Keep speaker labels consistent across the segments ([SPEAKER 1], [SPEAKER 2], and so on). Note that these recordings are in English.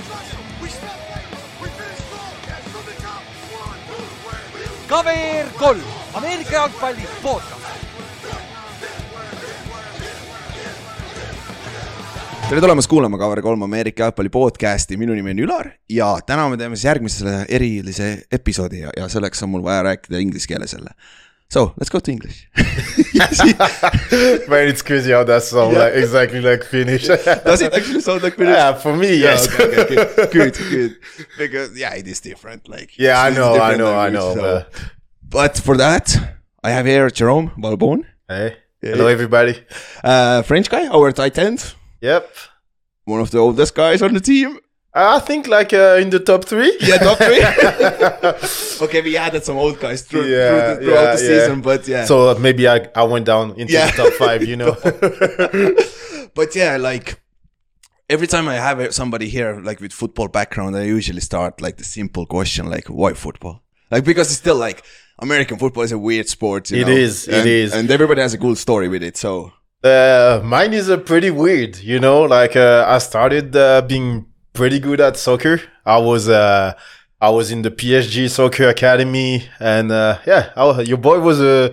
[SPEAKER 1] We step late. We finish strong. Yes, from the top. One, two, where we
[SPEAKER 2] cover goal , Ameerika jalgpalli podcast .
[SPEAKER 3] tere tulemast kuulama Cover kolm Ameerika jalgpalli podcasti , minu nimi on Ülar ja täna me teeme siis järgmise erilise episoodi ja, ja selleks on mul vaja rääkida inglise keeles jälle . So let's go to english
[SPEAKER 4] Man, it's crazy how that sound like exactly like Finnish.
[SPEAKER 3] Does it actually sound like Finnish?
[SPEAKER 4] yeah, for me, yes.
[SPEAKER 3] Okay, okay, good, good, good. Because yeah, it is different. Like
[SPEAKER 4] Yeah, I
[SPEAKER 3] it's
[SPEAKER 4] know, I
[SPEAKER 3] different
[SPEAKER 4] know, I
[SPEAKER 3] language,
[SPEAKER 4] know.
[SPEAKER 3] so-
[SPEAKER 4] but-
[SPEAKER 3] But for that, I have here Jerome Balbon,
[SPEAKER 4] hey, hello everybody.
[SPEAKER 3] uh, French guy, our tight end,
[SPEAKER 4] Yep.
[SPEAKER 3] one of the oldest guys on the team.
[SPEAKER 4] I think like uh, in the top three.
[SPEAKER 3] Yeah, top three. okay, we added some old guys through, through
[SPEAKER 4] Yeah,
[SPEAKER 3] the, throughout the
[SPEAKER 4] yeah, yeah.
[SPEAKER 3] season, but yeah.
[SPEAKER 4] So uh, maybe I, I went down into
[SPEAKER 3] Yeah.
[SPEAKER 4] the top five, you know.
[SPEAKER 3] but yeah, like every time I have somebody here, like with football background, I usually start like the simple question, like why football? Like because it's still like American football is a weird sport. You
[SPEAKER 4] It
[SPEAKER 3] know?
[SPEAKER 4] is, it
[SPEAKER 3] and,
[SPEAKER 4] is.
[SPEAKER 3] and everybody has a cool story with it. So
[SPEAKER 4] Uh, mine is uh, pretty weird, you know. Like uh, I started uh, being pretty good at soccer. I was uh, I was in the PSG soccer academy, and uh, yeah, I, was- your boy was a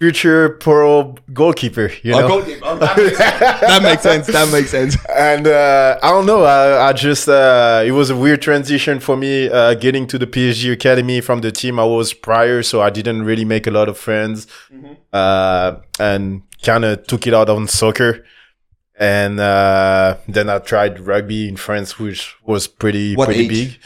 [SPEAKER 4] future pro goalkeeper, you know.
[SPEAKER 3] that makes sense. That makes sense.
[SPEAKER 4] and uh, I don't know. I, I just uh, it was a weird transition for me uh, getting to the PSG academy from the team I was prior, so I didn't really make a lot of friends,
[SPEAKER 3] Mm-hmm.
[SPEAKER 4] uh, and kind of took it out on soccer. And uh, then I tried rugby in France, which was pretty
[SPEAKER 3] What
[SPEAKER 4] pretty
[SPEAKER 3] age?
[SPEAKER 4] big.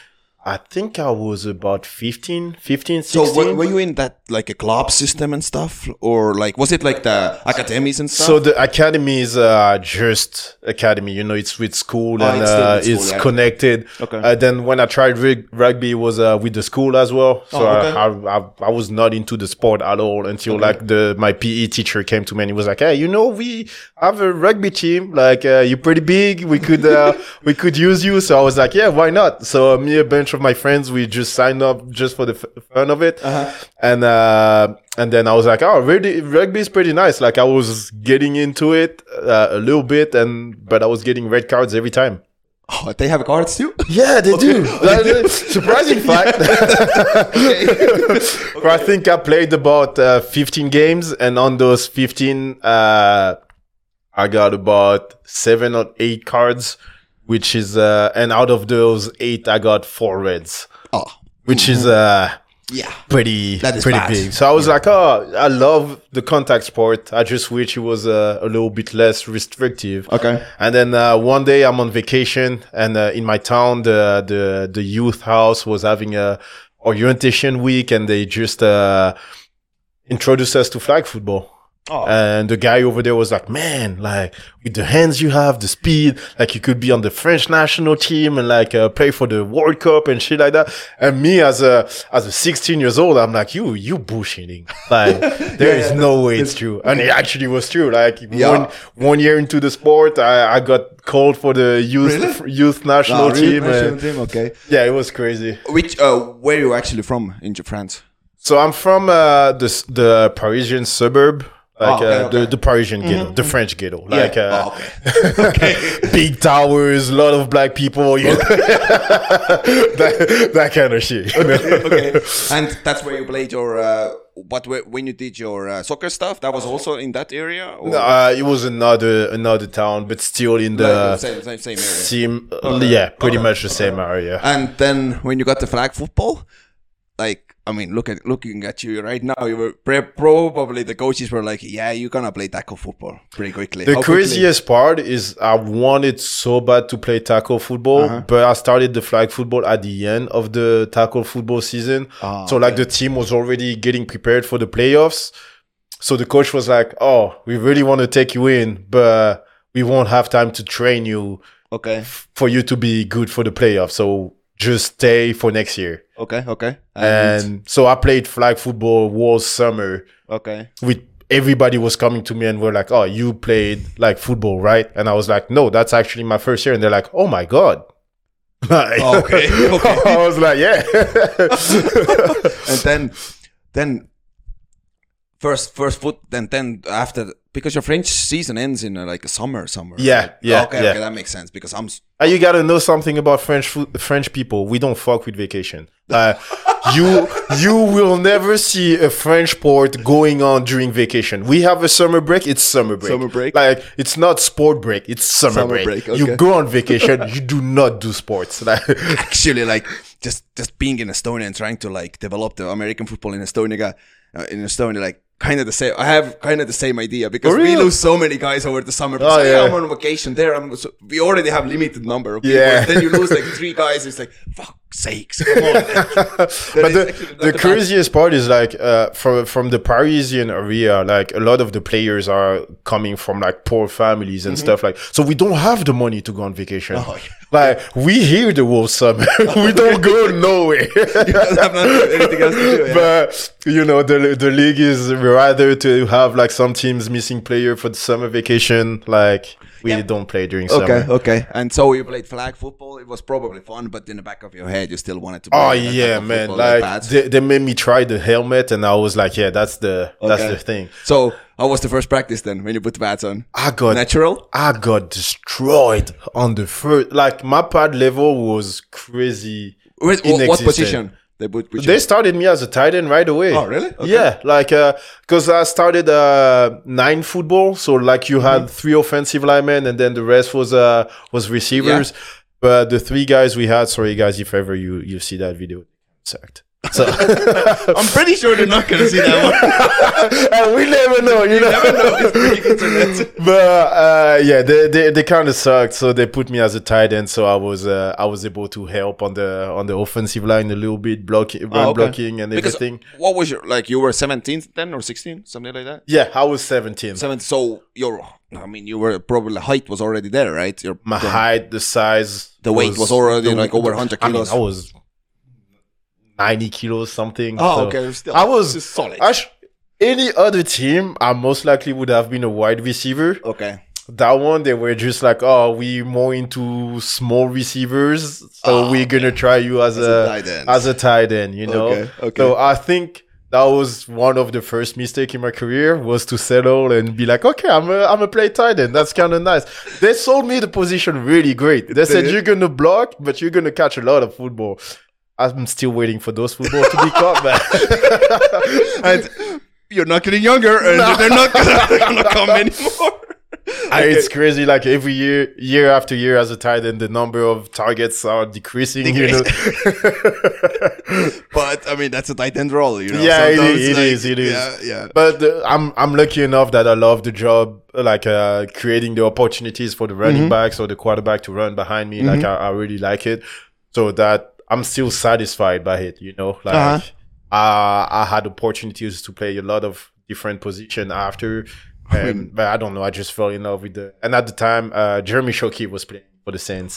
[SPEAKER 4] I think I was about 15, 15, 16.
[SPEAKER 3] So were, were you in that like a club system and stuff, or like was it like the academies and stuff?
[SPEAKER 4] So the academy is uh, just academy, you know, it's with school
[SPEAKER 3] Oh,
[SPEAKER 4] and
[SPEAKER 3] it's
[SPEAKER 4] it's,
[SPEAKER 3] still
[SPEAKER 4] uh,
[SPEAKER 3] with school,
[SPEAKER 4] it's
[SPEAKER 3] yeah.
[SPEAKER 4] connected.
[SPEAKER 3] Okay.
[SPEAKER 4] Uh, then when I tried rug- rugby, it was uh, with the school as well. So
[SPEAKER 3] Oh, okay.
[SPEAKER 4] I, I, I, I was not into the sport at all until like the my PE teacher came to me and he was like, "Hey, you know, we have a rugby team. Like uh, you're pretty big. We could uh, we could use you." So I was like, "Yeah, why not?" So me and a bunch of my friends we just signed up just for the f- fun of it
[SPEAKER 3] Uh-huh.
[SPEAKER 4] and uh, and then I was like, oh, really, rugby is pretty nice. Like I was getting into it uh, a little bit, and but I was getting red cards every time.
[SPEAKER 3] oh, they have cards too.
[SPEAKER 4] Yeah, they do. surprising fact. But I think I played about uh, 15 games, and on those 15, uh, I got about seven or eight cards, which is uh, and out of those eight, I got four reds,
[SPEAKER 3] oh,
[SPEAKER 4] which is uh
[SPEAKER 3] yeah.
[SPEAKER 4] pretty
[SPEAKER 3] Mm-hmm. That is
[SPEAKER 4] pretty
[SPEAKER 3] bad.
[SPEAKER 4] big. So I was like, oh, I love the contact sport. I just wish it was uh, a little bit less restrictive.
[SPEAKER 3] Okay.
[SPEAKER 4] And then uh, one day I'm on vacation, and uh, in my town, the the the youth house was having a orientation week, and they just uh, introduced us to flag football. And the guy over there was like, man, like with the hands you have, the speed, like you could be on the French national team and like uh, play for the World Cup and shit like that. And me as a as a 16 years old, I'm like, you you bullshitting. Like there is no way it's true. And it actually was true. Like
[SPEAKER 3] Yeah.
[SPEAKER 4] one one year into the sport, I, I got called for the youth youth Ah, national team. uh, and-
[SPEAKER 3] okay.
[SPEAKER 4] yeah, it was crazy.
[SPEAKER 3] Which uh, where you actually from in France?
[SPEAKER 4] So I'm from uh, the s- the Parisian suburb, like
[SPEAKER 3] Oh, okay,
[SPEAKER 4] uh,
[SPEAKER 3] okay.
[SPEAKER 4] The, the Parisian ghetto, the French ghetto, like uh,
[SPEAKER 3] Oh, okay.
[SPEAKER 4] big towers, a lot of black people, you know? that, that kind of shit. you know?
[SPEAKER 3] and that's where you played your uh, what were- when you did your uh, soccer stuff that was also in that area or
[SPEAKER 4] Uh, it was another another town, but still in
[SPEAKER 3] Like,
[SPEAKER 4] the
[SPEAKER 3] same, same, same area
[SPEAKER 4] same, uh, yeah, pretty much the same area.
[SPEAKER 3] and then when you got the flag football like i mean look at looking at you right now you were pre- probably the coaches were like yeah you're gonna play tackle football pretty quickly
[SPEAKER 4] The
[SPEAKER 3] How quickly?
[SPEAKER 4] craziest part is I wanted so bad to play tackle football,
[SPEAKER 3] Uh-huh.
[SPEAKER 4] but I started the flag football at the end of the tackle football season.
[SPEAKER 3] Ah,
[SPEAKER 4] so like the team was already getting prepared for the playoffs. So the coach was like, "Oh, we really want to take you in, but we won't have time to train you
[SPEAKER 3] okay
[SPEAKER 4] for you to be good for the playoffs. So just stay for next year."
[SPEAKER 3] okay okay
[SPEAKER 4] And, so I played flag football all summer
[SPEAKER 3] okay
[SPEAKER 4] with everybody was coming to me and were like, "Oh, you played like football, right?" And I was like, "No, that's actually my first year." And they're like, "Oh my god." Like-
[SPEAKER 3] Oh, Okay, okay.
[SPEAKER 4] I was like, "Yeah."
[SPEAKER 3] and then then first first foot and then after because your French season ends in uh, like summer somewhere.
[SPEAKER 4] Yeah,
[SPEAKER 3] right?
[SPEAKER 4] yeah,
[SPEAKER 3] Okay,
[SPEAKER 4] yeah.
[SPEAKER 3] okay, that makes sense because I'm. s-
[SPEAKER 4] Uh, you gotta know something about French food, French people. We don't fuck with vacation. Uh, you you will never see a French port going on during vacation. We have a summer break. It's summer break.
[SPEAKER 3] Summer break.
[SPEAKER 4] Like it's not sport break. It's summer,
[SPEAKER 3] Summer
[SPEAKER 4] break.
[SPEAKER 3] break,
[SPEAKER 4] You
[SPEAKER 3] okay.
[SPEAKER 4] go on vacation. you do not do sports. Like,
[SPEAKER 3] actually like just just being in Estonia and trying to like develop the American football in Estonia guy- uh, in Estonia like kind of the same I have kind of the same idea because
[SPEAKER 4] For
[SPEAKER 3] we
[SPEAKER 4] real?
[SPEAKER 3] lose so many guys over the summer
[SPEAKER 4] Oh,
[SPEAKER 3] oh, yeah.
[SPEAKER 4] yeah.
[SPEAKER 3] I'm on vacation there I'm so, we already have limited number of people
[SPEAKER 4] Yeah.
[SPEAKER 3] then you lose like three guys it's like fuck sakes come on
[SPEAKER 4] but
[SPEAKER 3] is actually
[SPEAKER 4] the,
[SPEAKER 3] not
[SPEAKER 4] the
[SPEAKER 3] the bad.
[SPEAKER 4] craziest part is like uh, from from the Parisian area, like a lot of the players are coming from like poor families
[SPEAKER 3] Mm-hmm.
[SPEAKER 4] and stuff like. So we don't have the money to go on vacation.
[SPEAKER 3] Oh,
[SPEAKER 4] Like we hear the wolf summer, we don't go nowhere.
[SPEAKER 3] you don't have nothing, anything else to do yeah.
[SPEAKER 4] But you know the the league is rather to have like some teams missing player for the summer vacation. Like we don't play during
[SPEAKER 3] Okay,
[SPEAKER 4] summer.
[SPEAKER 3] okay. And so you played flag football. It was probably fun, but in the back of your head, you still wanted to. Play
[SPEAKER 4] Oh
[SPEAKER 3] that type
[SPEAKER 4] yeah,
[SPEAKER 3] of
[SPEAKER 4] man!
[SPEAKER 3] football that
[SPEAKER 4] Like
[SPEAKER 3] bad.
[SPEAKER 4] they, they made me try the helmet, and I was like, yeah, that's the that's
[SPEAKER 3] Okay.
[SPEAKER 4] the thing. Ah,
[SPEAKER 3] So, how was the first practice then when you put the pads on?
[SPEAKER 4] I got
[SPEAKER 3] Natural?
[SPEAKER 4] I got destroyed on the first. Like my pad level was crazy.
[SPEAKER 3] Wait, wh- what
[SPEAKER 4] inexistent.
[SPEAKER 3] position? They put which
[SPEAKER 4] They started me as a tight end right away.
[SPEAKER 3] Oh, really? Okay.
[SPEAKER 4] Yeah, like because I started uh, nine football, so like you had
[SPEAKER 3] Mm-hmm.
[SPEAKER 4] three offensive linemen, and then the rest was uh was receivers. But the three guys we had, sorry guys, if ever you you see that video, sacked. So
[SPEAKER 3] I'm pretty sure they're not gonna see that one.
[SPEAKER 4] and we never know, you, never know. but uh, yeah, they they, they kind of sucked. So they put me as a tight end. So I was uh, I was able to help on the on the offensive line a little bit, blocking, run blocking, and
[SPEAKER 3] Oh, Because
[SPEAKER 4] everything.
[SPEAKER 3] What was your like? You were 17 then or 16, something like that.
[SPEAKER 4] Yeah, I was 17.
[SPEAKER 3] 17. So your, I mean, you were probably height was already there, right? Your
[SPEAKER 4] My height, the size,
[SPEAKER 3] The weight was already, like, over 100
[SPEAKER 4] I mean,
[SPEAKER 3] kilos.
[SPEAKER 4] I was 90 kilos something.
[SPEAKER 3] Oh,
[SPEAKER 4] so
[SPEAKER 3] okay. Still,
[SPEAKER 4] I was
[SPEAKER 3] just solid.
[SPEAKER 4] I sh- any other team, I most likely would have been a wide receiver.
[SPEAKER 3] okay.
[SPEAKER 4] that one they were just like oh we more into small receivers so we're gonna try you as,
[SPEAKER 3] Ah, a
[SPEAKER 4] a,
[SPEAKER 3] tight end.
[SPEAKER 4] as a tight end you know
[SPEAKER 3] Okay, okay.
[SPEAKER 4] so i think that was one of the first mistake in my career was to settle and be like okay i'm a, I'm a play tight end that's kind of nice they sold me the position really great they said
[SPEAKER 3] Did it?
[SPEAKER 4] you're gonna block but you're gonna catch a lot of football i'm still waiting for those football to be caught man
[SPEAKER 3] And you're not getting younger, and they're not gonna, they're gonna come anymore.
[SPEAKER 4] I- It's crazy. Like every year, year after year, as a tight end, the number of targets are decreasing. You know.
[SPEAKER 3] But I mean, that's a tight end role, you know.
[SPEAKER 4] yeah, it
[SPEAKER 3] Sometimes,
[SPEAKER 4] is, it
[SPEAKER 3] like,
[SPEAKER 4] is. It is.
[SPEAKER 3] Yeah, yeah.
[SPEAKER 4] But uh, I'm I'm lucky enough that I love the job, like uh, creating the opportunities for the running backs or the quarterback to run behind me. Like I, I really like it, so that I'm still satisfied by it. You know, like
[SPEAKER 3] Uh-huh.
[SPEAKER 4] uh, I had opportunities to play a lot of different position after, um, but I don't know. I just fell in love with the. And at the time, uh, Jeremy Shockey was playing for the Saints.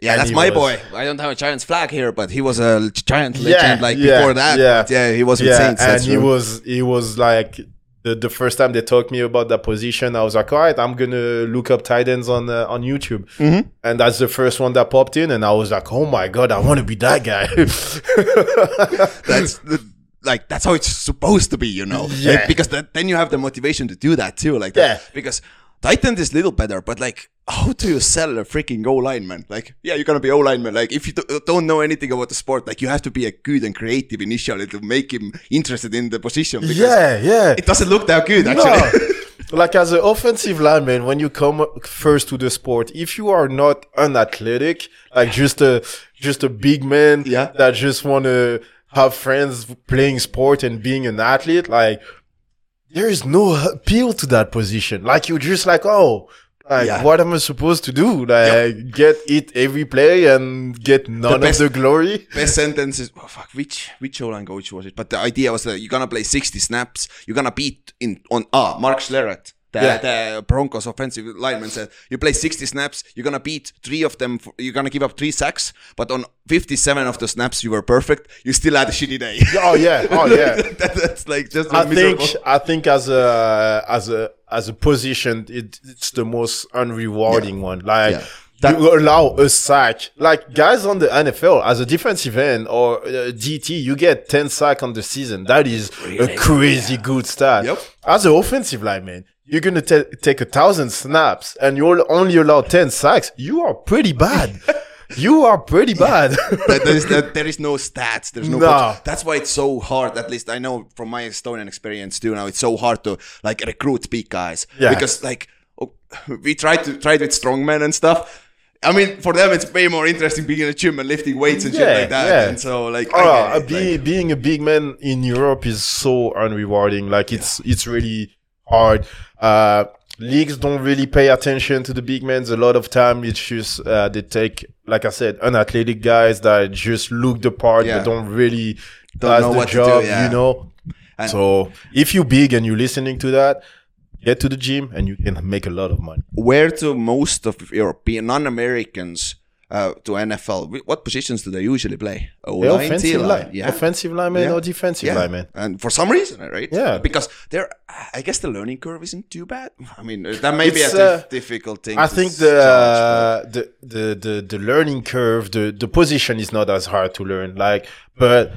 [SPEAKER 3] Yeah,
[SPEAKER 4] And
[SPEAKER 3] that's
[SPEAKER 4] he
[SPEAKER 3] my
[SPEAKER 4] was-
[SPEAKER 3] boy. I don't have a Giants flag here, but he was a giant
[SPEAKER 4] Yeah,
[SPEAKER 3] legend like
[SPEAKER 4] yeah,
[SPEAKER 3] before that.
[SPEAKER 4] yeah.
[SPEAKER 3] But yeah, he was with Saints.
[SPEAKER 4] and
[SPEAKER 3] that's
[SPEAKER 4] he
[SPEAKER 3] true.
[SPEAKER 4] was he was like the, the first time they talked me about that position, I was like, all right, I'm gonna look up tight ends on uh, on YouTube,
[SPEAKER 3] Mm-hmm.
[SPEAKER 4] and that's the first one that popped in, and I was like, oh my god, I want to be that guy.
[SPEAKER 3] that's the, like that's how it's supposed to be, you know.
[SPEAKER 4] Yeah.
[SPEAKER 3] Like, because that, then you have the motivation to do that too, like that.
[SPEAKER 4] Yeah.
[SPEAKER 3] Because Titan is little better, but like, how do you sell a freaking O lineman? Like, yeah, you're gonna be O lineman. Like, if you do, don't know anything about the sport, like you have to be a good and creative initially to make him interested in the position. Because
[SPEAKER 4] yeah, yeah.
[SPEAKER 3] It doesn't look that good, actually.
[SPEAKER 4] No. like as an offensive lineman, when you come first to the sport, if you are not unathletic, like just a just a big man
[SPEAKER 3] Yeah.
[SPEAKER 4] that just want to have friends playing sport and being an athlete, like there is no appeal to that position. Like you're just like, oh. Like
[SPEAKER 3] Yeah.
[SPEAKER 4] what am I supposed to do? Like get it every play and get none of
[SPEAKER 3] best-
[SPEAKER 4] the glory.
[SPEAKER 3] best sentence is oh, fuck which which O-line coach was it? But the idea was that you're gonna play 60 snaps. You're gonna beat in on ah Mark Schlereth. The,
[SPEAKER 4] Yeah.
[SPEAKER 3] the Broncos offensive lineman said, "You play 60 snaps. You're gonna beat three of them. For, you're gonna give up three sacks, but on 57 of the snaps you were perfect. You still had a shitty day.
[SPEAKER 4] Oh yeah, oh yeah.
[SPEAKER 3] that, that's like just
[SPEAKER 4] I think
[SPEAKER 3] miserable.
[SPEAKER 4] I think as a as a as a position, it, it's the most unrewarding one. Like
[SPEAKER 3] Yeah. That-
[SPEAKER 4] you allow a sack. Like guys on the NFL as a defensive end or uh, DT, you get 10 sack on the season. That is a crazy good stat.
[SPEAKER 3] Yep.
[SPEAKER 4] As an offensive lineman, you're going to ta- take a thousand snaps and you'll only allow 10 sacks. You are pretty bad. you are pretty bad.
[SPEAKER 3] that, that is, that, there is no stats. There's no.
[SPEAKER 4] No.
[SPEAKER 3] coach. That's why it's so hard. At least I know from my Estonian experience too. Now it's so hard to like recruit big guys
[SPEAKER 4] Yeah.
[SPEAKER 3] because like oh, we tried to tried with strongmen and stuff. I mean, for them it's way more interesting being in a gym and lifting weights and shit
[SPEAKER 4] Yeah,
[SPEAKER 3] like that.
[SPEAKER 4] yeah.
[SPEAKER 3] And so like, I
[SPEAKER 4] Oh,
[SPEAKER 3] get
[SPEAKER 4] a
[SPEAKER 3] it,
[SPEAKER 4] be-
[SPEAKER 3] like-
[SPEAKER 4] being a big man in Europe is so unrewarding. Like it's it's really hard. Uh, leagues don't really pay attention to the big men. A lot of time it's just uh, they take, like I said, unathletic guys that just look the part
[SPEAKER 3] Yeah.
[SPEAKER 4] but don't really
[SPEAKER 3] Don't
[SPEAKER 4] does
[SPEAKER 3] know
[SPEAKER 4] the
[SPEAKER 3] what to do,
[SPEAKER 4] job.
[SPEAKER 3] yeah.
[SPEAKER 4] You know.
[SPEAKER 3] And-
[SPEAKER 4] so if you're big and you're listening to that, get to the gym and you can make a lot of money.
[SPEAKER 3] where do most of European non-Americans uh, to NFL? What positions do they usually play? O
[SPEAKER 4] Yeah,
[SPEAKER 3] line, T
[SPEAKER 4] offensive line,
[SPEAKER 3] yeah.
[SPEAKER 4] offensive lineman
[SPEAKER 3] Yeah.
[SPEAKER 4] or defensive
[SPEAKER 3] Yeah.
[SPEAKER 4] lineman.
[SPEAKER 3] And for some reason, right?
[SPEAKER 4] Yeah.
[SPEAKER 3] Because there, I guess the learning curve isn't too bad. I mean, that may be a
[SPEAKER 4] It's,
[SPEAKER 3] dif-
[SPEAKER 4] uh,
[SPEAKER 3] difficult thing.
[SPEAKER 4] I
[SPEAKER 3] to
[SPEAKER 4] think
[SPEAKER 3] s-
[SPEAKER 4] the,
[SPEAKER 3] challenge,
[SPEAKER 4] uh, the the the the learning curve, the the position is not as hard to learn. Like, but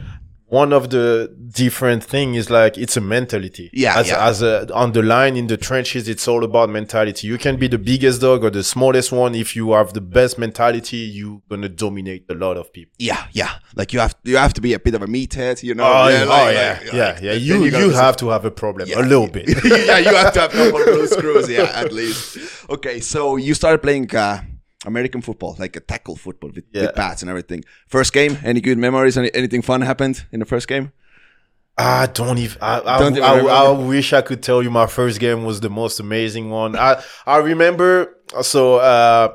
[SPEAKER 4] one of the different thing is like it's a mentality.
[SPEAKER 3] Yeah,
[SPEAKER 4] as
[SPEAKER 3] yeah.
[SPEAKER 4] as a, on the line in the trenches, it's all about mentality. You can be the biggest dog or the smallest one. If you have the best mentality, you gonna dominate a lot of people.
[SPEAKER 3] but- yeah, yeah. Like you have you have to be a bit of a meathead, you know? like-
[SPEAKER 4] yeah, oh,
[SPEAKER 3] like-
[SPEAKER 4] yeah,
[SPEAKER 3] like-
[SPEAKER 4] yeah,
[SPEAKER 3] like,
[SPEAKER 4] yeah.
[SPEAKER 3] then
[SPEAKER 4] You
[SPEAKER 3] gotta
[SPEAKER 4] you
[SPEAKER 3] be
[SPEAKER 4] have to have a problem a little bit.
[SPEAKER 3] yeah, you have to have a couple of those screws, yeah, at least. Okay, so you started playing uh, American football, like a tackle football with,
[SPEAKER 4] Yeah.
[SPEAKER 3] with bats and everything. First game, any good memories? Any, anything fun happened in the first game?
[SPEAKER 4] I don't even. I, I,
[SPEAKER 3] Don't even
[SPEAKER 4] I,
[SPEAKER 3] remember.
[SPEAKER 4] I wish I could tell you my first game was the most amazing one. I I remember. So uh,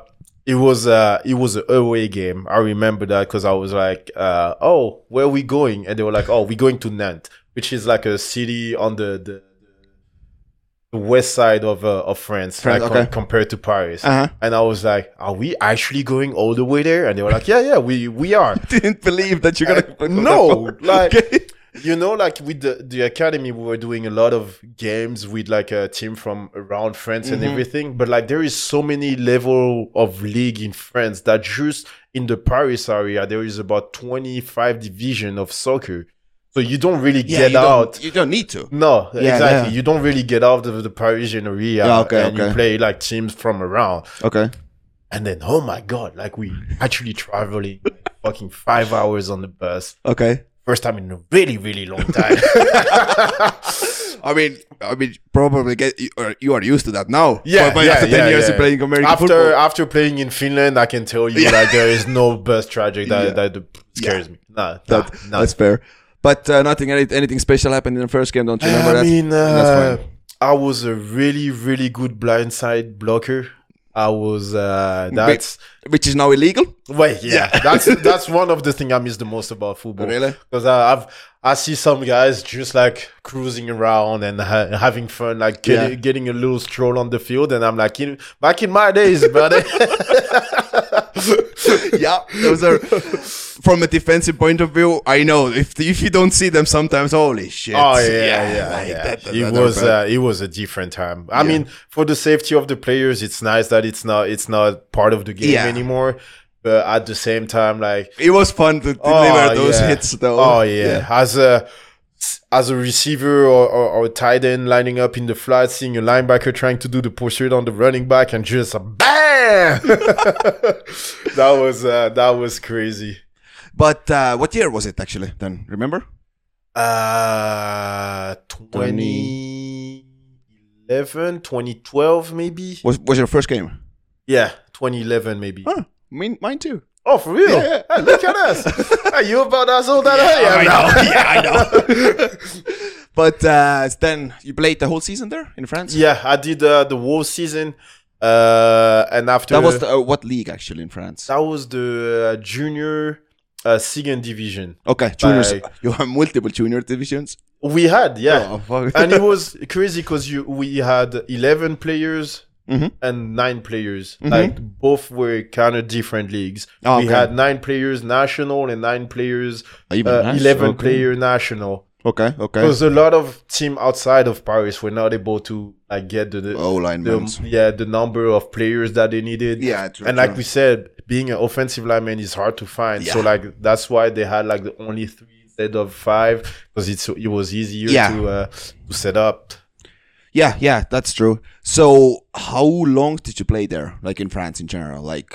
[SPEAKER 4] it was uh, it was an away game. I remember that because I was like, uh, "Oh, where we going?" And they were like, "Oh, we're going to Nantes, which is like a city on the the, the west side of uh, of France,
[SPEAKER 3] France,
[SPEAKER 4] like,
[SPEAKER 3] okay.
[SPEAKER 4] com- compared to Paris."
[SPEAKER 3] Uh-huh.
[SPEAKER 4] And I was like, "Are we actually going all the way there?" And they were like, "Yeah, yeah, we we are."
[SPEAKER 3] Didn't believe that you're gonna
[SPEAKER 4] Uh, no, like
[SPEAKER 3] Okay.
[SPEAKER 4] you know, like with the, the academy, we were doing a lot of games with like a team from around France
[SPEAKER 3] Mm-hmm.
[SPEAKER 4] and everything. But like, there is so many level of league in France that just in the Paris area there is about twenty five division of soccer. So you don't really
[SPEAKER 3] Yeah,
[SPEAKER 4] get
[SPEAKER 3] you don't-
[SPEAKER 4] out.
[SPEAKER 3] You don't need to.
[SPEAKER 4] No,
[SPEAKER 3] Yeah,
[SPEAKER 4] exactly.
[SPEAKER 3] yeah.
[SPEAKER 4] You don't really get out of the Parisian area,
[SPEAKER 3] Yeah, okay,
[SPEAKER 4] and you
[SPEAKER 3] okay.
[SPEAKER 4] play like teams from around.
[SPEAKER 3] Okay.
[SPEAKER 4] And then, oh my god, like we actually traveling fucking five hours on the bus
[SPEAKER 3] Okay.
[SPEAKER 4] first time in a really really long time
[SPEAKER 3] I mean, I mean, probably get you are, you are used to that now.
[SPEAKER 4] Yeah,
[SPEAKER 3] but, but
[SPEAKER 4] yeah,
[SPEAKER 3] after ten
[SPEAKER 4] yeah,
[SPEAKER 3] years
[SPEAKER 4] yeah.
[SPEAKER 3] of playing American
[SPEAKER 4] after
[SPEAKER 3] football,
[SPEAKER 4] after playing in finland i can tell you
[SPEAKER 3] Yeah.
[SPEAKER 4] like there is no bus tragic that
[SPEAKER 3] Yeah.
[SPEAKER 4] that scares me no
[SPEAKER 3] that,
[SPEAKER 4] no
[SPEAKER 3] that's fair. But uh, nothing, any- anything special happened in the first game. Don't you remember
[SPEAKER 4] i
[SPEAKER 3] that?
[SPEAKER 4] mean uh,
[SPEAKER 3] that's fine.
[SPEAKER 4] i was a really really good blindside blocker i was uh that's
[SPEAKER 3] Which is now illegal.
[SPEAKER 4] Wait, yeah, that's that's one of the thing I miss the most about football.
[SPEAKER 3] Really?
[SPEAKER 4] Because I've I see some guys just like cruising around and ha- having fun, like get,
[SPEAKER 3] Yeah.
[SPEAKER 4] getting a little stroll on the field, and I'm like, in, back in my days, buddy.
[SPEAKER 3] yeah, those are from a defensive point of view. I know if if you don't see them sometimes, holy shit!
[SPEAKER 4] Oh yeah, yeah, yeah.
[SPEAKER 3] like that- that-
[SPEAKER 4] it
[SPEAKER 3] that-
[SPEAKER 4] was
[SPEAKER 3] that-
[SPEAKER 4] uh, it was a different time. I mean, for the safety of the players, it's nice that it's not it's not part of the game
[SPEAKER 3] Yeah.
[SPEAKER 4] anymore. But at the same time, like
[SPEAKER 3] it was fun to deliver those
[SPEAKER 4] Oh, yeah.
[SPEAKER 3] hits though.
[SPEAKER 4] Oh yeah. as a as a receiver or, or, or tight end lining up in the flat, seeing a linebacker trying to do the pursuit on the running back, and just a bam! that was uh, that was crazy.
[SPEAKER 3] But uh, what year was it actually? Then remember?
[SPEAKER 4] Uh, 2011, 2012 maybe.
[SPEAKER 3] Was was your first game?
[SPEAKER 4] Yeah, 2011 maybe.
[SPEAKER 3] Huh? Mine, mine too.
[SPEAKER 4] Oh, for real?
[SPEAKER 3] Yeah,
[SPEAKER 4] Hey, look at us. Are you about as old as I am now?
[SPEAKER 3] But uh, then you played the whole season there in France.
[SPEAKER 4] Yeah, I did uh, the whole season, uh, and after
[SPEAKER 3] That was the, uh, what league actually in France?
[SPEAKER 4] that was the uh, junior uh, second division
[SPEAKER 3] Okay, juniors.
[SPEAKER 4] Like-
[SPEAKER 3] you have multiple junior divisions.
[SPEAKER 4] we had. Yeah,
[SPEAKER 3] Oh, fuck.
[SPEAKER 4] and it was crazy because you we had eleven players.
[SPEAKER 3] Mhm.
[SPEAKER 4] And nine players, like both were kind of different leagues.
[SPEAKER 3] Oh, Mm-hmm.
[SPEAKER 4] We
[SPEAKER 3] okay. Ah,
[SPEAKER 4] had nine players national and nine players,
[SPEAKER 3] Even
[SPEAKER 4] uh,
[SPEAKER 3] nice,
[SPEAKER 4] eleven
[SPEAKER 3] okay.
[SPEAKER 4] player national.
[SPEAKER 3] Okay, okay.
[SPEAKER 4] Because a lot of team outside of Paris were not able to like get the, the
[SPEAKER 3] O line
[SPEAKER 4] the-
[SPEAKER 3] moves.
[SPEAKER 4] yeah the number of players that they needed.
[SPEAKER 3] Yeah, true,
[SPEAKER 4] and like
[SPEAKER 3] true.
[SPEAKER 4] we said, being an offensive lineman is hard to find. So
[SPEAKER 3] Yeah.
[SPEAKER 4] like that's why they had like the only three instead of five because it's it was easier
[SPEAKER 3] Yeah.
[SPEAKER 4] to uh, to set up.
[SPEAKER 3] Yeah, yeah, that's true. So, how long did you play there, like in France in general? Like,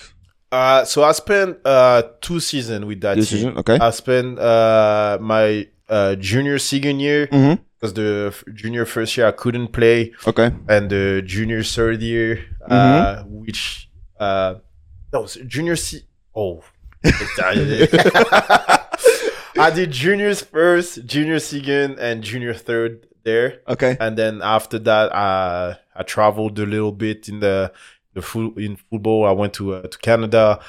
[SPEAKER 4] Uh, so I spent uh, two seasons with that
[SPEAKER 3] Two
[SPEAKER 4] team.
[SPEAKER 3] season, okay.
[SPEAKER 4] I spent uh, my uh, junior second year because the f- junior first year I couldn't play,
[SPEAKER 3] okay,
[SPEAKER 4] and the junior third year, uh, which uh, no, so junior se- oh, I did juniors first, junior second, and junior third there,
[SPEAKER 3] okay,
[SPEAKER 4] and then after that, I I traveled a little bit in the the full in football. I went to uh, to Canada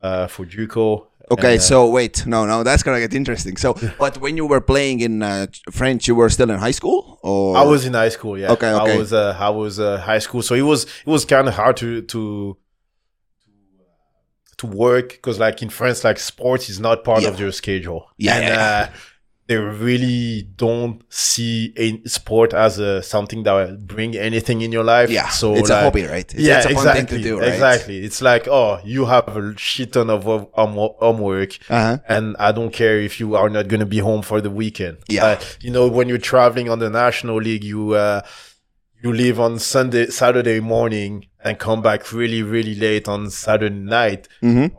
[SPEAKER 4] uh, for JUCO.
[SPEAKER 3] okay.
[SPEAKER 4] And, uh,
[SPEAKER 3] so wait, no, no, that's gonna get interesting. So, but when you were playing in uh, French, you were still in high school, or
[SPEAKER 4] I was in high school. Yeah.
[SPEAKER 3] Okay, okay.
[SPEAKER 4] I was uh, I was uh, high school, so it was it was kind of hard to to to work because like in France, like sports is not part of
[SPEAKER 3] Yeah.
[SPEAKER 4] your schedule.
[SPEAKER 3] Yeah,
[SPEAKER 4] And,
[SPEAKER 3] yeah,
[SPEAKER 4] Uh, they really don't see a sport as a, something that will bring anything in your life.
[SPEAKER 3] yeah.
[SPEAKER 4] so
[SPEAKER 3] it's
[SPEAKER 4] like-
[SPEAKER 3] a hobby, right? It's,
[SPEAKER 4] yeah,
[SPEAKER 3] it's a
[SPEAKER 4] exactly.
[SPEAKER 3] fun thing to do, right?
[SPEAKER 4] Exactly. It's like, oh, you have a shit ton of hom- hom- homework,
[SPEAKER 3] Uh-huh.
[SPEAKER 4] and I don't care if you are not going to be home for the weekend.
[SPEAKER 3] Yeah.
[SPEAKER 4] Uh, you know, when you're traveling on the national league, you uh, you leave on Sunday, Saturday morning, and come back really, really late on Saturday night,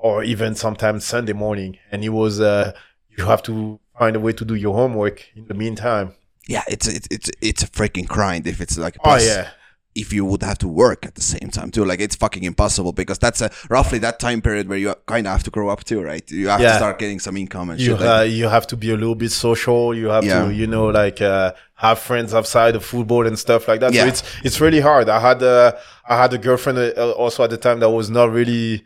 [SPEAKER 4] or even sometimes Sunday morning. And it was, uh, you have to find a way to do your homework in the meantime.
[SPEAKER 3] Yeah, it's it's it's it's a freaking grind if it's like.
[SPEAKER 4] Oh
[SPEAKER 3] plus-
[SPEAKER 4] yeah.
[SPEAKER 3] if you would have to work at the same time too. Like it's fucking impossible because that's a, roughly that time period where you kind of have to grow up too, right? You have to
[SPEAKER 4] Yeah.
[SPEAKER 3] start getting some income and
[SPEAKER 4] you
[SPEAKER 3] shit. Like,
[SPEAKER 4] uh, you have to be a little bit social. You have
[SPEAKER 3] Yeah.
[SPEAKER 4] to you know like uh, have friends outside of football and stuff like that.
[SPEAKER 3] Yeah.
[SPEAKER 4] So it's it's really hard. I had uh, I had a girlfriend uh, also at the time that was not really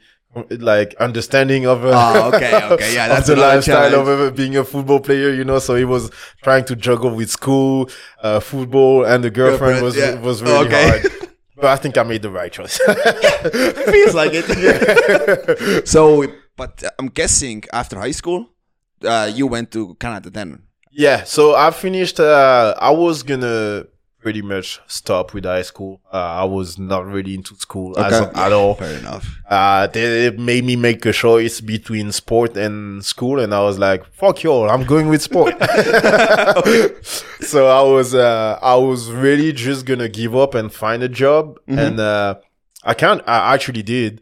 [SPEAKER 4] like understanding of uh,
[SPEAKER 3] Ah, okay, okay. Yeah,
[SPEAKER 4] of
[SPEAKER 3] that's
[SPEAKER 4] the
[SPEAKER 3] another
[SPEAKER 4] lifestyle
[SPEAKER 3] challenge.
[SPEAKER 4] of uh, being a football player. You know, so he was trying to juggle with school, uh, football, and the girlfriend,
[SPEAKER 3] Girlfriend,
[SPEAKER 4] was
[SPEAKER 3] yeah.
[SPEAKER 4] was really
[SPEAKER 3] Okay.
[SPEAKER 4] hard. But I think I made the right choice.
[SPEAKER 3] feels like it. so, but uh, I'm guessing after high school, uh, you went to Canada then.
[SPEAKER 4] Yeah, so I finished. Uh, I was gonna pretty much stop with high school. Uh, I was not really into school as,
[SPEAKER 3] Okay.
[SPEAKER 4] at all.
[SPEAKER 3] Fair enough.
[SPEAKER 4] Uh, they they made me make a choice between sport and school, and I was like, "Fuck you all, I'm going with sport." so I was, uh, I was really just gonna give up and find a job, and uh, I can't. I actually did.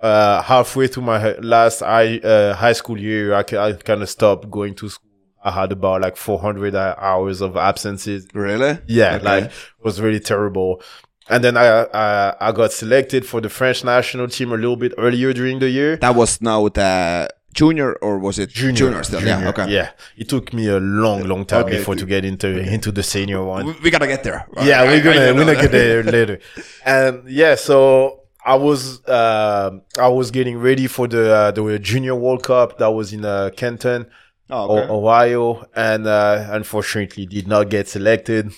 [SPEAKER 4] Uh, halfway through my hi- last high, uh, high school year, I, kind of stopped going to school. I had about like 400 hours of absences.
[SPEAKER 3] Really?
[SPEAKER 4] Yeah,
[SPEAKER 3] Okay.
[SPEAKER 4] like it was really terrible. And then I, I I got selected for the French national team a little bit earlier during the year.
[SPEAKER 3] that was now the junior or was it still? yeah.
[SPEAKER 4] Junior,
[SPEAKER 3] Okay.
[SPEAKER 4] Yeah. It took me a long, long time
[SPEAKER 3] Okay,
[SPEAKER 4] before to get into into the senior one.
[SPEAKER 3] We, we gotta get there.
[SPEAKER 4] yeah,
[SPEAKER 3] I- I-
[SPEAKER 4] we're
[SPEAKER 3] I
[SPEAKER 4] gonna
[SPEAKER 3] don't
[SPEAKER 4] we're
[SPEAKER 3] know
[SPEAKER 4] gonna get
[SPEAKER 3] that.
[SPEAKER 4] there later. And yeah, so I was um I was getting ready for the uh, the Junior World Cup that was in uh, Canton,
[SPEAKER 3] Oh, okay.
[SPEAKER 4] O- Ohio, and uh, unfortunately did not get selected.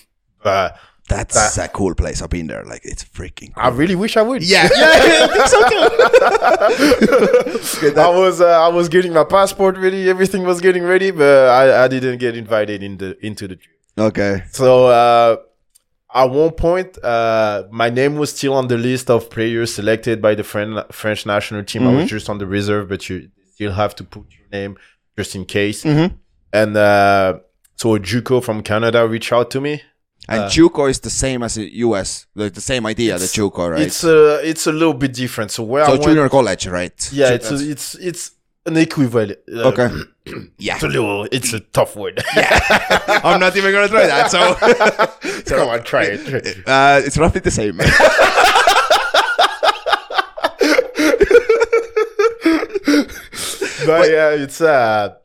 [SPEAKER 4] But
[SPEAKER 3] That's a cool place. I've been there. Like it's freaking.
[SPEAKER 4] I really wish I would.
[SPEAKER 3] Yeah, yeah, I think so too.
[SPEAKER 4] I was uh, I was getting my passport ready, everything was getting ready, but I, I didn't get invited in the into the trip.
[SPEAKER 3] Okay.
[SPEAKER 4] So uh, at one point, uh, my name was still on the list of players selected by the French French national team.
[SPEAKER 3] Mm-hmm.
[SPEAKER 4] I was just on the reserve, but you still have to put your name just in case.
[SPEAKER 3] Mm-hmm.
[SPEAKER 4] And uh, so Juco from Canada reached out to me.
[SPEAKER 3] And Chuko is the same as the US, like the same idea, the Chuko, right?
[SPEAKER 4] Uh, It's uh, a it's a little bit different. So where I
[SPEAKER 3] so
[SPEAKER 4] went,
[SPEAKER 3] junior college, right?
[SPEAKER 4] yeah, it's a, it's it's an equivalent. uh,
[SPEAKER 3] Okay. yeah.
[SPEAKER 4] It's a little. It's a tough word.
[SPEAKER 3] I'm not even gonna try that. So
[SPEAKER 4] Come on, try it.
[SPEAKER 3] uh, it's roughly the same.
[SPEAKER 4] but yeah, it's uh,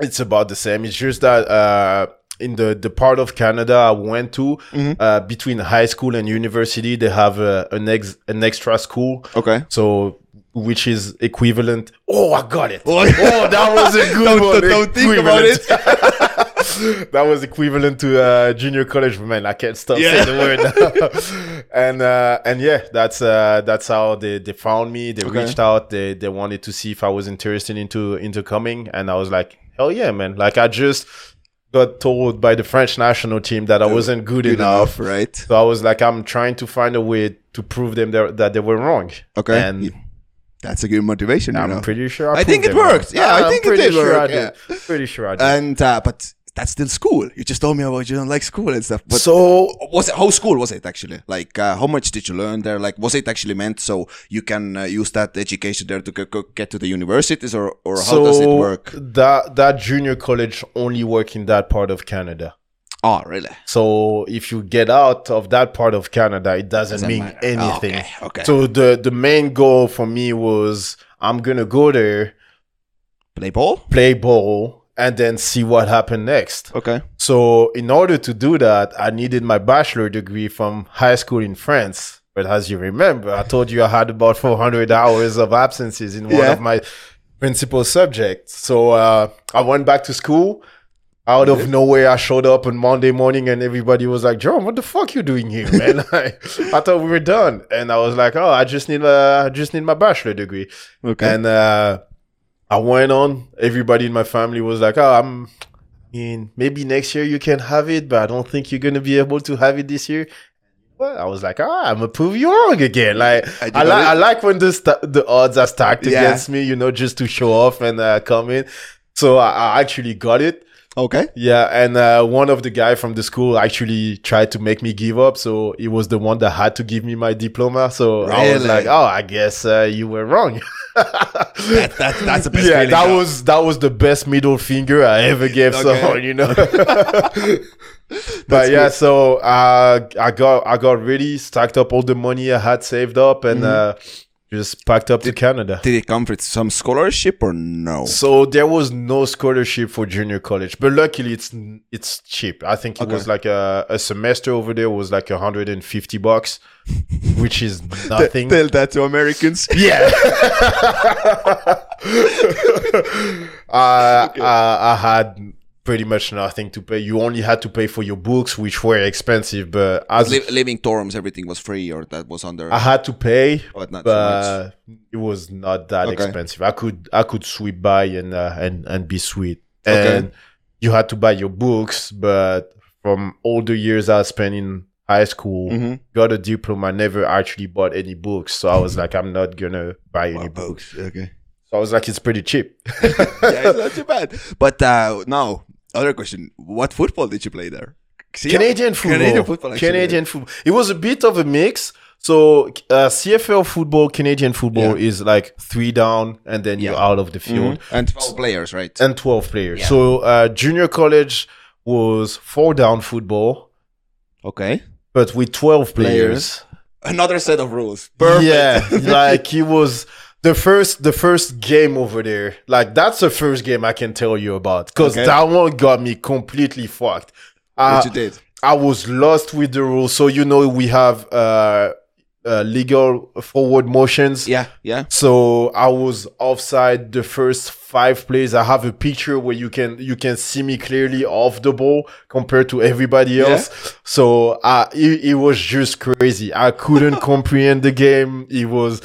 [SPEAKER 4] it's about the same. It's just that uh, in the the part of Canada I went to, uh, between high school and university, they have uh, an ex an extra school.
[SPEAKER 3] okay.
[SPEAKER 4] So which is equivalent? Oh, I got it.
[SPEAKER 3] Oh,
[SPEAKER 4] that was a good
[SPEAKER 3] Don't-
[SPEAKER 4] one.
[SPEAKER 3] don't think about it.
[SPEAKER 4] Equivalent. that was equivalent to uh, junior college. Man, I can't stop
[SPEAKER 3] Yeah.
[SPEAKER 4] saying the word. and uh, and yeah, that's uh, that's how they, they found me. They
[SPEAKER 3] Okay.
[SPEAKER 4] reached out. They they wanted to see if I was interested into into coming, and I was like, hell yeah, man! Like I just got told by the French national team that I wasn't good, enough.
[SPEAKER 3] right?
[SPEAKER 4] So I was like, I'm trying to find a way to prove them that, that they were wrong.
[SPEAKER 3] Okay.
[SPEAKER 4] And
[SPEAKER 3] Yeah. That's a good motivation. you
[SPEAKER 4] I'm
[SPEAKER 3] know?
[SPEAKER 4] pretty sure.
[SPEAKER 3] I
[SPEAKER 4] proved
[SPEAKER 3] think it
[SPEAKER 4] them wrong.
[SPEAKER 3] worked. Yeah, I
[SPEAKER 4] I'm
[SPEAKER 3] think it
[SPEAKER 4] pretty
[SPEAKER 3] did
[SPEAKER 4] sure I
[SPEAKER 3] work,
[SPEAKER 4] did. Pretty sure I did.
[SPEAKER 3] And uh, but that's still school. You just told me about you don't like school and stuff. But
[SPEAKER 4] so
[SPEAKER 3] was it how school was it actually? Like uh, how much did you learn there? Like was it actually meant so you can uh, use that education there to go, get to the universities or or how
[SPEAKER 4] so
[SPEAKER 3] does it work?
[SPEAKER 4] that that junior college only work in that part of Canada.
[SPEAKER 3] Oh, really?
[SPEAKER 4] So if you get out of that part of Canada, it doesn't,
[SPEAKER 3] Doesn't
[SPEAKER 4] mean
[SPEAKER 3] matter. Oh,
[SPEAKER 4] anything.
[SPEAKER 3] Ah, Okay, okay.
[SPEAKER 4] So the the main goal for me was I'm gonna go there,
[SPEAKER 3] Play ball?
[SPEAKER 4] play ball, and then see what happened next.
[SPEAKER 3] Okay.
[SPEAKER 4] So in order to do that, I needed my bachelor degree from high school in France. But as you remember, I told you I had about 400 hours of absences in one
[SPEAKER 3] Yeah.
[SPEAKER 4] of my principal subjects. So uh, I went back to school. Out of nowhere, I showed up on Monday morning and everybody was like, John, what the fuck you doing here, man? I, I thought we were done. And I was like, oh, I just need, uh, I just need my bachelor degree.
[SPEAKER 3] Okay.
[SPEAKER 4] And uh, I went on. Everybody in my family was like, "Oh, I'm." I mean, maybe next year you can have it, but I don't think you're gonna be able to have it this year. Well, I was like, "Ah, I'm gonna prove you wrong again." Like,
[SPEAKER 3] I
[SPEAKER 4] I,
[SPEAKER 3] did
[SPEAKER 4] li-
[SPEAKER 3] not-
[SPEAKER 4] I like when the sta the odds are stacked
[SPEAKER 3] Yeah.
[SPEAKER 4] against me, you know, just to show off and uh, come in. So I, I actually got it.
[SPEAKER 3] okay.
[SPEAKER 4] Yeah, and uh, one of the guy from the school actually tried to make me give up. So he was the one that had to give me my diploma. So I was
[SPEAKER 3] Really?
[SPEAKER 4] like, "Oh, I guess uh, you were wrong."
[SPEAKER 3] That, that, that's the best.
[SPEAKER 4] yeah,
[SPEAKER 3] feeling,
[SPEAKER 4] that
[SPEAKER 3] yeah.
[SPEAKER 4] was that was the best middle finger I ever gave
[SPEAKER 3] Okay.
[SPEAKER 4] someone, you know. but yeah, so uh, I got I got really stacked up all the money I had saved up and uh, just packed up to Canada.
[SPEAKER 3] Did it come with some scholarship or no?
[SPEAKER 4] So there was no scholarship for junior college, but luckily it's it's cheap. I think it was like a, a semester over there was like 150 bucks, which is nothing.
[SPEAKER 3] Tell that to Americans.
[SPEAKER 4] Yeah. uh, I, I had pretty much nothing to pay. You only had to pay for your books, which were expensive, but as
[SPEAKER 3] Li- living dorms, everything was free, or that was under.
[SPEAKER 4] I had to pay,
[SPEAKER 3] But Oh, not too
[SPEAKER 4] but it was not that
[SPEAKER 3] Okay.
[SPEAKER 4] expensive. I could I could sweep by and uh, and and be sweet.
[SPEAKER 3] Okay.
[SPEAKER 4] And you had to buy your books, but from all the years I spent in high school,
[SPEAKER 3] Mhm.
[SPEAKER 4] got a diploma, never actually bought any books. So I was
[SPEAKER 3] Mm-hmm.
[SPEAKER 4] like, I'm not gonna buy any
[SPEAKER 3] Or
[SPEAKER 4] books.
[SPEAKER 3] books. Okay.
[SPEAKER 4] So I was like, it's pretty cheap.
[SPEAKER 3] yeah, it's not too bad. But uh, now, other question: What football did you play there? See,
[SPEAKER 4] Canadian football.
[SPEAKER 3] Canadian football. actually.
[SPEAKER 4] Canadian football. It was a bit of a mix. So uh, CFL football, Canadian football is like three down and then you're
[SPEAKER 3] Yeah.
[SPEAKER 4] out of the field.
[SPEAKER 3] Mm-hmm. and twelve players, right?
[SPEAKER 4] and 12 players. So uh, junior college was four down football,
[SPEAKER 3] Okay.
[SPEAKER 4] but with 12 players.
[SPEAKER 3] Another set of rules. Perfect.
[SPEAKER 4] Yeah, like it was the first the first game over there. Like that's the first game I can tell you about because
[SPEAKER 3] Okay.
[SPEAKER 4] that one got me completely fucked. Uh,
[SPEAKER 3] What you did?
[SPEAKER 4] I was lost with the rules. So you know we have uh, uh, legal forward motions.
[SPEAKER 3] Yeah, yeah.
[SPEAKER 4] So I was offside the first five plays. I have a picture where you can you can see me clearly off the ball compared to everybody else. So uh, it, it was just crazy. I couldn't comprehend the game. It was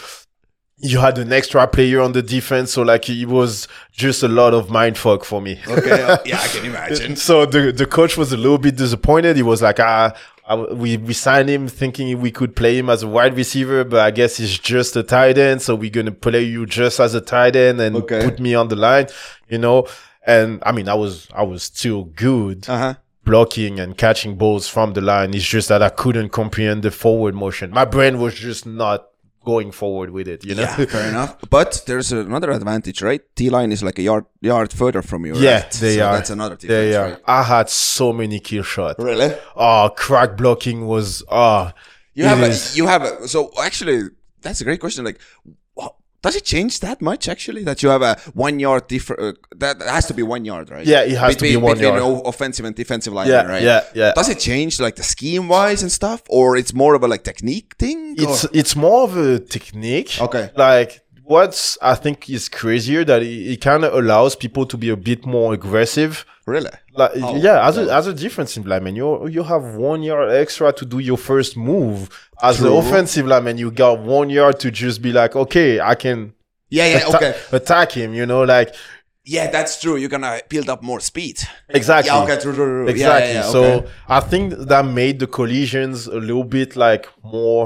[SPEAKER 4] you had an extra player on the defense, so like it was just a lot of mind fuck for me.
[SPEAKER 3] Okay. uh, yeah, I can imagine.
[SPEAKER 4] So the the coach was a little bit disappointed. He was like, ah, I, we we signed him thinking we could play him as a wide receiver, but I guess he's just a tight end. So we're gonna play you just as a tight end and
[SPEAKER 3] Okay.
[SPEAKER 4] put me on the line, you know. And I mean, I was I was still good
[SPEAKER 3] Uh huh.
[SPEAKER 4] blocking and catching balls from the line. It's just that I couldn't comprehend the forward motion. My brain was just not going forward with it, you know.
[SPEAKER 3] Yeah, fair enough. But there's another advantage, right? T line is like a yard yard further from you.
[SPEAKER 4] Yeah,
[SPEAKER 3] right?
[SPEAKER 4] they
[SPEAKER 3] so
[SPEAKER 4] are.
[SPEAKER 3] That's another thing.
[SPEAKER 4] They are. I had so many kill shots.
[SPEAKER 3] Really?
[SPEAKER 4] Oh, crack blocking was ah.
[SPEAKER 3] You
[SPEAKER 4] it
[SPEAKER 3] have
[SPEAKER 4] is-
[SPEAKER 3] a, you have a, so actually that's a great question. Like, wha- does it change that much actually that you have a one yard different? Uh, that that has to be one yard, right?
[SPEAKER 4] Yeah, it has to be
[SPEAKER 3] between,
[SPEAKER 4] one
[SPEAKER 3] between
[SPEAKER 4] yard.
[SPEAKER 3] o- offensive and defensive line,
[SPEAKER 4] Yeah,
[SPEAKER 3] right?
[SPEAKER 4] yeah, yeah.
[SPEAKER 3] Does it change like the scheme wise and stuff, or it's more of a like technique thing?
[SPEAKER 4] it's
[SPEAKER 3] or-
[SPEAKER 4] it's more of a technique.
[SPEAKER 3] Okay.
[SPEAKER 4] Like what's I think is crazier that it, it kind of allows people to be a bit more aggressive.
[SPEAKER 3] really
[SPEAKER 4] Like
[SPEAKER 3] Oh,
[SPEAKER 4] yeah, as a
[SPEAKER 3] yeah.
[SPEAKER 4] as a defensive lineman, you you have one yard extra to do your first move. As an
[SPEAKER 3] True.
[SPEAKER 4] offensive lineman, you got one yard to just be like, okay, I can
[SPEAKER 3] yeah yeah
[SPEAKER 4] atta-
[SPEAKER 3] okay
[SPEAKER 4] attack him. You know, like
[SPEAKER 3] yeah, that's true. You're gonna build up more speed.
[SPEAKER 4] Exactly.
[SPEAKER 3] Yeah, okay, true, true, true. Yeah,
[SPEAKER 4] Exactly.
[SPEAKER 3] yeah, yeah,
[SPEAKER 4] so
[SPEAKER 3] okay.
[SPEAKER 4] I think that made the collisions a little bit like more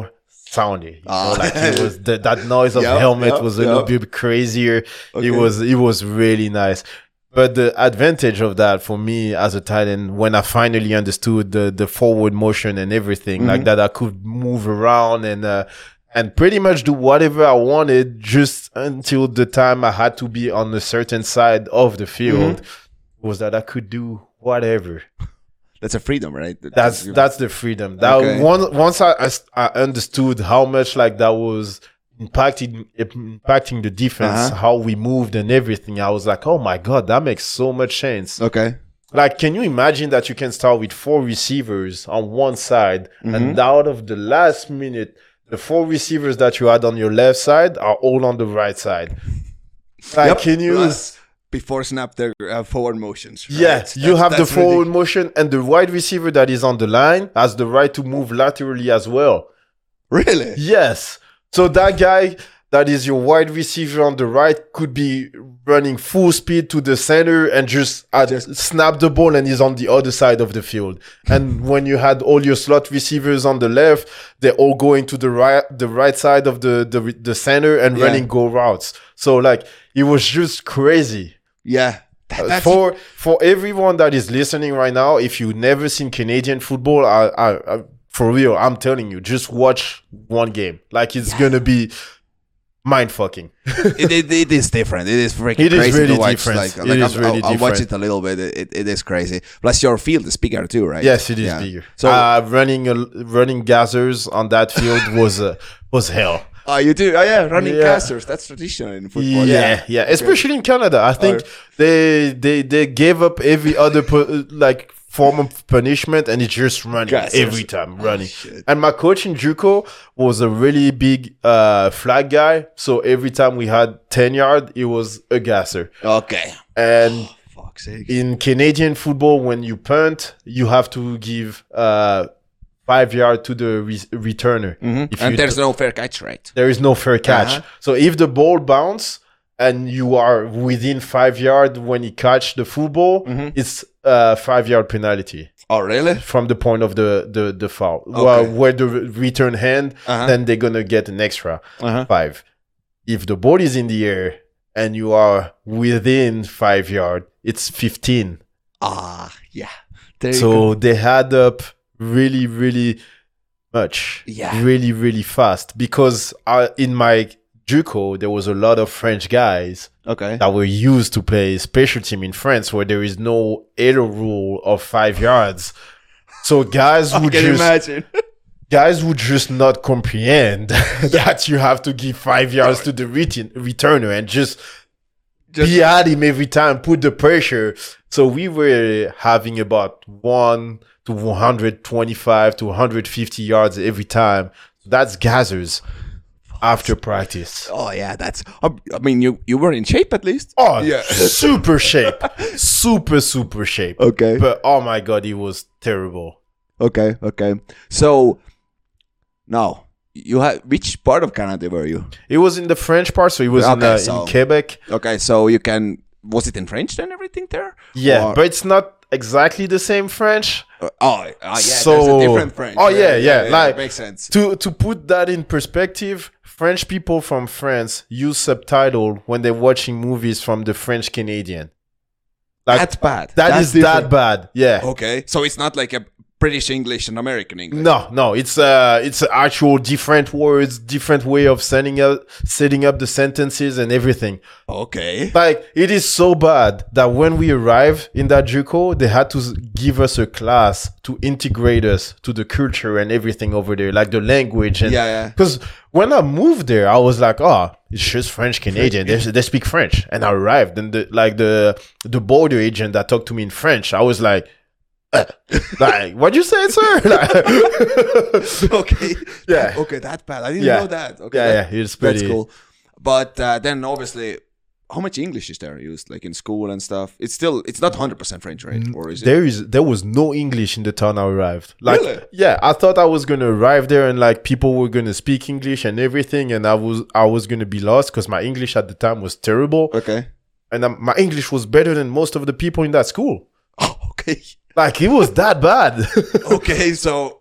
[SPEAKER 4] soundy. You
[SPEAKER 3] Ah.
[SPEAKER 4] know, like it was the, that noise of
[SPEAKER 3] Yeah,
[SPEAKER 4] helmet
[SPEAKER 3] yeah,
[SPEAKER 4] was a little
[SPEAKER 3] yeah.
[SPEAKER 4] bit crazier.
[SPEAKER 3] Okay.
[SPEAKER 4] It was it was really nice. But the advantage of that for me as a tight end, when I finally understood the the forward motion and everything
[SPEAKER 3] Mm-hmm.
[SPEAKER 4] like that, I could move around and. Uh, and pretty much do whatever I wanted just until the time I had to be on a certain side of the field
[SPEAKER 3] Mm-hmm.
[SPEAKER 4] was that I could do whatever.
[SPEAKER 3] That's a freedom, right? That-
[SPEAKER 4] That's
[SPEAKER 3] you-
[SPEAKER 4] that's the freedom. That
[SPEAKER 3] Okay.
[SPEAKER 4] one once I, I s- I understood how much like that was impacting impacting the defense,
[SPEAKER 3] Uh-huh.
[SPEAKER 4] how we moved and everything. I was like, oh my god, that makes so much sense.
[SPEAKER 3] okay.
[SPEAKER 4] Like, can you imagine that you can start with four receivers on one side,
[SPEAKER 3] Mm-hmm.
[SPEAKER 4] and out of the last minute, the four receivers that you had on your left side are all on the right side. Like,
[SPEAKER 3] Yep.
[SPEAKER 4] can you?
[SPEAKER 3] Plus, before snap their uh, forward motions? right?
[SPEAKER 4] Yes, you
[SPEAKER 3] That's-
[SPEAKER 4] have the
[SPEAKER 3] that's
[SPEAKER 4] forward
[SPEAKER 3] ridic-
[SPEAKER 4] motion, and the wide receiver that is on the line has the right to move laterally as well.
[SPEAKER 3] Really?
[SPEAKER 4] Yes. So that guy that is your wide receiver on the right could be running full speed to the center and just, uh, just snap the ball and he's on the other side of the field. And when you had all your slot receivers on the left, they're all going to the right the right side of the the, the center and
[SPEAKER 3] Yeah.
[SPEAKER 4] running go routes. So like it was just crazy.
[SPEAKER 3] Yeah. That-
[SPEAKER 4] Uh,
[SPEAKER 3] that's-
[SPEAKER 4] for for everyone that is listening right now, if you've never seen Canadian football, I, I, I for real, I'm telling you, just watch one game. Like it's gonna be mind fucking.
[SPEAKER 3] it, it, it is different. It is freaking
[SPEAKER 4] It is
[SPEAKER 3] crazy
[SPEAKER 4] really
[SPEAKER 3] to watch.
[SPEAKER 4] different.
[SPEAKER 3] Like,
[SPEAKER 4] It
[SPEAKER 3] like,
[SPEAKER 4] is
[SPEAKER 3] I'll,
[SPEAKER 4] really
[SPEAKER 3] I'll, I'll watch it
[SPEAKER 4] different.
[SPEAKER 3] a little bit. It, it, it is crazy. Plus, your field is bigger too, right?
[SPEAKER 4] Yes, it is
[SPEAKER 3] Yeah.
[SPEAKER 4] bigger.
[SPEAKER 3] So,
[SPEAKER 4] So uh, running a, running gathers on that field was uh, was hell.
[SPEAKER 3] oh, you do? Oh, yeah, running
[SPEAKER 4] Yeah.
[SPEAKER 3] casters. That's traditional in
[SPEAKER 4] Yeah,
[SPEAKER 3] football.
[SPEAKER 4] yeah, Especially in Canada, I think they they they gave up every other pu- like form of punishment, and it's just running
[SPEAKER 3] Yes, yes.
[SPEAKER 4] every time, running.
[SPEAKER 3] shit.
[SPEAKER 4] and my coach in JUCO was a really big uh, flag guy, so every time we had ten yard, it was a gasser.
[SPEAKER 3] Okay.
[SPEAKER 4] And
[SPEAKER 3] Fuck's sake.
[SPEAKER 4] in Canadian football, when you punt, you have to give uh, five yard to the re- returner. Hmm? If
[SPEAKER 3] And
[SPEAKER 4] you
[SPEAKER 3] there's no fair catch, right?
[SPEAKER 4] there is no fair catch. So if the ball bounce and you are within five yard when he catch the football, it's a five yard penalty
[SPEAKER 3] Oh, really?
[SPEAKER 4] from the point of the the, the foul. Well, where the re- return hand,
[SPEAKER 3] Uh-huh.
[SPEAKER 4] then they're gonna get an extra
[SPEAKER 3] Uh-huh.
[SPEAKER 4] five. If the ball is in the air and you are within five yard, it's fifteen.
[SPEAKER 3] Ah, yeah. There you go.
[SPEAKER 4] So they had up really, really much.
[SPEAKER 3] Yeah.
[SPEAKER 4] Really, really fast. Because I, in my JUCO, there was a lot of French guys
[SPEAKER 3] Okay.
[SPEAKER 4] that were used to play special team in France where there is no error rule of five yards. So guys would
[SPEAKER 3] Can you
[SPEAKER 4] just
[SPEAKER 3] imagine?
[SPEAKER 4] guys would just not comprehend that you have to give five yards to the retin- returner and just,
[SPEAKER 3] Just-
[SPEAKER 4] be at him every time, put the pressure. So we were having about one to 125 to 150 yards every time. That's gathers after practice.
[SPEAKER 3] Oh, yeah. That's. I mean, you you were in shape at least.
[SPEAKER 4] Oh,
[SPEAKER 3] Yeah.
[SPEAKER 4] super shape, super super shape.
[SPEAKER 3] Okay.
[SPEAKER 4] but oh my god, it was terrible.
[SPEAKER 3] Okay. Okay. So now you had which part of Canada were you?
[SPEAKER 4] It was in the French part, so it was in,
[SPEAKER 3] Okay,
[SPEAKER 4] uh,
[SPEAKER 3] so-
[SPEAKER 4] in Quebec.
[SPEAKER 3] Okay, so you can. Was it in French then? Everything there?
[SPEAKER 4] Yeah,
[SPEAKER 3] Or-
[SPEAKER 4] but it's not exactly the same French.
[SPEAKER 3] oh, oh, yeah. there's a
[SPEAKER 4] So-
[SPEAKER 3] different French.
[SPEAKER 4] Oh, yeah, yeah, like-
[SPEAKER 3] makes sense.
[SPEAKER 4] To to put that in perspective, French people from France use subtitle when they're watching movies from the French Canadian. Like
[SPEAKER 3] that's Oh. bad.
[SPEAKER 4] that's that bad. Yeah.
[SPEAKER 3] Okay, so it's not like a British English and American English.
[SPEAKER 4] No, no, it's uh it's actual different words, different way of setting up setting up the sentences and everything.
[SPEAKER 3] Okay.
[SPEAKER 4] Like it is so bad that when we arrived in that JUCO, they had to s- give us a class to integrate us to the culture and everything over there, like the language. And
[SPEAKER 3] Yeah, yeah.
[SPEAKER 4] Because when I moved there, I was like, oh, it's just French Canadian. They, they speak French. And I arrived, and the, like the the border agent that talked to me in French, I was like. "Uh, like what you say, sir? Like-
[SPEAKER 3] okay.
[SPEAKER 4] Yeah.
[SPEAKER 3] Okay, that bad. I didn't
[SPEAKER 4] Yeah.
[SPEAKER 3] know that. Okay.
[SPEAKER 4] yeah,
[SPEAKER 3] that-
[SPEAKER 4] yeah, it's
[SPEAKER 3] That's
[SPEAKER 4] pretty.
[SPEAKER 3] cool. But uh, then obviously, how much English is there used, like in school and stuff? It's still, it's not 100% French, right? Or is it?
[SPEAKER 4] Mm, There is there was no English in the town I arrived. Like
[SPEAKER 3] Really?
[SPEAKER 4] yeah, I thought I was gonna arrive there and like people were gonna speak English and everything, and I was I was gonna be lost because my English at the time was terrible.
[SPEAKER 3] Okay.
[SPEAKER 4] and um, my English was better than most of the people in that school.
[SPEAKER 3] Oh, okay.
[SPEAKER 4] Like it was that bad.
[SPEAKER 3] Okay, so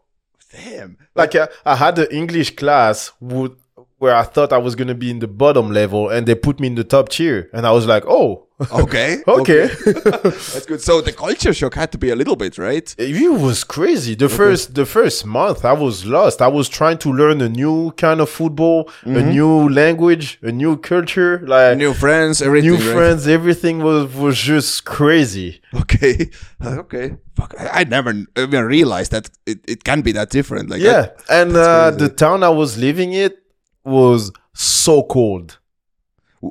[SPEAKER 3] damn.
[SPEAKER 4] like uh, I had an English class wo- where I thought I was gonna be in the bottom level, and they put me in the top tier, and I was like, oh,
[SPEAKER 3] Okay.
[SPEAKER 4] okay.
[SPEAKER 3] That's good. So the culture shock had to be a little bit, right?
[SPEAKER 4] it was crazy. The first the first month, I was lost. I was trying to learn a new kind of football, a new language, a new culture, like
[SPEAKER 3] Mm-hmm. New friends, everything.
[SPEAKER 4] Uh, new
[SPEAKER 3] right?
[SPEAKER 4] friends. Everything was was just crazy.
[SPEAKER 3] Okay. Uh, okay. Fuck. I, I never even realized that it, it can be that different. Like
[SPEAKER 4] Yeah, and uh,
[SPEAKER 3] crazy.
[SPEAKER 4] the town I was living in was so cold.
[SPEAKER 3] I-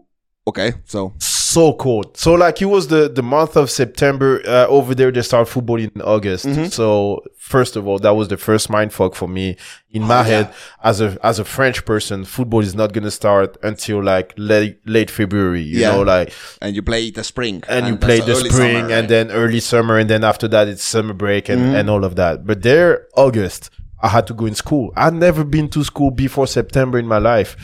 [SPEAKER 3] okay. So
[SPEAKER 4] so cold. So like it was the the month of September uh, over there. They start football in August. So first of all, that was the first mind fuck for me in my head as a as a French person. Football is not gonna start until like late late February. You
[SPEAKER 3] Yeah.
[SPEAKER 4] know, like
[SPEAKER 3] and you play the spring.
[SPEAKER 4] and you
[SPEAKER 3] that's
[SPEAKER 4] play the
[SPEAKER 3] early
[SPEAKER 4] spring
[SPEAKER 3] summer,
[SPEAKER 4] and
[SPEAKER 3] right?
[SPEAKER 4] then early summer and then after that it's summer break and
[SPEAKER 3] Mm-hmm.
[SPEAKER 4] and all of that. But there August. I had to go in school. I'd never been to school before September in my life.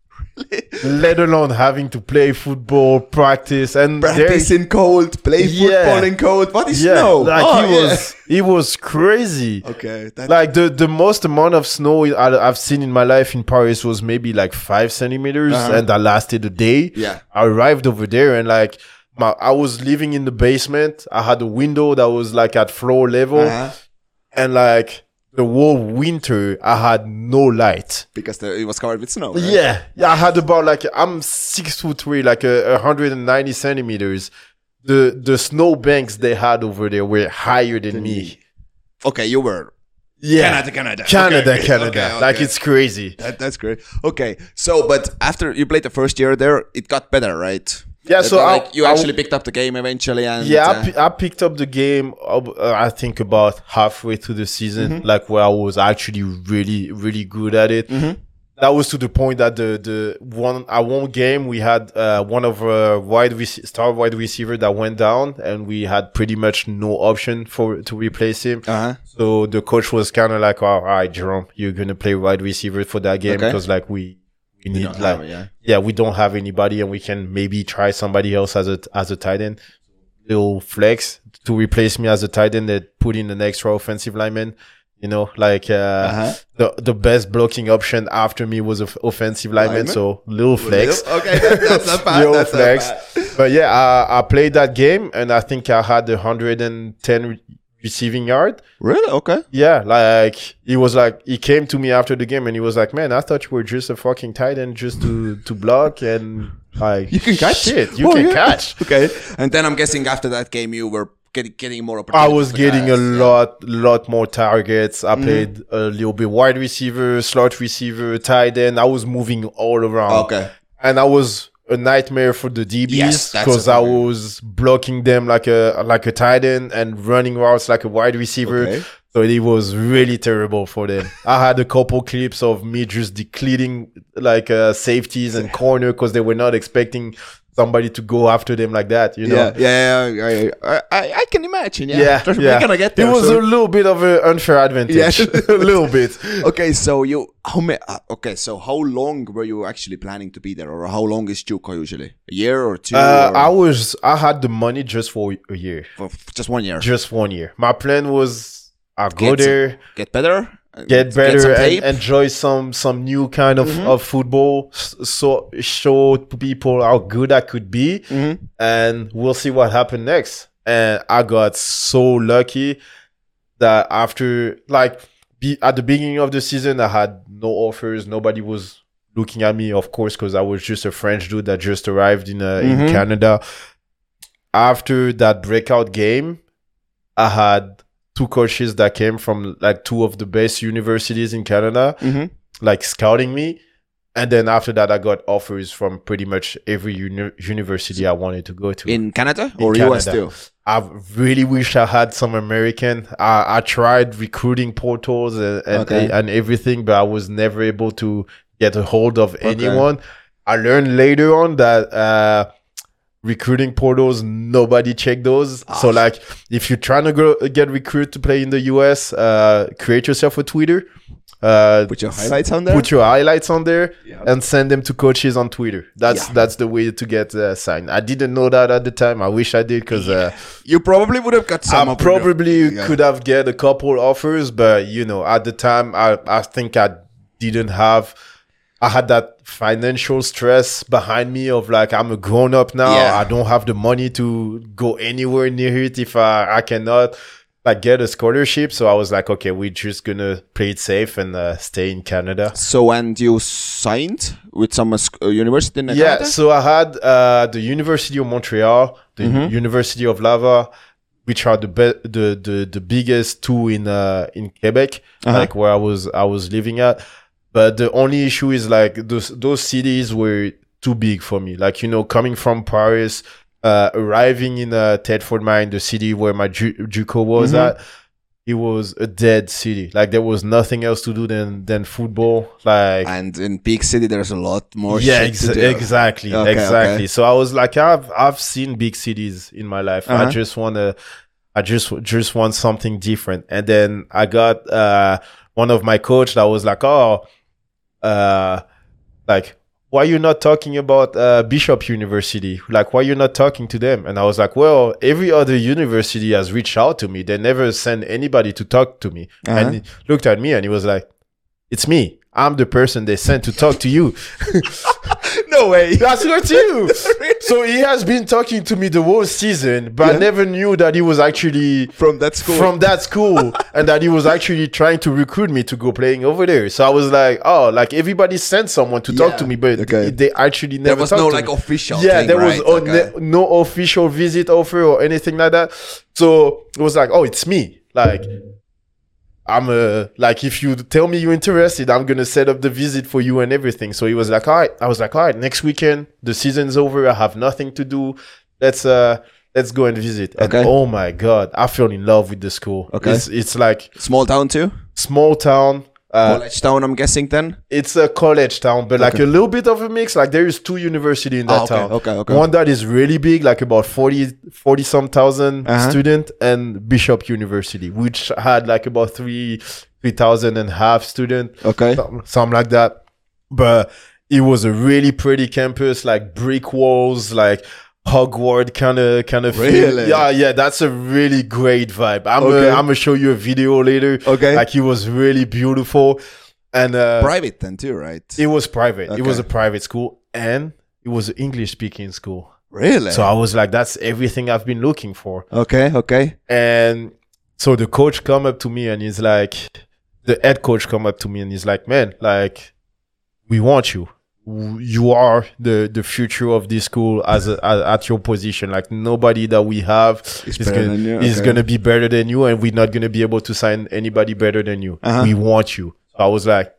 [SPEAKER 4] Let alone having to play football, practice, and there-
[SPEAKER 3] practice in cold, play
[SPEAKER 4] Yeah.
[SPEAKER 3] football in cold. What is
[SPEAKER 4] yeah,
[SPEAKER 3] snow?
[SPEAKER 4] like
[SPEAKER 3] Oh,
[SPEAKER 4] it
[SPEAKER 3] yeah.
[SPEAKER 4] was it was crazy.
[SPEAKER 3] Okay. That,
[SPEAKER 4] Like the the most amount of snow I, I've seen in my life in Paris was maybe like five centimeters,
[SPEAKER 3] Uh-huh.
[SPEAKER 4] and that lasted a day.
[SPEAKER 3] Yeah.
[SPEAKER 4] I arrived over there and like. My, I was living in the basement. I had a window that was like at floor level,
[SPEAKER 3] uh-huh.
[SPEAKER 4] and like the whole winter, I had no light.
[SPEAKER 3] because the, it was covered with snow. right?
[SPEAKER 4] Yeah, yeah. I had about like I'm six foot three, like a, a hundred and ninety centimeters. The the snow banks they had over there were higher than me.
[SPEAKER 3] Okay. You were
[SPEAKER 4] Yeah,
[SPEAKER 3] Canada, Canada,
[SPEAKER 4] Canada,
[SPEAKER 3] Okay, okay,
[SPEAKER 4] Canada.
[SPEAKER 3] okay,
[SPEAKER 4] Like
[SPEAKER 3] okay.
[SPEAKER 4] it's crazy.
[SPEAKER 3] That, that's great. Okay, so but after you played the first year there, it got better, right?
[SPEAKER 4] Yeah,
[SPEAKER 3] That
[SPEAKER 4] so I-
[SPEAKER 3] like, you
[SPEAKER 4] I-
[SPEAKER 3] actually picked up the game eventually, and
[SPEAKER 4] Yeah,
[SPEAKER 3] uh,
[SPEAKER 4] I, pi- I picked up the game. Up, uh, I think about halfway through the season,
[SPEAKER 3] Mm-hmm.
[SPEAKER 4] like where I was actually really, really good at it.
[SPEAKER 3] Mm-hmm.
[SPEAKER 4] That was to the point that the the one I one game we had uh, one of uh, wide rec- star wide receiver that went down, and we had pretty much no option for to replace him.
[SPEAKER 3] Uh-huh.
[SPEAKER 4] So the coach was kind of like, "All right, Jerome, you're gonna play wide receiver for that game
[SPEAKER 3] Okay.
[SPEAKER 4] because like we." We need
[SPEAKER 3] don't
[SPEAKER 4] like
[SPEAKER 3] have it, yeah.
[SPEAKER 4] yeah. we don't have anybody and we can maybe try somebody else as a as a tight end little flex to replace me as a tight end that put in an extra offensive lineman. You know, like uh, the the best blocking option after me was of offensive lineman,
[SPEAKER 3] Lineman?
[SPEAKER 4] so little flex.
[SPEAKER 3] Okay, that, that's not bad.
[SPEAKER 4] Little
[SPEAKER 3] that's not
[SPEAKER 4] flex.
[SPEAKER 3] bad.
[SPEAKER 4] But yeah, I, I played that game and I think I had 110 re- receiving yard.
[SPEAKER 3] Really? Okay.
[SPEAKER 4] Yeah, like he was like he came to me after the game and he was like, "Man, I thought you were just a fucking tight end just to to block and like
[SPEAKER 3] You can catch.
[SPEAKER 4] shit, you
[SPEAKER 3] Oh,
[SPEAKER 4] can
[SPEAKER 3] yeah.
[SPEAKER 4] catch."
[SPEAKER 3] Okay, and then I'm guessing after that game you were getting getting more
[SPEAKER 4] I
[SPEAKER 3] opportunities.
[SPEAKER 4] was
[SPEAKER 3] for
[SPEAKER 4] getting a
[SPEAKER 3] guys. Mm.
[SPEAKER 4] lot, lot more targets. I played a little bit wide receiver, slot receiver, tight end. I was moving all around.
[SPEAKER 3] Okay.
[SPEAKER 4] And I was a nightmare for the DBs
[SPEAKER 3] Yes, that's
[SPEAKER 4] because
[SPEAKER 3] a
[SPEAKER 4] I
[SPEAKER 3] nightmare.
[SPEAKER 4] was blocking them like a like a tight end and running routes like a wide receiver.
[SPEAKER 3] Okay.
[SPEAKER 4] So it was really terrible for them. I had a couple clips of me just depleting like uh, safeties and corner because they were not expecting somebody to go after them like that. You know.
[SPEAKER 3] Yeah, yeah, yeah, yeah, I, I, I can imagine. Yeah,
[SPEAKER 4] Yeah,
[SPEAKER 3] Trust me,
[SPEAKER 4] yeah.
[SPEAKER 3] We're gonna get there.
[SPEAKER 4] It was
[SPEAKER 3] soon.
[SPEAKER 4] a little bit of an unfair advantage.
[SPEAKER 3] Yeah.
[SPEAKER 4] a little bit. Uh,
[SPEAKER 3] okay, so you how many? okay, so how long were you actually planning to be there, or how long is Juco usually? A year or two?
[SPEAKER 4] Uh,
[SPEAKER 3] or
[SPEAKER 4] I was I had the money just for a year,
[SPEAKER 3] for f- just one year.
[SPEAKER 4] just one year. My plan was I go
[SPEAKER 3] Get some-
[SPEAKER 4] there,
[SPEAKER 3] get better. uh,
[SPEAKER 4] get
[SPEAKER 3] some
[SPEAKER 4] better,
[SPEAKER 3] tape. Mm-hmm.
[SPEAKER 4] and enjoy some some new kind of, of football. s- So show people how good I could be,
[SPEAKER 3] Mm-hmm,
[SPEAKER 4] and we'll see what happened next. And I got so lucky that after like be, at the beginning of the season, I had no offers. Nobody was looking at me, of course, because I was just a French dude that just arrived in uh, in Canada. After that breakout game, I had two coaches that came from like two of the best universities in Canada,
[SPEAKER 3] Mhm.
[SPEAKER 4] like scouting me. And then after that, I got offers from pretty much every uni- university I wanted to go to.
[SPEAKER 3] in Canada or US
[SPEAKER 4] Canada.
[SPEAKER 3] too.
[SPEAKER 4] I really wish I had some American. I, I tried recruiting portals and and,
[SPEAKER 3] Okay.
[SPEAKER 4] and everything, but I was never able to get a hold of
[SPEAKER 3] Okay.
[SPEAKER 4] anyone. I learned later on that uh, recruiting portals nobody check those.
[SPEAKER 3] Ah,
[SPEAKER 4] So like, if you're trying to grow, get recruited to play in the US, uh, create yourself a Twitter. uh,
[SPEAKER 3] Put your highlights on there?
[SPEAKER 4] Put your highlights on there
[SPEAKER 3] Yeah.
[SPEAKER 4] and send them to coaches on Twitter. That's
[SPEAKER 3] Yeah.
[SPEAKER 4] that's the way to get uh, signed. I didn't know that at the time. I wish I did because uh,
[SPEAKER 3] you probably would have got some.
[SPEAKER 4] I
[SPEAKER 3] up in your-
[SPEAKER 4] probably
[SPEAKER 3] Yeah.
[SPEAKER 4] could have get a couple offers, but you know, at the time, I I think I didn't have. I had that financial stress behind me of like I'm a grown up now.
[SPEAKER 3] Yeah.
[SPEAKER 4] I don't have the money to go anywhere near it if I I cannot like get a scholarship. So I was like, okay, we're just gonna play it safe and uh, stay in Canada.
[SPEAKER 3] So and you signed with some uh, sc- uh, university in
[SPEAKER 4] Yeah,
[SPEAKER 3] Canada?
[SPEAKER 4] so I had uh, the University of Montreal, the University of Laval, which are the be- the, the the biggest two in uh, in Quebec,
[SPEAKER 3] Uh-huh.
[SPEAKER 4] like where I was I was living at. But the only issue is like those those cities were too big for me. Like you know, coming from Paris, uh, arriving in uh, Tedford Mine, the city where my ju- JUCO was at. It was a dead city. Like there was nothing else to do than than football. Like
[SPEAKER 3] And in big city, there's a lot more. shit
[SPEAKER 4] yeah,
[SPEAKER 3] to
[SPEAKER 4] exa-
[SPEAKER 3] do.
[SPEAKER 4] exactly,
[SPEAKER 3] Okay,
[SPEAKER 4] exactly.
[SPEAKER 3] okay.
[SPEAKER 4] So I was like, I've I've seen big cities in my life.
[SPEAKER 3] Uh-huh.
[SPEAKER 4] I just wanna, I just just want something different. And then I got uh, one of my coach that was like, oh, uh, like why you not talking about uh, Bishop University? Like why you not talking to them? And I was like, well, every other university has reached out to me. They never send anybody to talk to me.
[SPEAKER 3] Uh-huh.
[SPEAKER 4] And he looked at me and he was like, it's me. I'm the person they sent to talk to you.
[SPEAKER 3] No way.
[SPEAKER 4] That's not you. so he has been talking to me the whole season, but I
[SPEAKER 3] Yeah.
[SPEAKER 4] never knew that he was actually
[SPEAKER 3] From that school.
[SPEAKER 4] from that school and that he was actually trying to recruit me to go playing over there. So I was like, oh, like everybody sent someone to
[SPEAKER 3] Yeah.
[SPEAKER 4] talk to me, but
[SPEAKER 3] Okay.
[SPEAKER 4] they actually never
[SPEAKER 3] there was
[SPEAKER 4] talked
[SPEAKER 3] no
[SPEAKER 4] to
[SPEAKER 3] like
[SPEAKER 4] me.
[SPEAKER 3] official.
[SPEAKER 4] Yeah,
[SPEAKER 3] thing,
[SPEAKER 4] there was
[SPEAKER 3] right?
[SPEAKER 4] o-
[SPEAKER 3] Okay.
[SPEAKER 4] ne- no official visit offer or anything like that. So it was like, oh, it's me. Like, I'm a like if you tell me you're interested, I'm gonna set up the visit for you and everything. So he was like, all right. I was like, all right. Next weekend, the season's over. I have nothing to do. Let's uh, let's go and visit. And
[SPEAKER 3] Okay.
[SPEAKER 4] oh my god, I fell in love with the school.
[SPEAKER 3] Okay.
[SPEAKER 4] it's, it's like
[SPEAKER 3] Small town too.
[SPEAKER 4] small town. Uh,
[SPEAKER 3] College town, I'm guessing then.
[SPEAKER 4] it's a college town, but like a little bit of a mix. Like there is two university in that
[SPEAKER 3] Ah, okay,
[SPEAKER 4] town.
[SPEAKER 3] okay, okay.
[SPEAKER 4] One that is really big, like about 40, 40 some 1000
[SPEAKER 3] Uh-huh.
[SPEAKER 4] student, and Bishop University, which had like about three three thousand and half student,
[SPEAKER 3] Okay.
[SPEAKER 4] some- something like that. But it was a really pretty campus, like brick walls, like Hogwarts kind of kind of
[SPEAKER 3] Really?
[SPEAKER 4] Yeah, yeah. That's a really great vibe. I'm
[SPEAKER 3] Okay.
[SPEAKER 4] i I'm gonna show you a video later.
[SPEAKER 3] Okay.
[SPEAKER 4] like it was really beautiful. And uh,
[SPEAKER 3] Private then too, right?
[SPEAKER 4] it was private. It was a
[SPEAKER 3] Okay.
[SPEAKER 4] private school and it was an English speaking school.
[SPEAKER 3] Really?
[SPEAKER 4] So I was like, that's everything I've been looking for.
[SPEAKER 3] okay. Okay.
[SPEAKER 4] And so the coach come up to me and he's like, the head coach come up to me and he's like, man, like, we want you. W- You are the the future of this school as, a, as at your position. Like nobody that we have
[SPEAKER 3] Is
[SPEAKER 4] is
[SPEAKER 3] better
[SPEAKER 4] gonna,
[SPEAKER 3] than you,
[SPEAKER 4] is
[SPEAKER 3] okay.
[SPEAKER 4] gonna be better than you, and we're not gonna be able to sign anybody better than you.
[SPEAKER 3] Uh-huh.
[SPEAKER 4] We want you. So I was like,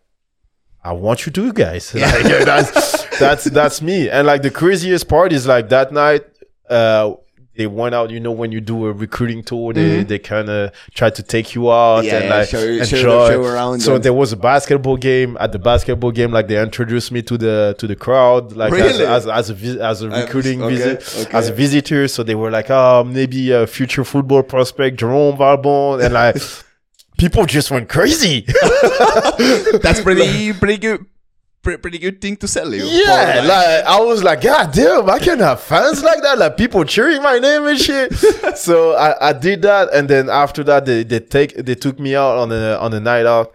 [SPEAKER 4] I want you to, guys. Like, yeah, that's that's that's me. And like the craziest part is like that night, uh, they went out. You know, when you do a recruiting tour, they they kind of try to take you out
[SPEAKER 3] Mm-hmm. Yeah,
[SPEAKER 4] and
[SPEAKER 3] yeah,
[SPEAKER 4] like
[SPEAKER 3] show you- show you-
[SPEAKER 4] enjoy.
[SPEAKER 3] show you around
[SPEAKER 4] so
[SPEAKER 3] and-
[SPEAKER 4] there was a basketball game. At the basketball game, like they introduced me to the to the crowd, like
[SPEAKER 3] Really? Uh,
[SPEAKER 4] as, as as a vis- as a recruiting
[SPEAKER 3] okay,
[SPEAKER 4] visit
[SPEAKER 3] okay.
[SPEAKER 4] as a visitor. So they were like, oh, maybe a future football prospect, Jerome Varbon, and like. People just went crazy.
[SPEAKER 3] That's pretty pretty good. pre- Pretty good thing to sell you.
[SPEAKER 4] Yeah,
[SPEAKER 3] Or,
[SPEAKER 4] like, I was like, God damn, I can have fans like that, like people cheering my name and shit. so I, I did that, and then after that, they, they take they took me out on a on a night out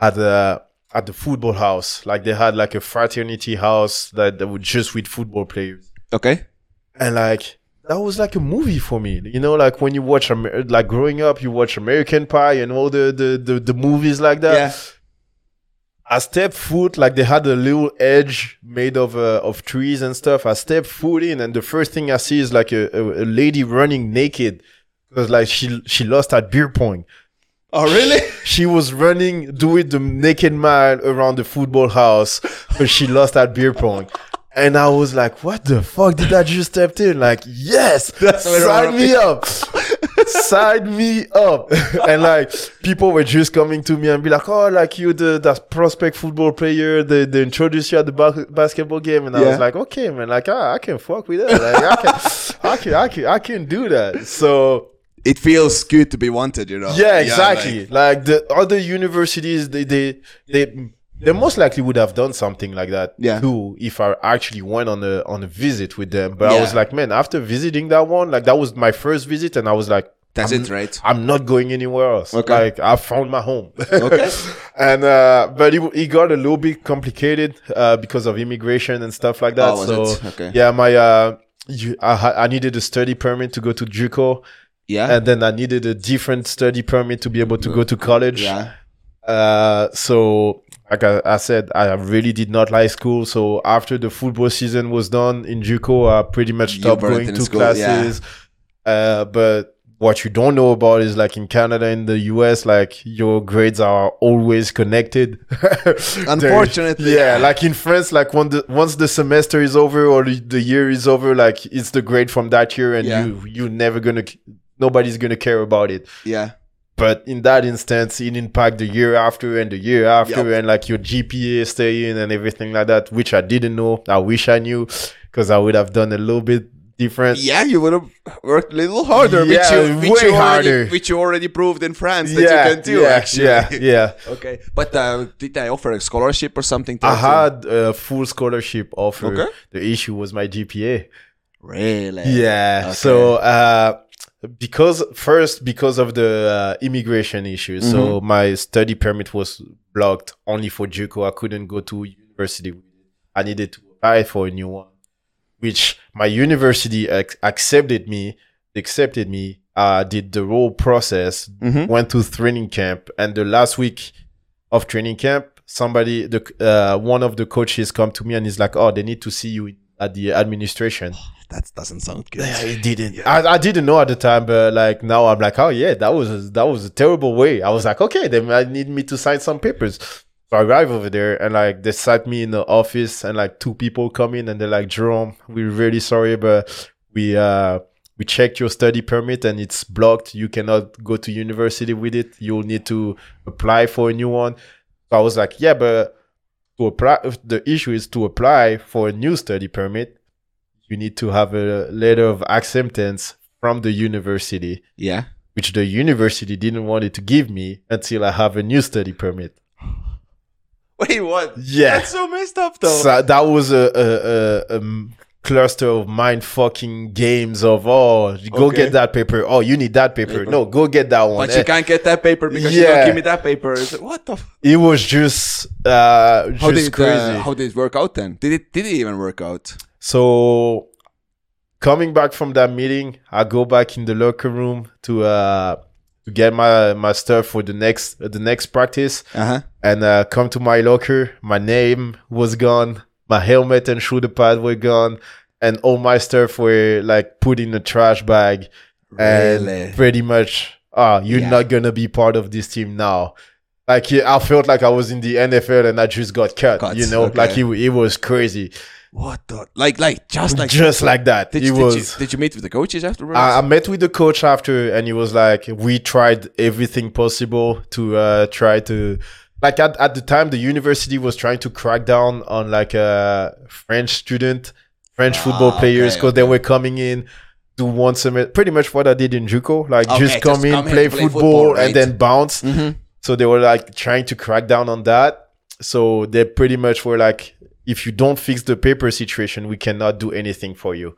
[SPEAKER 4] at the at the football house. Like they had like a fraternity house that, that was just with football players,
[SPEAKER 3] okay.
[SPEAKER 4] and like that was like a movie for me. You know, like when you watch Amer- like growing up, you watch American Pie and all the the the, the movies like that.
[SPEAKER 3] Yeah.
[SPEAKER 4] I stepped foot like they had a little edge made of uh, of trees and stuff. I stepped foot in, and the first thing I see is like a, a, a lady running naked because like she she lost at beer pong.
[SPEAKER 3] Oh really?
[SPEAKER 4] She was running doing the naked mile around the football house, but she lost at beer pong. And I was like, "What the fuck did I just stepped in?" Like, yes,
[SPEAKER 3] what I
[SPEAKER 4] sign me up, sign me up. and like, people were just coming to me and be like, "Oh, like you, the that prospect football player, they, they introduced you at the ba- basketball game." And I
[SPEAKER 3] Yeah.
[SPEAKER 4] was like, "Okay, man, like I, I can fuck with that. Like, I can, I can, I can, I can do that." So
[SPEAKER 3] it feels good to be wanted, you know.
[SPEAKER 4] yeah, exactly.
[SPEAKER 3] like-
[SPEAKER 4] like, the other universities, they they they they most likely would have done something like that
[SPEAKER 3] Yeah.
[SPEAKER 4] too if I actually went on a on a visit with them. But I was
[SPEAKER 3] Yeah.
[SPEAKER 4] like, man, after visiting that one, like that was my first visit, and I was like,
[SPEAKER 3] That's
[SPEAKER 4] I'm-
[SPEAKER 3] it, right?
[SPEAKER 4] I'm not going anywhere else.
[SPEAKER 3] Okay.
[SPEAKER 4] Like I found my home. Okay. and uh, but it, it got a little bit complicated uh, because of immigration and stuff like that.
[SPEAKER 3] Oh, was
[SPEAKER 4] so
[SPEAKER 3] it? Okay.
[SPEAKER 4] yeah, my uh, you, I, ha- I needed a study permit to go to JUCO,
[SPEAKER 3] Yeah.
[SPEAKER 4] and then I needed a different study permit to be able to go to college.
[SPEAKER 3] yeah.
[SPEAKER 4] Uh, so like I, I said, I really did not like school. So after the football season was done in JUCO, I pretty much
[SPEAKER 3] You
[SPEAKER 4] stopped
[SPEAKER 3] weren't
[SPEAKER 4] going
[SPEAKER 3] in
[SPEAKER 4] to
[SPEAKER 3] school,
[SPEAKER 4] classes. Uh, but what you don't know about is like in Canada and the US, like your grades are always connected.
[SPEAKER 3] Unfortunately.
[SPEAKER 4] yeah, like in France, like when the, once the semester is over or the- the year is over, like it's the grade from that year, and
[SPEAKER 3] Yeah.
[SPEAKER 4] you you're never gonna nobody's gonna care about it
[SPEAKER 3] Yeah.
[SPEAKER 4] but in that instance it impact the year after and the year after and like your gpa staying and everything like that which i didn't know i wish i knew because i would have done a little bit different
[SPEAKER 3] Yeah, you would have worked a little harder, which
[SPEAKER 4] Yeah,
[SPEAKER 3] you, which
[SPEAKER 4] way
[SPEAKER 3] you already,
[SPEAKER 4] harder.
[SPEAKER 3] which you already proved in France that
[SPEAKER 4] yeah,
[SPEAKER 3] you can do.
[SPEAKER 4] yeah,
[SPEAKER 3] actually.
[SPEAKER 4] yeah, yeah.
[SPEAKER 3] Okay, but uh, did they offer a scholarship or something? to
[SPEAKER 4] I
[SPEAKER 3] to-
[SPEAKER 4] had a full scholarship offer.
[SPEAKER 3] Okay.
[SPEAKER 4] The issue was my GPA.
[SPEAKER 3] Really?
[SPEAKER 4] Yeah.
[SPEAKER 3] Okay.
[SPEAKER 4] So uh, because first because of the uh, immigration issue, so my study permit was blocked only for JUCO. I couldn't go to university. I needed to apply for a new one, which my university ac- accepted me. Accepted me. Uh, did the whole process.
[SPEAKER 3] Mhm.
[SPEAKER 4] Went to training camp, and the last week of training camp, somebody, the uh, one of the coaches, come to me and he's like, "Oh, they need to see you at the administration."
[SPEAKER 3] that doesn't sound good.
[SPEAKER 4] Yeah, it didn't. I, I didn't know at the time, but like now I'm like, oh yeah, that was a, that was a terrible way. I was like, okay, they might need me to sign some papers. So I arrive over there and like they sat me in the office and like two people come in and they're like, Jerome, we're really sorry, but we uh we checked your study permit and it's blocked. You cannot go to university with it. You'll need to apply for a new one. So I was like, yeah, but to apply, the issue is to apply for a new study permit, you need to have a letter of acceptance from the university,
[SPEAKER 3] Yeah.
[SPEAKER 4] which the university didn't want it to give me until I have a new study permit.
[SPEAKER 3] Wait, what?
[SPEAKER 4] Yeah.
[SPEAKER 3] That's so messed up, though.
[SPEAKER 4] So that was a, a, a, a m- cluster of mind fucking games of, oh, go
[SPEAKER 3] Okay.
[SPEAKER 4] get that paper. Oh, you need that paper. No, go get that one.
[SPEAKER 3] but you
[SPEAKER 4] Eh,
[SPEAKER 3] can't get that paper because you
[SPEAKER 4] Yeah.
[SPEAKER 3] don't give me that paper. It's like, what the? F-
[SPEAKER 4] It was just, uh, just
[SPEAKER 3] how did it, uh,
[SPEAKER 4] crazy.
[SPEAKER 3] how did it work out then? Did it did it even work out?
[SPEAKER 4] So coming back from that meeting, I go back in the locker room to uh to get my my stuff for the next the next practice
[SPEAKER 3] Uh huh.
[SPEAKER 4] and uh come to my locker, my name was gone, my helmet and shoulder pad were gone, and all my stuff were like put in a trash bag
[SPEAKER 3] Really?
[SPEAKER 4] and pretty much ah you're
[SPEAKER 3] Yeah.
[SPEAKER 4] not gonna be part of this team now. Like yeah, I felt like I was in the NFL and I just got cut,
[SPEAKER 3] Cut,
[SPEAKER 4] you know,
[SPEAKER 3] okay.
[SPEAKER 4] like it, it was crazy,
[SPEAKER 3] What the? Like, like, just like,
[SPEAKER 4] just like that.
[SPEAKER 3] Did,
[SPEAKER 4] it
[SPEAKER 3] you,
[SPEAKER 4] was.
[SPEAKER 3] did you did you meet with the coaches afterwards?
[SPEAKER 4] I, I met with the coach after, and he was like, "We tried everything possible to uh, try to." Like at, at the time, the university was trying to crack down on like uh, French student, French football
[SPEAKER 3] Ah,
[SPEAKER 4] players
[SPEAKER 3] okay,
[SPEAKER 4] because they were coming in, do one semester, pretty much what I did in JUCO, like
[SPEAKER 3] Okay,
[SPEAKER 4] just come
[SPEAKER 3] just
[SPEAKER 4] in,
[SPEAKER 3] come in,
[SPEAKER 4] play,
[SPEAKER 3] play
[SPEAKER 4] football,
[SPEAKER 3] football,
[SPEAKER 4] and
[SPEAKER 3] right.
[SPEAKER 4] then bounce.
[SPEAKER 3] Mhm.
[SPEAKER 4] So they were like trying to crack down on that. So they pretty much were like, if you don't fix the paper situation, we cannot do anything for you.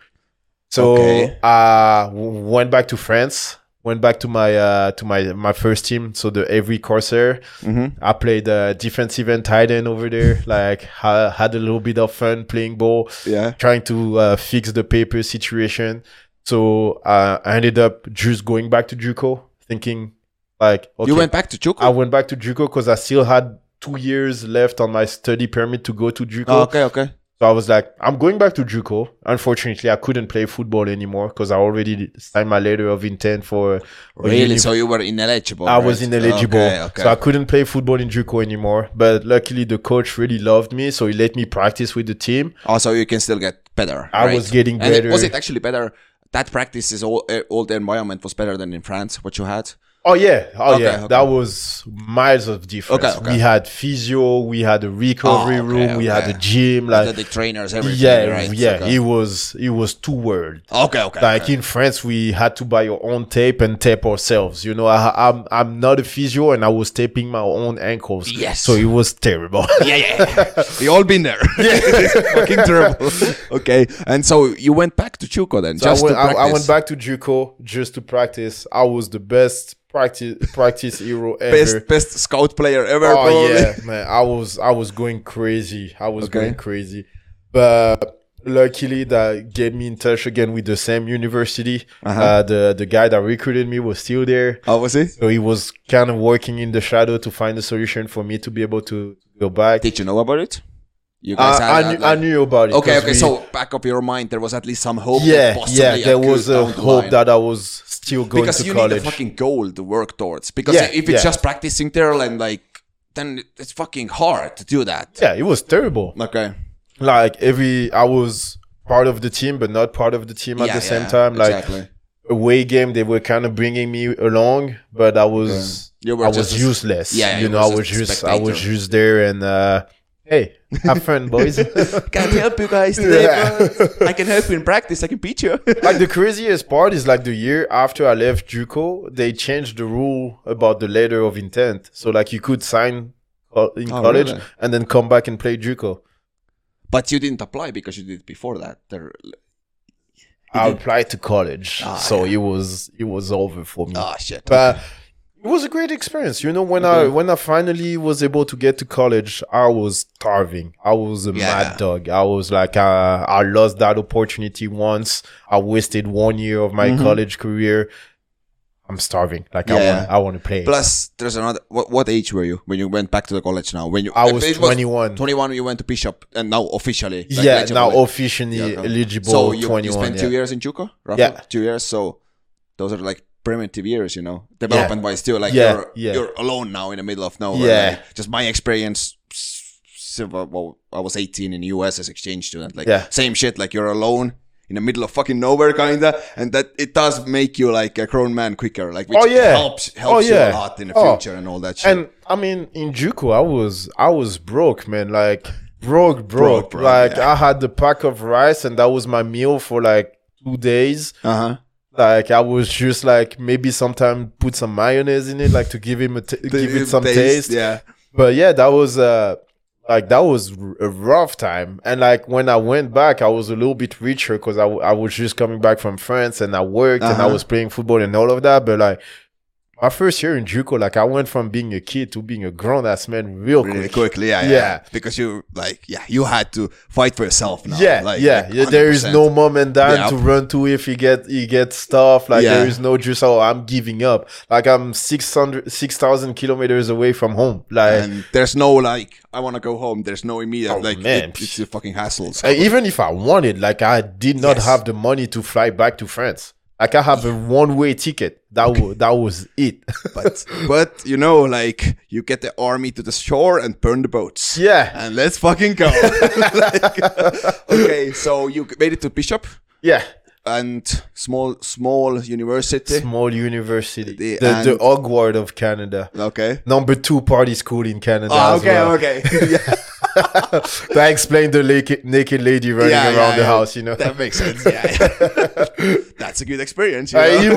[SPEAKER 4] So
[SPEAKER 3] Okay.
[SPEAKER 4] I w- went back to France. Went back to my uh, to my my first team. So the every Corsair,
[SPEAKER 3] Mm-hmm.
[SPEAKER 4] I played uh, defensive end tight end over there. like ha- had a little bit of fun playing ball
[SPEAKER 3] yeah.
[SPEAKER 4] trying to uh, fix the paper situation. So uh, I ended up just going back to JUCO, thinking like, okay,
[SPEAKER 3] You went back to Chuku.
[SPEAKER 4] I went back to JUCO because I still had two years left on my study permit to go to JUCO.
[SPEAKER 3] Oh, okay, okay.
[SPEAKER 4] So I was like, I'm going back to JUCO. Unfortunately, I couldn't play football anymore because I already signed my letter of intent for a
[SPEAKER 3] Really?
[SPEAKER 4] uni-
[SPEAKER 3] So you were ineligible.
[SPEAKER 4] Oh, I was
[SPEAKER 3] right?
[SPEAKER 4] ineligible,
[SPEAKER 3] Okay, okay.
[SPEAKER 4] so I couldn't play football in JUCO anymore. But luckily, the coach really loved me, so he let me practice with the team.
[SPEAKER 3] also Oh, you can still get better.
[SPEAKER 4] I
[SPEAKER 3] right?
[SPEAKER 4] was getting
[SPEAKER 3] And it-
[SPEAKER 4] better.
[SPEAKER 3] eh, was it actually better? That practice is all, uh, all the environment was better than in France. What you had?
[SPEAKER 4] Oh yeah, oh
[SPEAKER 3] Okay,
[SPEAKER 4] yeah.
[SPEAKER 3] okay.
[SPEAKER 4] That was miles of difference.
[SPEAKER 3] Okay, okay.
[SPEAKER 4] We had physio, we had a recovery
[SPEAKER 3] Oh, okay,
[SPEAKER 4] room, we had
[SPEAKER 3] okay.
[SPEAKER 4] a gym. Like
[SPEAKER 3] the trainers, everything.
[SPEAKER 4] Uh, yeah,
[SPEAKER 3] right?
[SPEAKER 4] yeah.
[SPEAKER 3] Okay,
[SPEAKER 4] It was it was two world.
[SPEAKER 3] okay. okay
[SPEAKER 4] Like
[SPEAKER 3] okay.
[SPEAKER 4] in France, we had to buy our own tape and tape ourselves. You know, I, I'm I'm not a physio, and I was taping my own ankles.
[SPEAKER 3] Yes.
[SPEAKER 4] so it was terrible.
[SPEAKER 3] yeah, yeah. we all been there. It's fucking terrible. Okay, and so you went back to Chuko then,
[SPEAKER 4] So I
[SPEAKER 3] just
[SPEAKER 4] went,
[SPEAKER 3] to
[SPEAKER 4] I,
[SPEAKER 3] practice.
[SPEAKER 4] I went back to JUCO just to practice. I was the best practice practice hero ever.
[SPEAKER 3] Best, best scout player ever.
[SPEAKER 4] oh
[SPEAKER 3] probably.
[SPEAKER 4] yeah, man! I was I was going crazy. I was
[SPEAKER 3] Okay.
[SPEAKER 4] going crazy, but luckily that get me in touch again with the same university. uh
[SPEAKER 3] Uh-huh.
[SPEAKER 4] the the guy that recruited me was still there,
[SPEAKER 3] How was it?
[SPEAKER 4] so he was kind of working in the shadow to find a solution for me to be able to go back.
[SPEAKER 3] Did you know about it? You
[SPEAKER 4] I,
[SPEAKER 3] had
[SPEAKER 4] Uh, I,
[SPEAKER 3] that,
[SPEAKER 4] knew, I
[SPEAKER 3] like-
[SPEAKER 4] knew about it.
[SPEAKER 3] Okay,
[SPEAKER 4] 'cause
[SPEAKER 3] okay.
[SPEAKER 4] we-
[SPEAKER 3] so back of your mind, there was at least some hope. that
[SPEAKER 4] yeah,
[SPEAKER 3] possibly
[SPEAKER 4] yeah,
[SPEAKER 3] I
[SPEAKER 4] there
[SPEAKER 3] could
[SPEAKER 4] was a
[SPEAKER 3] down the
[SPEAKER 4] hope
[SPEAKER 3] line.
[SPEAKER 4] that I was still going
[SPEAKER 3] because
[SPEAKER 4] to
[SPEAKER 3] you
[SPEAKER 4] college.
[SPEAKER 3] need a fucking goal to work towards. Because
[SPEAKER 4] Yeah,
[SPEAKER 3] if it's
[SPEAKER 4] yeah.
[SPEAKER 3] just practicing there and like, then it's fucking hard to do that.
[SPEAKER 4] yeah, it was terrible.
[SPEAKER 3] Okay.
[SPEAKER 4] Like every, I was part of the team, but not part of the team at
[SPEAKER 3] Yeah,
[SPEAKER 4] the same
[SPEAKER 3] yeah,
[SPEAKER 4] time. Like
[SPEAKER 3] exactly.
[SPEAKER 4] away game, they were kind of bringing me along, but I was
[SPEAKER 3] You were
[SPEAKER 4] I
[SPEAKER 3] just
[SPEAKER 4] was
[SPEAKER 3] a s-
[SPEAKER 4] useless.
[SPEAKER 3] Yeah, yeah,
[SPEAKER 4] you
[SPEAKER 3] you
[SPEAKER 4] know, I
[SPEAKER 3] were
[SPEAKER 4] was
[SPEAKER 3] just a
[SPEAKER 4] just I was
[SPEAKER 3] spectator.
[SPEAKER 4] just there and uh, hey, have fun, boys.
[SPEAKER 3] Can't help you guys today.
[SPEAKER 4] Yeah.
[SPEAKER 3] bro. I can help you in practice. I can beat you.
[SPEAKER 4] like the craziest part is like the year after I left JUCO, they changed the rule about the letter of intent. So like you could sign uh, in
[SPEAKER 3] Oh,
[SPEAKER 4] college
[SPEAKER 3] really?
[SPEAKER 4] and then come back and play JUCO.
[SPEAKER 3] but you didn't apply because you did before that. There,
[SPEAKER 4] I applied to college,
[SPEAKER 3] Ah,
[SPEAKER 4] so it was it was over for me.
[SPEAKER 3] ah, shit.
[SPEAKER 4] but it was a great experience. You know, when I when I finally was able to get to college, I was starving. I was a
[SPEAKER 3] Yeah.
[SPEAKER 4] mad dog. I was like, uh, I lost that opportunity once. I wasted one year of my college career. I'm starving. Like I
[SPEAKER 3] Mm-hmm. Yeah.
[SPEAKER 4] want, I want to play.
[SPEAKER 3] Plus, there's another. What, what age were you when you went back to the college? Now, when you
[SPEAKER 4] I was
[SPEAKER 3] it
[SPEAKER 4] 21.
[SPEAKER 3] 21, you went to Bishop, and now officially. like,
[SPEAKER 4] yeah,
[SPEAKER 3] legibly.
[SPEAKER 4] now officially
[SPEAKER 3] Yeah, okay.
[SPEAKER 4] eligible.
[SPEAKER 3] So you,
[SPEAKER 4] 21,
[SPEAKER 3] you spent
[SPEAKER 4] yeah.
[SPEAKER 3] two years in Chuko, roughly
[SPEAKER 4] Yeah.
[SPEAKER 3] two years. So those are like primitive years, you know, development wise. Still, like
[SPEAKER 4] Yeah,
[SPEAKER 3] you're
[SPEAKER 4] yeah.
[SPEAKER 3] you're alone now in the middle of nowhere.
[SPEAKER 4] Yeah.
[SPEAKER 3] like, just my experience. s- s- Well, I was 18 in the US as exchange student. Like
[SPEAKER 4] Yeah.
[SPEAKER 3] same shit. Like you're alone in the middle of fucking nowhere, kinda, and that it does make you like a grown man quicker. Like which
[SPEAKER 4] Oh, yeah.
[SPEAKER 3] helps
[SPEAKER 4] Oh,
[SPEAKER 3] helps you a
[SPEAKER 4] yeah.
[SPEAKER 3] lot in the
[SPEAKER 4] Oh.
[SPEAKER 3] future and all that shit.
[SPEAKER 4] And I mean, in Juku, I was I was broke, man. Like broke, broke.
[SPEAKER 3] Broke, broke,
[SPEAKER 4] like
[SPEAKER 3] yeah.
[SPEAKER 4] I had the pack of rice, and that was my meal for like two days.
[SPEAKER 3] uh huh.
[SPEAKER 4] Like I was just like maybe sometime put some mayonnaise in it, like to give him a t- give it some taste.
[SPEAKER 3] Yeah.
[SPEAKER 4] But yeah, that was uh like that was r- a rough time. And like when I went back, I was a little bit richer because I, w- I was just coming back from France and I worked and I
[SPEAKER 3] Uh-huh.
[SPEAKER 4] was playing football and all of that. But like my first year in JUCO, like I went from being a kid to being a grown ass man real
[SPEAKER 3] really
[SPEAKER 4] quick.
[SPEAKER 3] quickly. Yeah, yeah,
[SPEAKER 4] Yeah.
[SPEAKER 3] Because you like, yeah, you had to fight for yourself now.
[SPEAKER 4] Yeah,
[SPEAKER 3] like,
[SPEAKER 4] yeah,
[SPEAKER 3] like
[SPEAKER 4] yeah. There is
[SPEAKER 3] 100%.
[SPEAKER 4] no mom and dad
[SPEAKER 3] Yeah.
[SPEAKER 4] to run to if he get he gets stuff. Like
[SPEAKER 3] Yeah.
[SPEAKER 4] there is no just oh I'm giving up. Like I'm 600 6,000 kilometers away from home. Like
[SPEAKER 3] and there's no like, I want to go home. There's no immediate
[SPEAKER 4] Oh,
[SPEAKER 3] like,
[SPEAKER 4] man.
[SPEAKER 3] it- it's a fucking hassle. So.
[SPEAKER 4] Uh, even if I wanted, like I did not
[SPEAKER 3] Yes.
[SPEAKER 4] have the money to fly back to France. Like I have a one-way ticket. That was that was it.
[SPEAKER 3] but but you know, like, you get the army to the shore and burn the boats.
[SPEAKER 4] Yeah.
[SPEAKER 3] and let's fucking go. Like, okay, so you made it to Bishop
[SPEAKER 4] yeah,
[SPEAKER 3] and small small university.
[SPEAKER 4] small university,
[SPEAKER 3] The-
[SPEAKER 4] the, the,
[SPEAKER 3] and-
[SPEAKER 4] Hogwarts of Canada,
[SPEAKER 3] Okay.
[SPEAKER 4] number two party school in Canada.
[SPEAKER 3] Oh,
[SPEAKER 4] as
[SPEAKER 3] okay,
[SPEAKER 4] well.
[SPEAKER 3] okay.
[SPEAKER 4] That explained the naked, naked lady running
[SPEAKER 3] Yeah,
[SPEAKER 4] around
[SPEAKER 3] yeah,
[SPEAKER 4] the
[SPEAKER 3] yeah.
[SPEAKER 4] house. You know,
[SPEAKER 3] That makes sense. Yeah, that's a good experience. You
[SPEAKER 4] Uh,
[SPEAKER 3] know?
[SPEAKER 4] it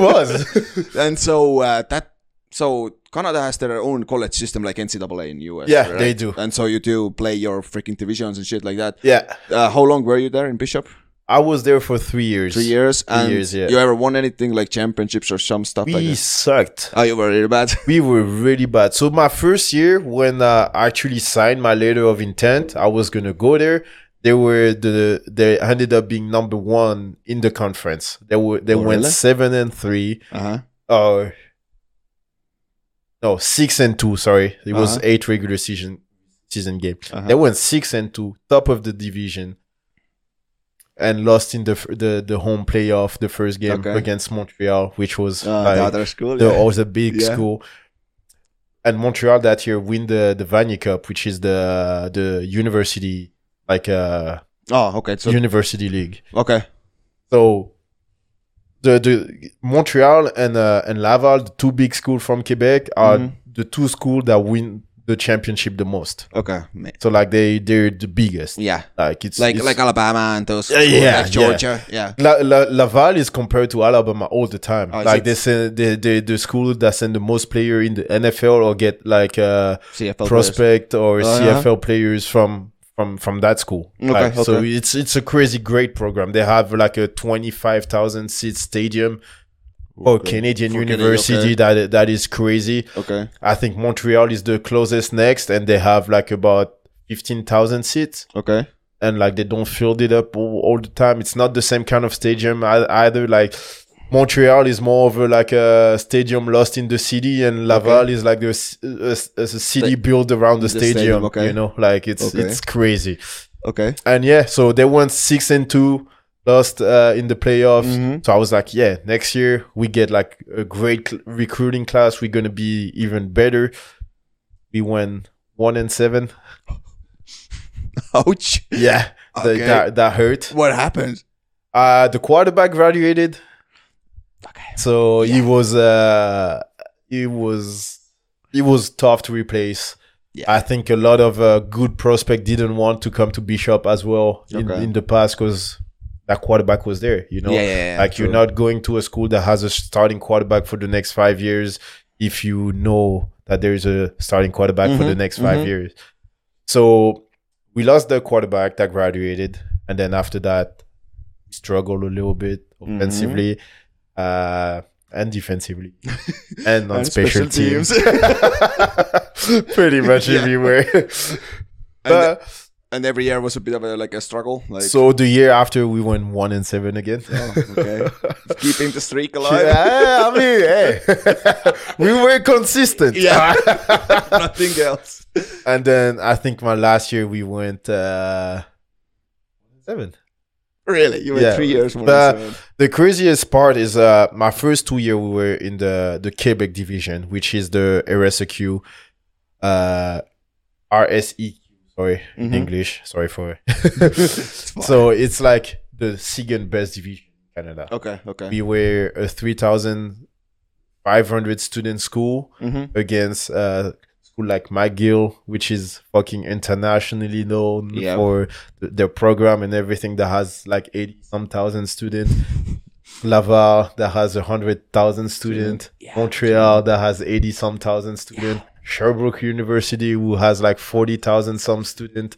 [SPEAKER 4] was.
[SPEAKER 3] and so uh, that so Canada has their own college system like NCAA in US.
[SPEAKER 4] Yeah, they do.
[SPEAKER 3] And so you do play your freaking divisions and shit like that.
[SPEAKER 4] yeah,
[SPEAKER 3] Uh, how long were you there in Bishop?
[SPEAKER 4] I was there for three years.
[SPEAKER 3] Three years. And
[SPEAKER 4] years, yeah.
[SPEAKER 3] You ever won anything like championships or some stuff like
[SPEAKER 4] We
[SPEAKER 3] that?
[SPEAKER 4] sucked.
[SPEAKER 3] Oh, you were really bad.
[SPEAKER 4] we were really bad. So my first year, when uh, I actually signed my letter of intent, I was gonna go there. They were the they ended up being number one in the conference. They were they
[SPEAKER 3] Oh,
[SPEAKER 4] went
[SPEAKER 3] really?
[SPEAKER 4] seven and three.
[SPEAKER 3] Uh huh.
[SPEAKER 4] Uh, no, six and two. Sorry, it was
[SPEAKER 3] Uh-huh.
[SPEAKER 4] eight regular season season game.
[SPEAKER 3] Uh-huh.
[SPEAKER 4] They went six and two, top of the division, and lost in the f- the the home playoff, the first game
[SPEAKER 3] Okay.
[SPEAKER 4] against Montreal, which was
[SPEAKER 3] Uh,
[SPEAKER 4] like,
[SPEAKER 3] the other school.
[SPEAKER 4] the
[SPEAKER 3] yeah.
[SPEAKER 4] or the big
[SPEAKER 3] Yeah.
[SPEAKER 4] school. And Montreal that year win the the Vanier Cup, which is the the university like uh
[SPEAKER 3] oh, okay. So
[SPEAKER 4] university league.
[SPEAKER 3] okay.
[SPEAKER 4] So the the Montreal and uh, and Laval, the two big schools from Quebec, are
[SPEAKER 3] Mm-hmm.
[SPEAKER 4] the two schools that win the championship the most.
[SPEAKER 3] Okay. ma-
[SPEAKER 4] So like they they're the biggest.
[SPEAKER 3] Yeah.
[SPEAKER 4] Like it's
[SPEAKER 3] Like
[SPEAKER 4] it's-
[SPEAKER 3] like uh, Alabama and those.
[SPEAKER 4] Yeah, yeah,
[SPEAKER 3] like Georgia. Yeah.
[SPEAKER 4] La, La, Laval is compared to Alabama all the time.
[SPEAKER 3] Oh, is
[SPEAKER 4] like
[SPEAKER 3] it?
[SPEAKER 4] they send the, the the school that send the most player in the NFL or get like uh,
[SPEAKER 3] CFL
[SPEAKER 4] prospect or
[SPEAKER 3] Uh-huh.
[SPEAKER 4] CFL players from from from that school.
[SPEAKER 3] Okay,
[SPEAKER 4] Like, So
[SPEAKER 3] okay.
[SPEAKER 4] it's it's a crazy great program. They have like a twenty five thousand seat stadium. Or Canadian
[SPEAKER 3] For Canada,
[SPEAKER 4] University
[SPEAKER 3] okay.
[SPEAKER 4] that that is crazy.
[SPEAKER 3] Okay.
[SPEAKER 4] I think Montreal is the closest next, and they have like about fifteen thousand seats
[SPEAKER 3] Okay.
[SPEAKER 4] and like they don't fill it up all, all the time. It's not the same kind of stadium ei- either. Like Montreal is more of a, like a stadium lost in the city, and Laval is like the s- a, s- a city built around the,
[SPEAKER 3] the
[SPEAKER 4] stadium.
[SPEAKER 3] stadium, okay.
[SPEAKER 4] You know, like it's
[SPEAKER 3] Okay.
[SPEAKER 4] it's crazy.
[SPEAKER 3] Okay.
[SPEAKER 4] And yeah, so they went six and two, lost uh, in the playoffs.
[SPEAKER 3] Mhm.
[SPEAKER 4] So I was like, yeah, next year we get like a great cl- recruiting class. We're gonna be even better. We went one and seven.
[SPEAKER 3] Ouch.
[SPEAKER 4] Yeah, that-
[SPEAKER 3] Okay.
[SPEAKER 4] that that hurt.
[SPEAKER 3] What happened?
[SPEAKER 4] Uh, the quarterback graduated.
[SPEAKER 3] Okay.
[SPEAKER 4] So he was uh he was it was tough to replace.
[SPEAKER 3] Yeah.
[SPEAKER 4] I think a lot of uh, good prospect didn't want to come to Bishop as well in,
[SPEAKER 3] Okay.
[SPEAKER 4] in the past because that quarterback was there. You know,
[SPEAKER 3] Yeah, yeah, yeah,
[SPEAKER 4] like you're
[SPEAKER 3] true.
[SPEAKER 4] not going to a school that has a starting quarterback for the next five years if you know that there is a starting quarterback for the
[SPEAKER 3] Mhm,
[SPEAKER 4] next 5
[SPEAKER 3] mhm.
[SPEAKER 4] years. So we lost the quarterback that graduated, and then after that, we struggled a little bit
[SPEAKER 3] Mm-hmm.
[SPEAKER 4] offensively uh, and defensively, and on
[SPEAKER 3] And
[SPEAKER 4] special,
[SPEAKER 3] special
[SPEAKER 4] teams,
[SPEAKER 3] teams.
[SPEAKER 4] pretty much
[SPEAKER 3] Yeah.
[SPEAKER 4] everywhere.
[SPEAKER 3] And,
[SPEAKER 4] Uh,
[SPEAKER 3] and every year was a bit of a, like a struggle. Like,
[SPEAKER 4] so the year after, we went one and seven again.
[SPEAKER 3] Oh, okay. keeping the streak alive.
[SPEAKER 4] Yeah, I mean, hey. we were consistent.
[SPEAKER 3] Yeah. Nothing else.
[SPEAKER 4] And then I think my last year we went uh, seven.
[SPEAKER 3] Really? You were
[SPEAKER 4] Yeah.
[SPEAKER 3] three years more.
[SPEAKER 4] But-
[SPEAKER 3] than seven.
[SPEAKER 4] The craziest part is uh, my first two year we were in the the Quebec division, which is the RSEQ, uh, RSEQ. Sorry, in
[SPEAKER 3] Mhm.
[SPEAKER 4] English. Sorry for. so it's like the second best division in Canada.
[SPEAKER 3] Okay, okay.
[SPEAKER 4] We were a three thousand five hundred student school.
[SPEAKER 3] Mhm.
[SPEAKER 4] against uh school like McGill, which is fucking internationally known
[SPEAKER 3] Yeah.
[SPEAKER 4] for th- their program and everything that has like eighty some thousand students. Laval that has a hundred thousand students. Montreal that has eighty some thousand students. Sherbrooke University who has like forty thousand some students.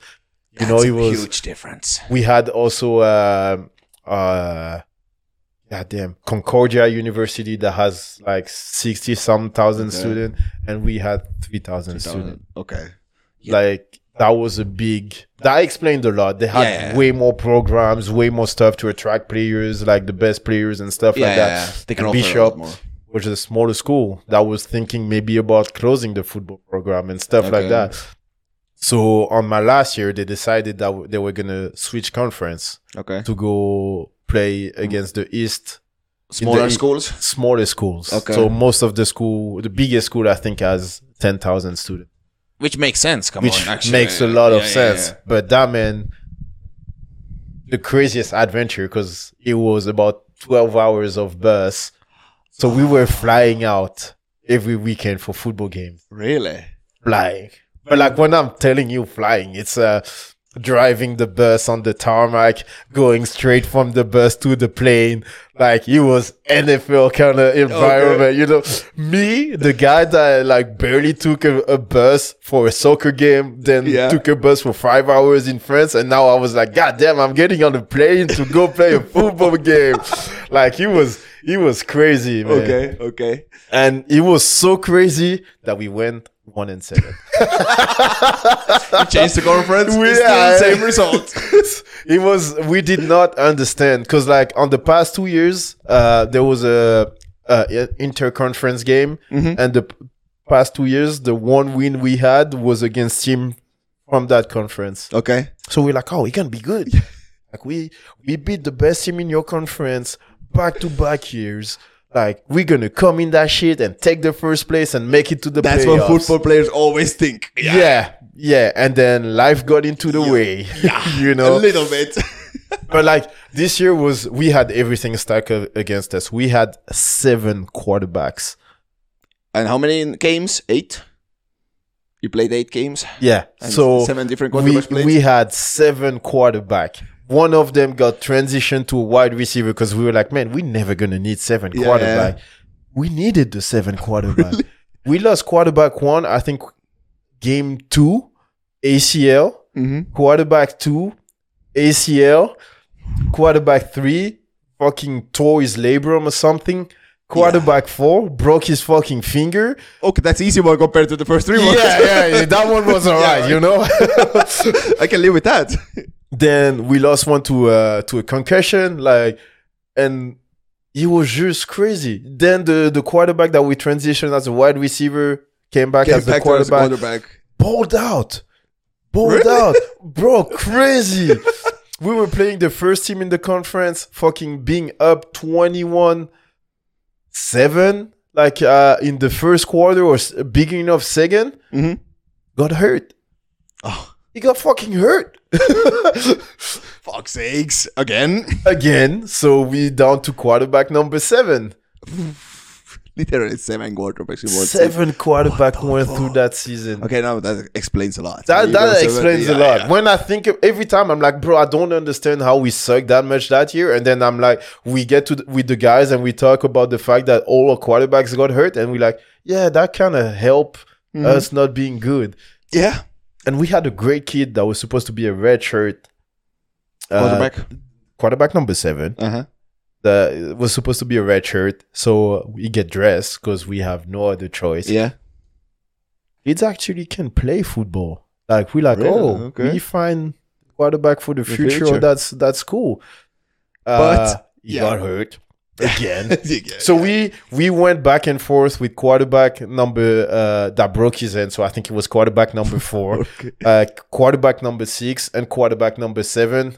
[SPEAKER 4] You know,
[SPEAKER 3] That's
[SPEAKER 4] it
[SPEAKER 3] a
[SPEAKER 4] was
[SPEAKER 3] huge difference.
[SPEAKER 4] we had also um uh goddamn Concordia University that has like sixty some thousand
[SPEAKER 3] Okay.
[SPEAKER 4] students, and we had three thousand students.
[SPEAKER 3] Okay. Yeah.
[SPEAKER 4] Like that was a big that explained a lot. They had
[SPEAKER 3] Yeah, yeah, yeah.
[SPEAKER 4] way more programs, way more stuff to attract players, like the best players and stuff
[SPEAKER 3] Yeah,
[SPEAKER 4] like
[SPEAKER 3] yeah,
[SPEAKER 4] that.
[SPEAKER 3] yeah. They can
[SPEAKER 4] And
[SPEAKER 3] offer a lot
[SPEAKER 4] Bishop
[SPEAKER 3] more.
[SPEAKER 4] was a smaller school that was thinking maybe about closing the football program and stuff like
[SPEAKER 3] Okay.
[SPEAKER 4] that. So on my last year, they decided that w- they were gonna switch conference
[SPEAKER 3] Okay.
[SPEAKER 4] to go play against the East
[SPEAKER 3] Smaller
[SPEAKER 4] the- E-
[SPEAKER 3] schools?
[SPEAKER 4] smaller schools.
[SPEAKER 3] Okay.
[SPEAKER 4] So most of the school, the biggest school, I think, has ten thousand students,
[SPEAKER 3] Which makes sense. Come
[SPEAKER 4] which
[SPEAKER 3] on, Oh, actually.
[SPEAKER 4] makes a lot of
[SPEAKER 3] Yeah, yeah, yeah.
[SPEAKER 4] sense. But that man, the craziest adventure because it was about twelve hours of bus, so we were flying out every weekend for football games
[SPEAKER 3] Really?
[SPEAKER 4] flying. But like when I'm telling you flying, it's uh driving the bus on the tarmac, going straight from the bus to the plane. Like it was NFL kind of environment, you know. Me, the guy that like barely took a, a bus for a soccer game, then
[SPEAKER 3] Yeah.
[SPEAKER 4] took a bus for five hours in France, and now I was like, God damn, I'm getting on a plane to go play a football game. Like he was, he was crazy, man.
[SPEAKER 3] Okay, okay.
[SPEAKER 4] And it was so crazy that we went one and seven.
[SPEAKER 3] Change the conference.
[SPEAKER 4] We-
[SPEAKER 3] it's still the
[SPEAKER 4] yeah.
[SPEAKER 3] same result.
[SPEAKER 4] it was we did not understand because like on the past two years, uh, there was a, a interconference game,
[SPEAKER 3] Mm-hmm.
[SPEAKER 4] and the p- past two years, the one win we had was against team from that conference.
[SPEAKER 3] Okay.
[SPEAKER 4] So we're like, oh, it can be good. like we we beat the best team in your conference back to back years. Like we're gonna come in that shit and take the first place and make it to the
[SPEAKER 3] That's
[SPEAKER 4] playoffs.
[SPEAKER 3] what football players always think.
[SPEAKER 4] Yeah. yeah, And then life got into the way. you
[SPEAKER 3] A
[SPEAKER 4] know.
[SPEAKER 3] little bit.
[SPEAKER 4] but like this year was we had everything stacked a- against us. We had seven quarterbacks.
[SPEAKER 3] And how many in games? Eight. You played eight games.
[SPEAKER 4] Yeah.
[SPEAKER 3] And
[SPEAKER 4] so
[SPEAKER 3] seven different
[SPEAKER 4] we,
[SPEAKER 3] quarterbacks played.
[SPEAKER 4] we had seven quarterback. One of them got transitioned to a wide receiver because we were like, man, we're never gonna need seven
[SPEAKER 3] Yeah.
[SPEAKER 4] quarterback. We needed the seven quarterback. We lost quarterback one, I think game two, ACL,
[SPEAKER 3] Mhm.
[SPEAKER 4] quarterback two, ACL, quarterback three, fucking tore his labrum or something. Quarterback four broke his fucking finger.
[SPEAKER 3] Okay, that's easy one compared to the first three ones.
[SPEAKER 4] Yeah, yeah, yeah, that one was alright, you know.
[SPEAKER 3] I can live with that.
[SPEAKER 4] then we lost one to uh, to a concussion, like, and it was just crazy. Then the the quarterback that we transitioned as a wide receiver came back
[SPEAKER 3] Came
[SPEAKER 4] as the
[SPEAKER 3] back to us,
[SPEAKER 4] quarterback,
[SPEAKER 3] quarterback.
[SPEAKER 4] balled out, balled out, bro, crazy. we were playing the first team in the conference, fucking being up twenty one seven, like uh, in the first quarter or s- beginning of 2nd
[SPEAKER 3] Mhm.
[SPEAKER 4] got hurt.
[SPEAKER 3] Oh.
[SPEAKER 4] He got fucking hurt.
[SPEAKER 3] Fuck sakes again.
[SPEAKER 4] again. So we down to quarterback number seven.
[SPEAKER 3] Literally seven quarterbacks in one season.
[SPEAKER 4] Seven quarterback went through that season.
[SPEAKER 3] Okay, now that explains a lot.
[SPEAKER 4] That,
[SPEAKER 3] You
[SPEAKER 4] that
[SPEAKER 3] know, so-
[SPEAKER 4] explains
[SPEAKER 3] yeah,
[SPEAKER 4] a lot.
[SPEAKER 3] yeah.
[SPEAKER 4] When I think of- every time, I'm like, bro, I don't understand how we suck that much that year. And then I'm like, we get to the, with the guys and we talk about the fact that all our quarterbacks got hurt, and we like, yeah, that kind of help
[SPEAKER 3] Mm-hmm.
[SPEAKER 4] us not being good.
[SPEAKER 3] Yeah.
[SPEAKER 4] And we had a great kid that was supposed to be a red shirt uh,
[SPEAKER 3] Quarterback.
[SPEAKER 4] quarterback number seven.
[SPEAKER 3] Uh huh.
[SPEAKER 4] that was supposed to be a red shirt, so we get dressed because we have no other choice.
[SPEAKER 3] Yeah.
[SPEAKER 4] Kids actually can play football. Like we like,
[SPEAKER 3] Really?
[SPEAKER 4] oh,
[SPEAKER 3] Okay.
[SPEAKER 4] we find quarterback for the, future.
[SPEAKER 3] future.
[SPEAKER 4] That's that's cool. Uh,
[SPEAKER 3] But,
[SPEAKER 4] he
[SPEAKER 3] yeah.
[SPEAKER 4] got hurt again.
[SPEAKER 3] Yeah.
[SPEAKER 4] so we we went back and forth with quarterback number uh, that broke his hand. So I think it was quarterback number four,
[SPEAKER 3] Okay.
[SPEAKER 4] uh, quarterback number six, and quarterback number seven.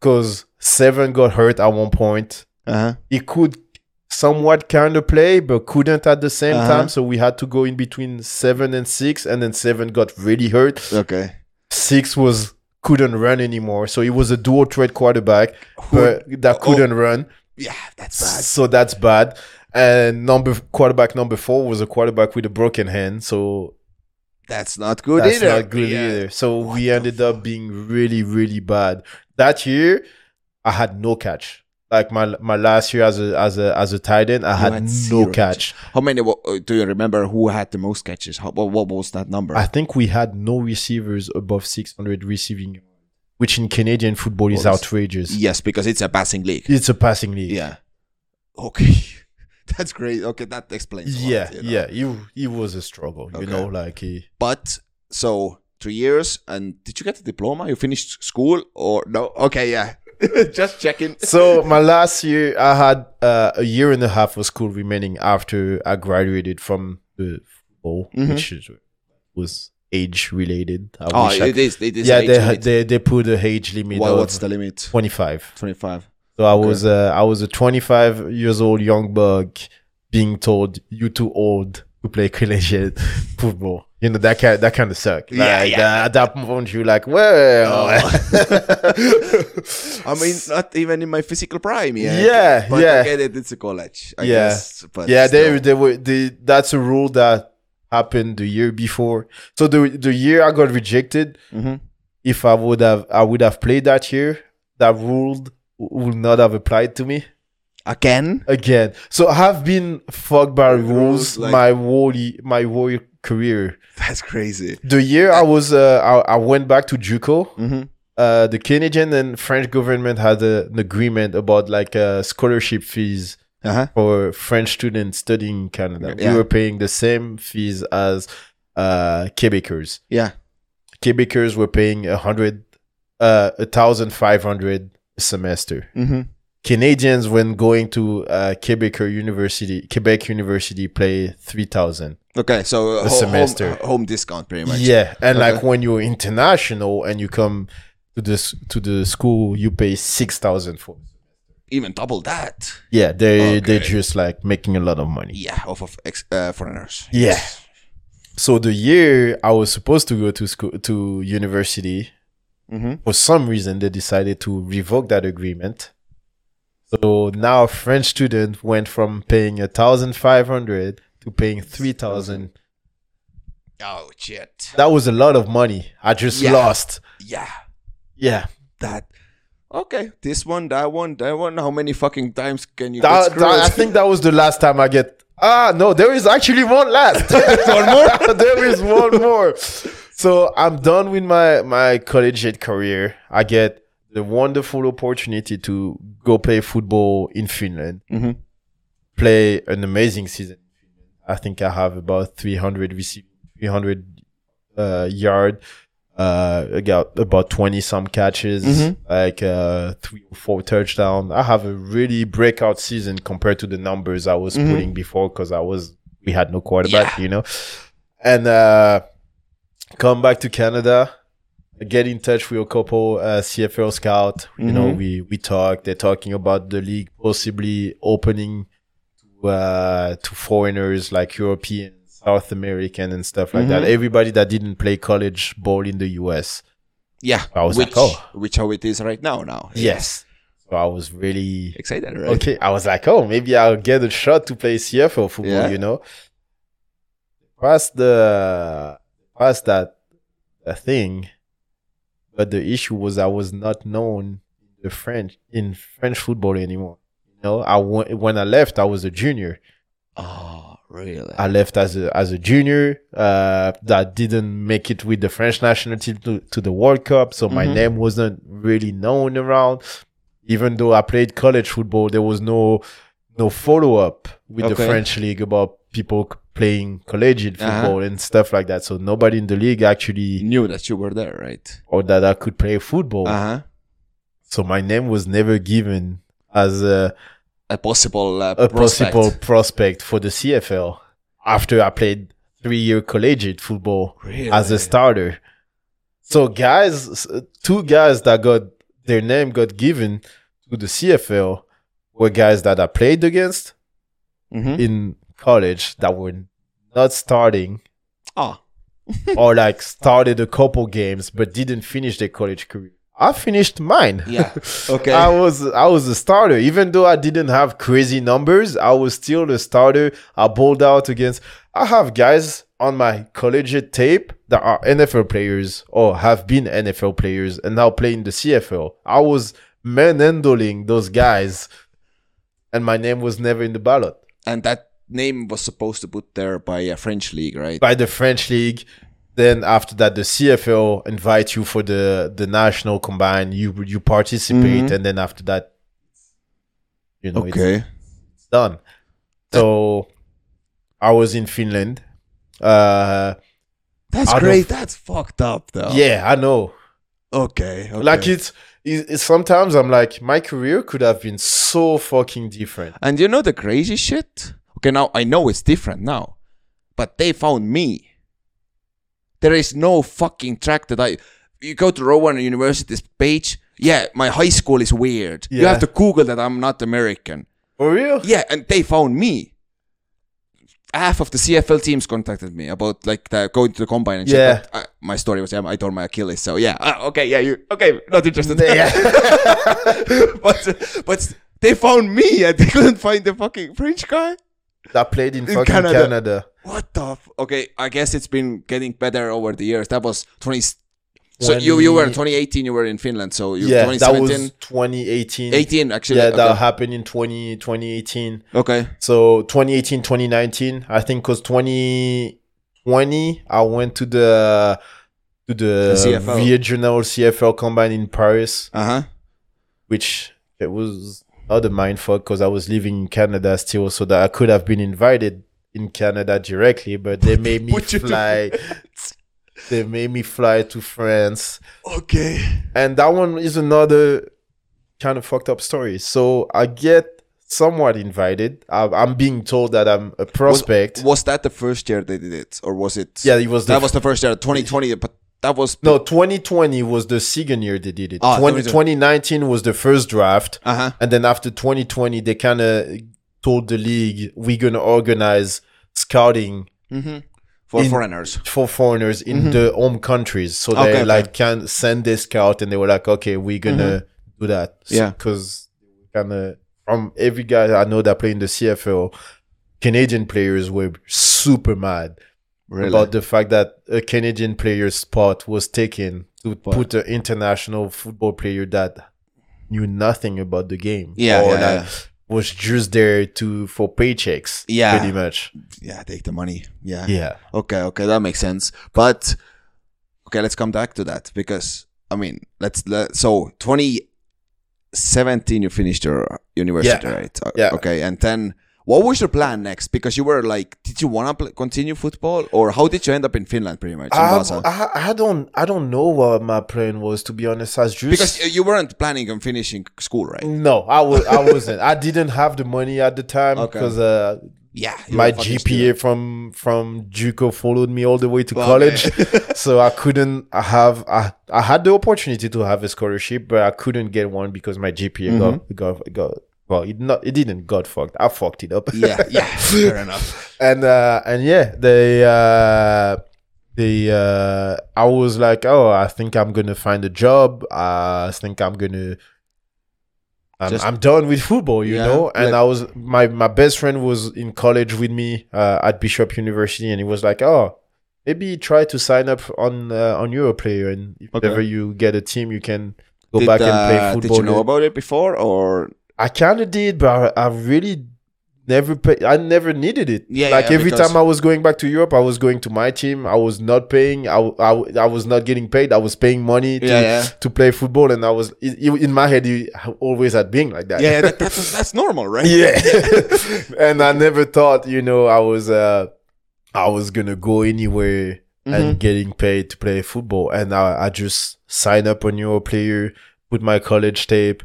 [SPEAKER 4] Because seven got hurt at one point
[SPEAKER 3] Uh huh.
[SPEAKER 4] he could somewhat kind of play but couldn't at the same
[SPEAKER 3] Uh-huh.
[SPEAKER 4] time so we had to go in between seven and six and then seven got really hurt
[SPEAKER 3] Okay.
[SPEAKER 4] six was couldn't run anymore so he was a dual threat quarterback but that
[SPEAKER 3] oh.
[SPEAKER 4] couldn't run
[SPEAKER 3] Yeah, that's bad.
[SPEAKER 4] so that's bad and number quarterback number four was a quarterback with a broken hand so
[SPEAKER 3] That's not good
[SPEAKER 4] that's
[SPEAKER 3] either.
[SPEAKER 4] not good
[SPEAKER 3] Yeah.
[SPEAKER 4] either so we ended up being really really bad that year i had no catch like my my last year as a as a as a tight end i had,
[SPEAKER 3] had
[SPEAKER 4] no
[SPEAKER 3] zero
[SPEAKER 4] catch
[SPEAKER 3] How many wa- uh, do you remember who had the most catches? How, what, what was that number?
[SPEAKER 4] I think we had no receivers above 600 receiving, which in Canadian football is
[SPEAKER 3] Balls.
[SPEAKER 4] outrageous.
[SPEAKER 3] yes, because it's a passing league.
[SPEAKER 4] It's a passing league.
[SPEAKER 3] Yeah. Okay. That's great. Okay, that explains. a lot,
[SPEAKER 4] Yeah,
[SPEAKER 3] you know.
[SPEAKER 4] yeah. You it was a struggle, you
[SPEAKER 3] Okay.
[SPEAKER 4] know, like eh, he,
[SPEAKER 3] But so three years, and did you get a diploma? You finished school or no? Okay, yeah. Just checking.
[SPEAKER 4] So my last year I had uh, a year and a half of school remaining after I graduated from the football,
[SPEAKER 3] Mhm.
[SPEAKER 4] which is, was age related. I
[SPEAKER 3] Oh,
[SPEAKER 4] wish I
[SPEAKER 3] it
[SPEAKER 4] could-
[SPEAKER 3] is. It is.
[SPEAKER 4] yeah,
[SPEAKER 3] age
[SPEAKER 4] they,
[SPEAKER 3] limit.
[SPEAKER 4] they they put a age limit
[SPEAKER 3] Wha-
[SPEAKER 4] of
[SPEAKER 3] what's the limit?
[SPEAKER 4] 25.
[SPEAKER 3] Twenty-five.
[SPEAKER 4] So I was uh, I was a 25 years old young bug being told you too old to play collegiate football. You know that kind that kind of suck.
[SPEAKER 3] Yeah,
[SPEAKER 4] Like,
[SPEAKER 3] yeah.
[SPEAKER 4] that- at that point you're like, well,
[SPEAKER 3] Oh. I mean, not even in my physical prime. Yeah.
[SPEAKER 4] Yeah,
[SPEAKER 3] But
[SPEAKER 4] yeah.
[SPEAKER 3] I get it. It's a college. I
[SPEAKER 4] Yeah.
[SPEAKER 3] Guess, but
[SPEAKER 4] yeah, they
[SPEAKER 3] still.
[SPEAKER 4] they were they, that's a rule that happened the year before. So the the year I got rejected,
[SPEAKER 3] Mhm.
[SPEAKER 4] if I would have I would have played that year, that rule would not have applied to me.
[SPEAKER 3] again.
[SPEAKER 4] again. So I've been fucked by
[SPEAKER 3] Rules,
[SPEAKER 4] rules
[SPEAKER 3] like-
[SPEAKER 4] my whole my whole career.
[SPEAKER 3] That's crazy.
[SPEAKER 4] The year I was uh, I, I went back to JUCO.
[SPEAKER 3] Mhm.
[SPEAKER 4] Uh, the Canadian and French government had a, an agreement about like uh, scholarship fees
[SPEAKER 3] Uh huh.
[SPEAKER 4] for French students studying in Canada.
[SPEAKER 3] Yeah.
[SPEAKER 4] We were paying the same fees as uh, Quebecers.
[SPEAKER 3] Yeah.
[SPEAKER 4] Quebecers were paying a hundred, uh, a thousand five hundred a semester.
[SPEAKER 3] Mm-hmm.
[SPEAKER 4] Canadians when going to uh, Quebec or University, Quebec University play three thousand.
[SPEAKER 3] Okay, so uh,
[SPEAKER 4] A
[SPEAKER 3] ho-
[SPEAKER 4] semester.
[SPEAKER 3] home, home discount pretty much. Uh-huh.
[SPEAKER 4] Yeah, and like
[SPEAKER 3] Okay.
[SPEAKER 4] when you're international and you come to this to the school, you pay six thousand for.
[SPEAKER 3] even double that.
[SPEAKER 4] Yeah, they they're
[SPEAKER 3] Okay.
[SPEAKER 4] just like making a lot of money.
[SPEAKER 3] Yeah, off of ex- uh, foreigners.
[SPEAKER 4] Yeah. So the year I was supposed to go to school to university, For some reason, they decided to revoke that agreement. So now a French student went from paying a thousand five hundred to paying three thousand.
[SPEAKER 3] Oh shit!
[SPEAKER 4] That was a lot of money. I just
[SPEAKER 3] Yeah.
[SPEAKER 4] lost.
[SPEAKER 3] Yeah,
[SPEAKER 4] Yeah,
[SPEAKER 3] that. Okay, this one, that one, that one. How many fucking times can you? get
[SPEAKER 4] that,
[SPEAKER 3] screwed?
[SPEAKER 4] that- I think that was the last time I get. Ah, no, there is actually one last. one more. there is one more. So I'm done with my my collegiate career. I get the wonderful opportunity to go play football in Finland.
[SPEAKER 3] Mhm.
[SPEAKER 4] Play an amazing season. I think I have about 300 receiving, 300 uh, yard. Uh, I got about 20 some catches,
[SPEAKER 3] Mhm.
[SPEAKER 4] like uh, three or four touchdowns. I have a really breakout season compared to the numbers I was
[SPEAKER 3] Mhm.
[SPEAKER 4] putting before because I was we had no quarterback, you know. And uh, come back to Canada, get in touch with a couple uh, CFL scout. You know,
[SPEAKER 3] Mhm.
[SPEAKER 4] we we talked. They're talking about the league possibly opening to uh, to foreigners like European, South American, and stuff like that. Everybody that didn't play college ball in the U.S.
[SPEAKER 3] yeah,
[SPEAKER 4] I was
[SPEAKER 3] which,
[SPEAKER 4] like, oh.
[SPEAKER 3] which how it is right now. Now,
[SPEAKER 4] Yes, so I was really
[SPEAKER 3] excited, right?
[SPEAKER 4] okay. I was like, oh, maybe I'll get a shot to play CFL football.
[SPEAKER 3] Yeah.
[SPEAKER 4] You know, past the past that the thing, but the issue was I was not known in the French in French football anymore. You know, I wa- when I left, I was a junior.
[SPEAKER 3] Oh, really?
[SPEAKER 4] I left as a as a junior uh, that didn't make it with the French national team to, to the World Cup, so my
[SPEAKER 3] Mhm.
[SPEAKER 4] name wasn't really known around. Even though I played college football, there was no no follow up with the
[SPEAKER 3] Okay. Uh-huh.
[SPEAKER 4] French league about people c- playing collegiate football and stuff like that. So nobody in the league actually
[SPEAKER 3] knew that you were there, right?
[SPEAKER 4] or that I could play football.
[SPEAKER 3] Uh huh.
[SPEAKER 4] So my name was never given as a
[SPEAKER 3] A possible uh,
[SPEAKER 4] a
[SPEAKER 3] prospect.
[SPEAKER 4] possible prospect for the CFL after I played three year collegiate football
[SPEAKER 3] Really?
[SPEAKER 4] as a starter. So guys, s- two guys that got their name got given to the CFL were guys that I played against
[SPEAKER 3] Mhm.
[SPEAKER 4] in college that were not starting
[SPEAKER 3] Ah,
[SPEAKER 4] or like started a couple games but didn't finish their college career. I finished mine.
[SPEAKER 3] yeah. Uh, Okay.
[SPEAKER 4] I was I was a starter, even though I didn't have crazy numbers. I was still a starter. I bowled out against. I have guys on my collegiate tape that are NFL players or have been NFL players and now playing the CFL. I was manhandling those guys, and my name was never in the ballot
[SPEAKER 3] and that name was supposed to put there by a French league, right?
[SPEAKER 4] by the French league. Then after that, the CFL invite you for the the national combine. You you participate, and then after that, you know, it's- done. So I was in Finland. Uh,
[SPEAKER 3] That's
[SPEAKER 4] Out of-
[SPEAKER 3] great. That's fucked up, though.
[SPEAKER 4] Yeah, I know.
[SPEAKER 3] Okay. Oh. okay.
[SPEAKER 4] Like it's, it's, it's sometimes I'm like my career could have been so fucking different.
[SPEAKER 3] And you know the crazy shit? Okay, now I know it's different now, but they found me. There is no fucking track that I. You go to Rowan University's page. Yeah, my high school is weird. You
[SPEAKER 4] Yeah.
[SPEAKER 3] have to Google that I'm not American.
[SPEAKER 4] For real?
[SPEAKER 3] Yeah, and they found me. Half of the CFL teams contacted me about like the, going to the combine and shit.
[SPEAKER 4] Yeah.
[SPEAKER 3] but, uh, my story was yeah, I tore my Achilles. So yeah, Ah, okay, yeah, you okay? Not interested.
[SPEAKER 4] Yeah.
[SPEAKER 3] but but they found me and they couldn't find the fucking French guy.
[SPEAKER 4] that played in
[SPEAKER 3] In
[SPEAKER 4] fucking Canada.
[SPEAKER 3] Canada. What the? F- okay, I guess it's been getting better over the years. That was twenty. So you you were
[SPEAKER 4] 20
[SPEAKER 3] 2018. You were in Finland. So you
[SPEAKER 4] Yeah, that
[SPEAKER 3] 2017,
[SPEAKER 4] was 2018.
[SPEAKER 3] 18 actually.
[SPEAKER 4] Yeah, that
[SPEAKER 3] okay.
[SPEAKER 4] happened in 20, 2018.
[SPEAKER 3] okay.
[SPEAKER 4] So 2018, 2019, I think because 2020, I went to the to the,
[SPEAKER 3] The CFL.
[SPEAKER 4] regional CFL combine in Paris,
[SPEAKER 3] Uh huh.
[SPEAKER 4] which it was not a mindfuck because I was living in Canada still, so that I could have been invited in Canada directly, but they made me
[SPEAKER 3] Put you to
[SPEAKER 4] fly. They made me fly to France
[SPEAKER 3] Okay.
[SPEAKER 4] and that one is another kind of fucked up story. So I get somewhat invited. I, I'm being told that I'm a prospect.
[SPEAKER 3] Was, was that the first year they did it, or was it?
[SPEAKER 4] yeah, it was the,
[SPEAKER 3] that was the first year, 2020. But that was
[SPEAKER 4] no 2020 was the second year they did it.
[SPEAKER 3] Ah,
[SPEAKER 4] 20,
[SPEAKER 3] 2020.
[SPEAKER 4] 2019 was the first draft,
[SPEAKER 3] Uh huh.
[SPEAKER 4] and then after 2020 they kind of told the league we're gonna organize scouting
[SPEAKER 3] for
[SPEAKER 4] in-
[SPEAKER 3] foreigners.
[SPEAKER 4] for foreigners in the home countries. So
[SPEAKER 3] Mm-hmm. Okay,
[SPEAKER 4] they
[SPEAKER 3] okay.
[SPEAKER 4] like can send their scout and they were like, okay, we're gonna do that.
[SPEAKER 3] Mm-hmm. Yeah.
[SPEAKER 4] Because kind of from every guy I know that play in the CFL, Canadian players were super mad
[SPEAKER 3] Really?
[SPEAKER 4] about the fact that a Canadian player's spot was taken to put an international football player that knew nothing about the game.
[SPEAKER 3] Yeah,
[SPEAKER 4] Or
[SPEAKER 3] yeah,
[SPEAKER 4] Oh, that
[SPEAKER 3] yeah.
[SPEAKER 4] was just there to for paychecks.
[SPEAKER 3] Yeah.
[SPEAKER 4] Pretty much.
[SPEAKER 3] yeah, take the money. Yeah.
[SPEAKER 4] Yeah.
[SPEAKER 3] Okay, okay, that makes sense. But okay, let's come back to that because I mean, let's let so 2017 you finished your university,
[SPEAKER 4] Yeah.
[SPEAKER 3] right? Uh,
[SPEAKER 4] Yeah.
[SPEAKER 3] Okay, and then what was your plan next? Because you were like, did you want to continue football, or how did you end up in Finland, pretty much? in
[SPEAKER 4] I,
[SPEAKER 3] Vaasa?
[SPEAKER 4] Um, I, I don't I don't know what my plan was to be honest. I was just
[SPEAKER 3] because uh, you- you weren't planning on finishing school, right?
[SPEAKER 4] no, I was I wasn't. I didn't have the money at the time
[SPEAKER 3] Okay.
[SPEAKER 4] because uh,
[SPEAKER 3] Yeah, you
[SPEAKER 4] my
[SPEAKER 3] were fucking
[SPEAKER 4] GPA
[SPEAKER 3] student.
[SPEAKER 4] from from JUCO followed me all the way to
[SPEAKER 3] Well,
[SPEAKER 4] college, so I couldn't have I, I had the opportunity to have a scholarship, but I couldn't get one because my GPA
[SPEAKER 3] Mm-hmm.
[SPEAKER 4] got, got got well it not it didn't got fucked. I fucked it up.
[SPEAKER 3] yeah, yeah, fair enough.
[SPEAKER 4] and uh and yeah they uh they uh i was like oh i think i'm gonna find a job i think i'm gonna i'm,
[SPEAKER 3] Just-
[SPEAKER 4] I'm done with football you
[SPEAKER 3] Yeah,
[SPEAKER 4] know and
[SPEAKER 3] like-
[SPEAKER 4] i was my my best friend was in college with me uh, at bishop university and he was like oh maybe try to sign up on uh, on europlayer and if
[SPEAKER 3] Okay.
[SPEAKER 4] ever you get a team you can go
[SPEAKER 3] Did,
[SPEAKER 4] back and
[SPEAKER 3] uh,
[SPEAKER 4] play football
[SPEAKER 3] Did you know
[SPEAKER 4] there."
[SPEAKER 3] about it before, or
[SPEAKER 4] I kind of did, but I, I really never pay, I never needed it.
[SPEAKER 3] Yeah,
[SPEAKER 4] like
[SPEAKER 3] yeah,
[SPEAKER 4] every
[SPEAKER 3] because-
[SPEAKER 4] time I was going back to Europe, I was going to my team. I was not paying. I, w- I, w- I was not getting paid. I was paying money to,
[SPEAKER 3] Yeah, yeah.
[SPEAKER 4] to play football, and I was it, it- in my head. It always had been like that.
[SPEAKER 3] yeah, yeah that, that's that's normal, right?
[SPEAKER 4] yeah. and I never thought, you know, I was uh, I was gonna go anywhere
[SPEAKER 3] Mm-hmm.
[SPEAKER 4] and getting paid to play football, and I, I just signed up on Europlayer, put my college tape,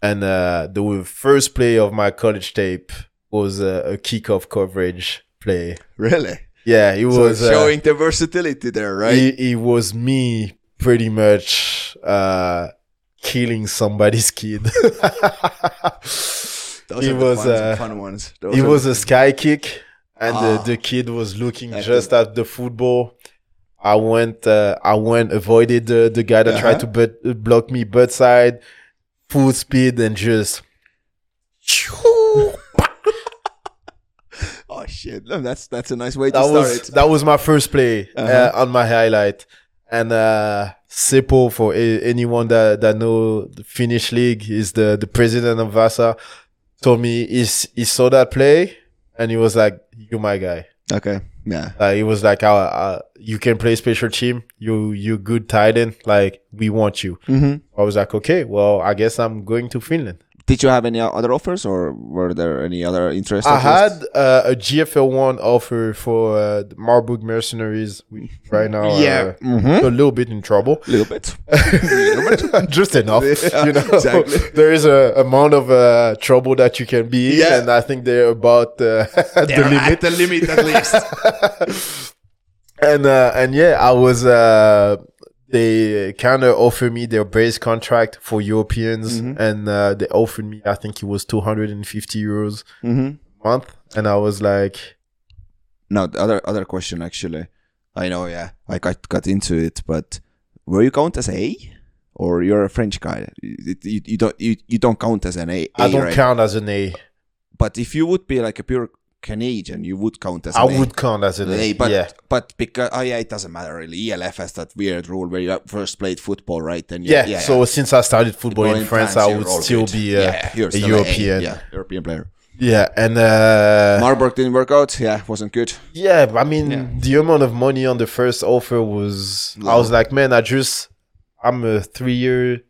[SPEAKER 4] and uh, the first play of my college tape was uh, a kickoff coverage play.
[SPEAKER 3] really.
[SPEAKER 4] Yeah, it
[SPEAKER 3] So
[SPEAKER 4] was uh,
[SPEAKER 3] showing the versatility there, right?
[SPEAKER 4] It, it was me pretty much uh, killing somebody's kid.
[SPEAKER 3] Those
[SPEAKER 4] it
[SPEAKER 3] are the
[SPEAKER 4] was
[SPEAKER 3] fun-
[SPEAKER 4] uh,
[SPEAKER 3] fun ones. Those
[SPEAKER 4] it
[SPEAKER 3] are-
[SPEAKER 4] was a sky kick and
[SPEAKER 3] Ah.
[SPEAKER 4] the, the kid was looking
[SPEAKER 3] I
[SPEAKER 4] just at the football i went uh, i went avoided the, the guy that tried to but, uh, block me butt side full speed and just
[SPEAKER 3] oh shit! No, that's that's a nice way to
[SPEAKER 4] that
[SPEAKER 3] start
[SPEAKER 4] was
[SPEAKER 3] it.
[SPEAKER 4] that was my first play uh
[SPEAKER 3] Uh-huh.
[SPEAKER 4] on my highlight and uh Seppo for a- anyone that that know the Finnish league is the the president of Vasa told me he, s- he saw that play and he was like you my guy
[SPEAKER 3] Okay. Yeah.
[SPEAKER 4] Like it was like, uh, uh, you can play special team. You you good tight end. Like we want you.
[SPEAKER 3] Mhm.
[SPEAKER 4] I was like, okay, well, I guess I'm going to Finland.
[SPEAKER 3] Did you have any other offers, or were there any other interests? at
[SPEAKER 4] I
[SPEAKER 3] least?
[SPEAKER 4] had uh, a GFL one offer for uh, the Marburg Mercenaries. which Right now, are
[SPEAKER 3] Yeah. Mhm.
[SPEAKER 4] a little bit in trouble.
[SPEAKER 3] little bit. Little bit.
[SPEAKER 4] Just enough,
[SPEAKER 3] Yeah,
[SPEAKER 4] you know.
[SPEAKER 3] exactly.
[SPEAKER 4] There is a amount of uh, trouble that you can be in,
[SPEAKER 3] Yeah.
[SPEAKER 4] and I think they're about uh, the
[SPEAKER 3] They're
[SPEAKER 4] limit.
[SPEAKER 3] at the limit, at least.
[SPEAKER 4] and uh, and yeah, I was uh, they kind of offered me their base contract for Europeans,
[SPEAKER 3] Mm-hmm.
[SPEAKER 4] and uh, they offered me I think it was two hundred and fifty euros
[SPEAKER 3] Mhm.
[SPEAKER 4] a month, and I was like,
[SPEAKER 3] No, the other other question actually. I know. Yeah, I got got into it, but were you count as A, or you're a French guy? You, you, you don't you, you don't count as an A.
[SPEAKER 4] I I
[SPEAKER 3] A,
[SPEAKER 4] don't
[SPEAKER 3] right?
[SPEAKER 4] count as an A.
[SPEAKER 3] But if you would be like a pure Canadian, you would count as
[SPEAKER 4] I
[SPEAKER 3] an A.
[SPEAKER 4] would count as an
[SPEAKER 3] Hey,
[SPEAKER 4] A,
[SPEAKER 3] but
[SPEAKER 4] yeah.
[SPEAKER 3] but because oh yeah, it doesn't matter really. ELF has that weird rule where you first played football, right? Then you,
[SPEAKER 4] Yeah, so since I started football
[SPEAKER 3] Well,
[SPEAKER 4] in France, I
[SPEAKER 3] you're
[SPEAKER 4] would
[SPEAKER 3] all
[SPEAKER 4] still
[SPEAKER 3] good.
[SPEAKER 4] be a,
[SPEAKER 3] Yeah, you're
[SPEAKER 4] a
[SPEAKER 3] still
[SPEAKER 4] European.
[SPEAKER 3] yeah, European player.
[SPEAKER 4] Yeah, and uh,
[SPEAKER 3] Marburg didn't work out. Yeah, wasn't good.
[SPEAKER 4] Yeah, but I mean, the amount of money on the first offer was. I was like, man, I just, I'm a three year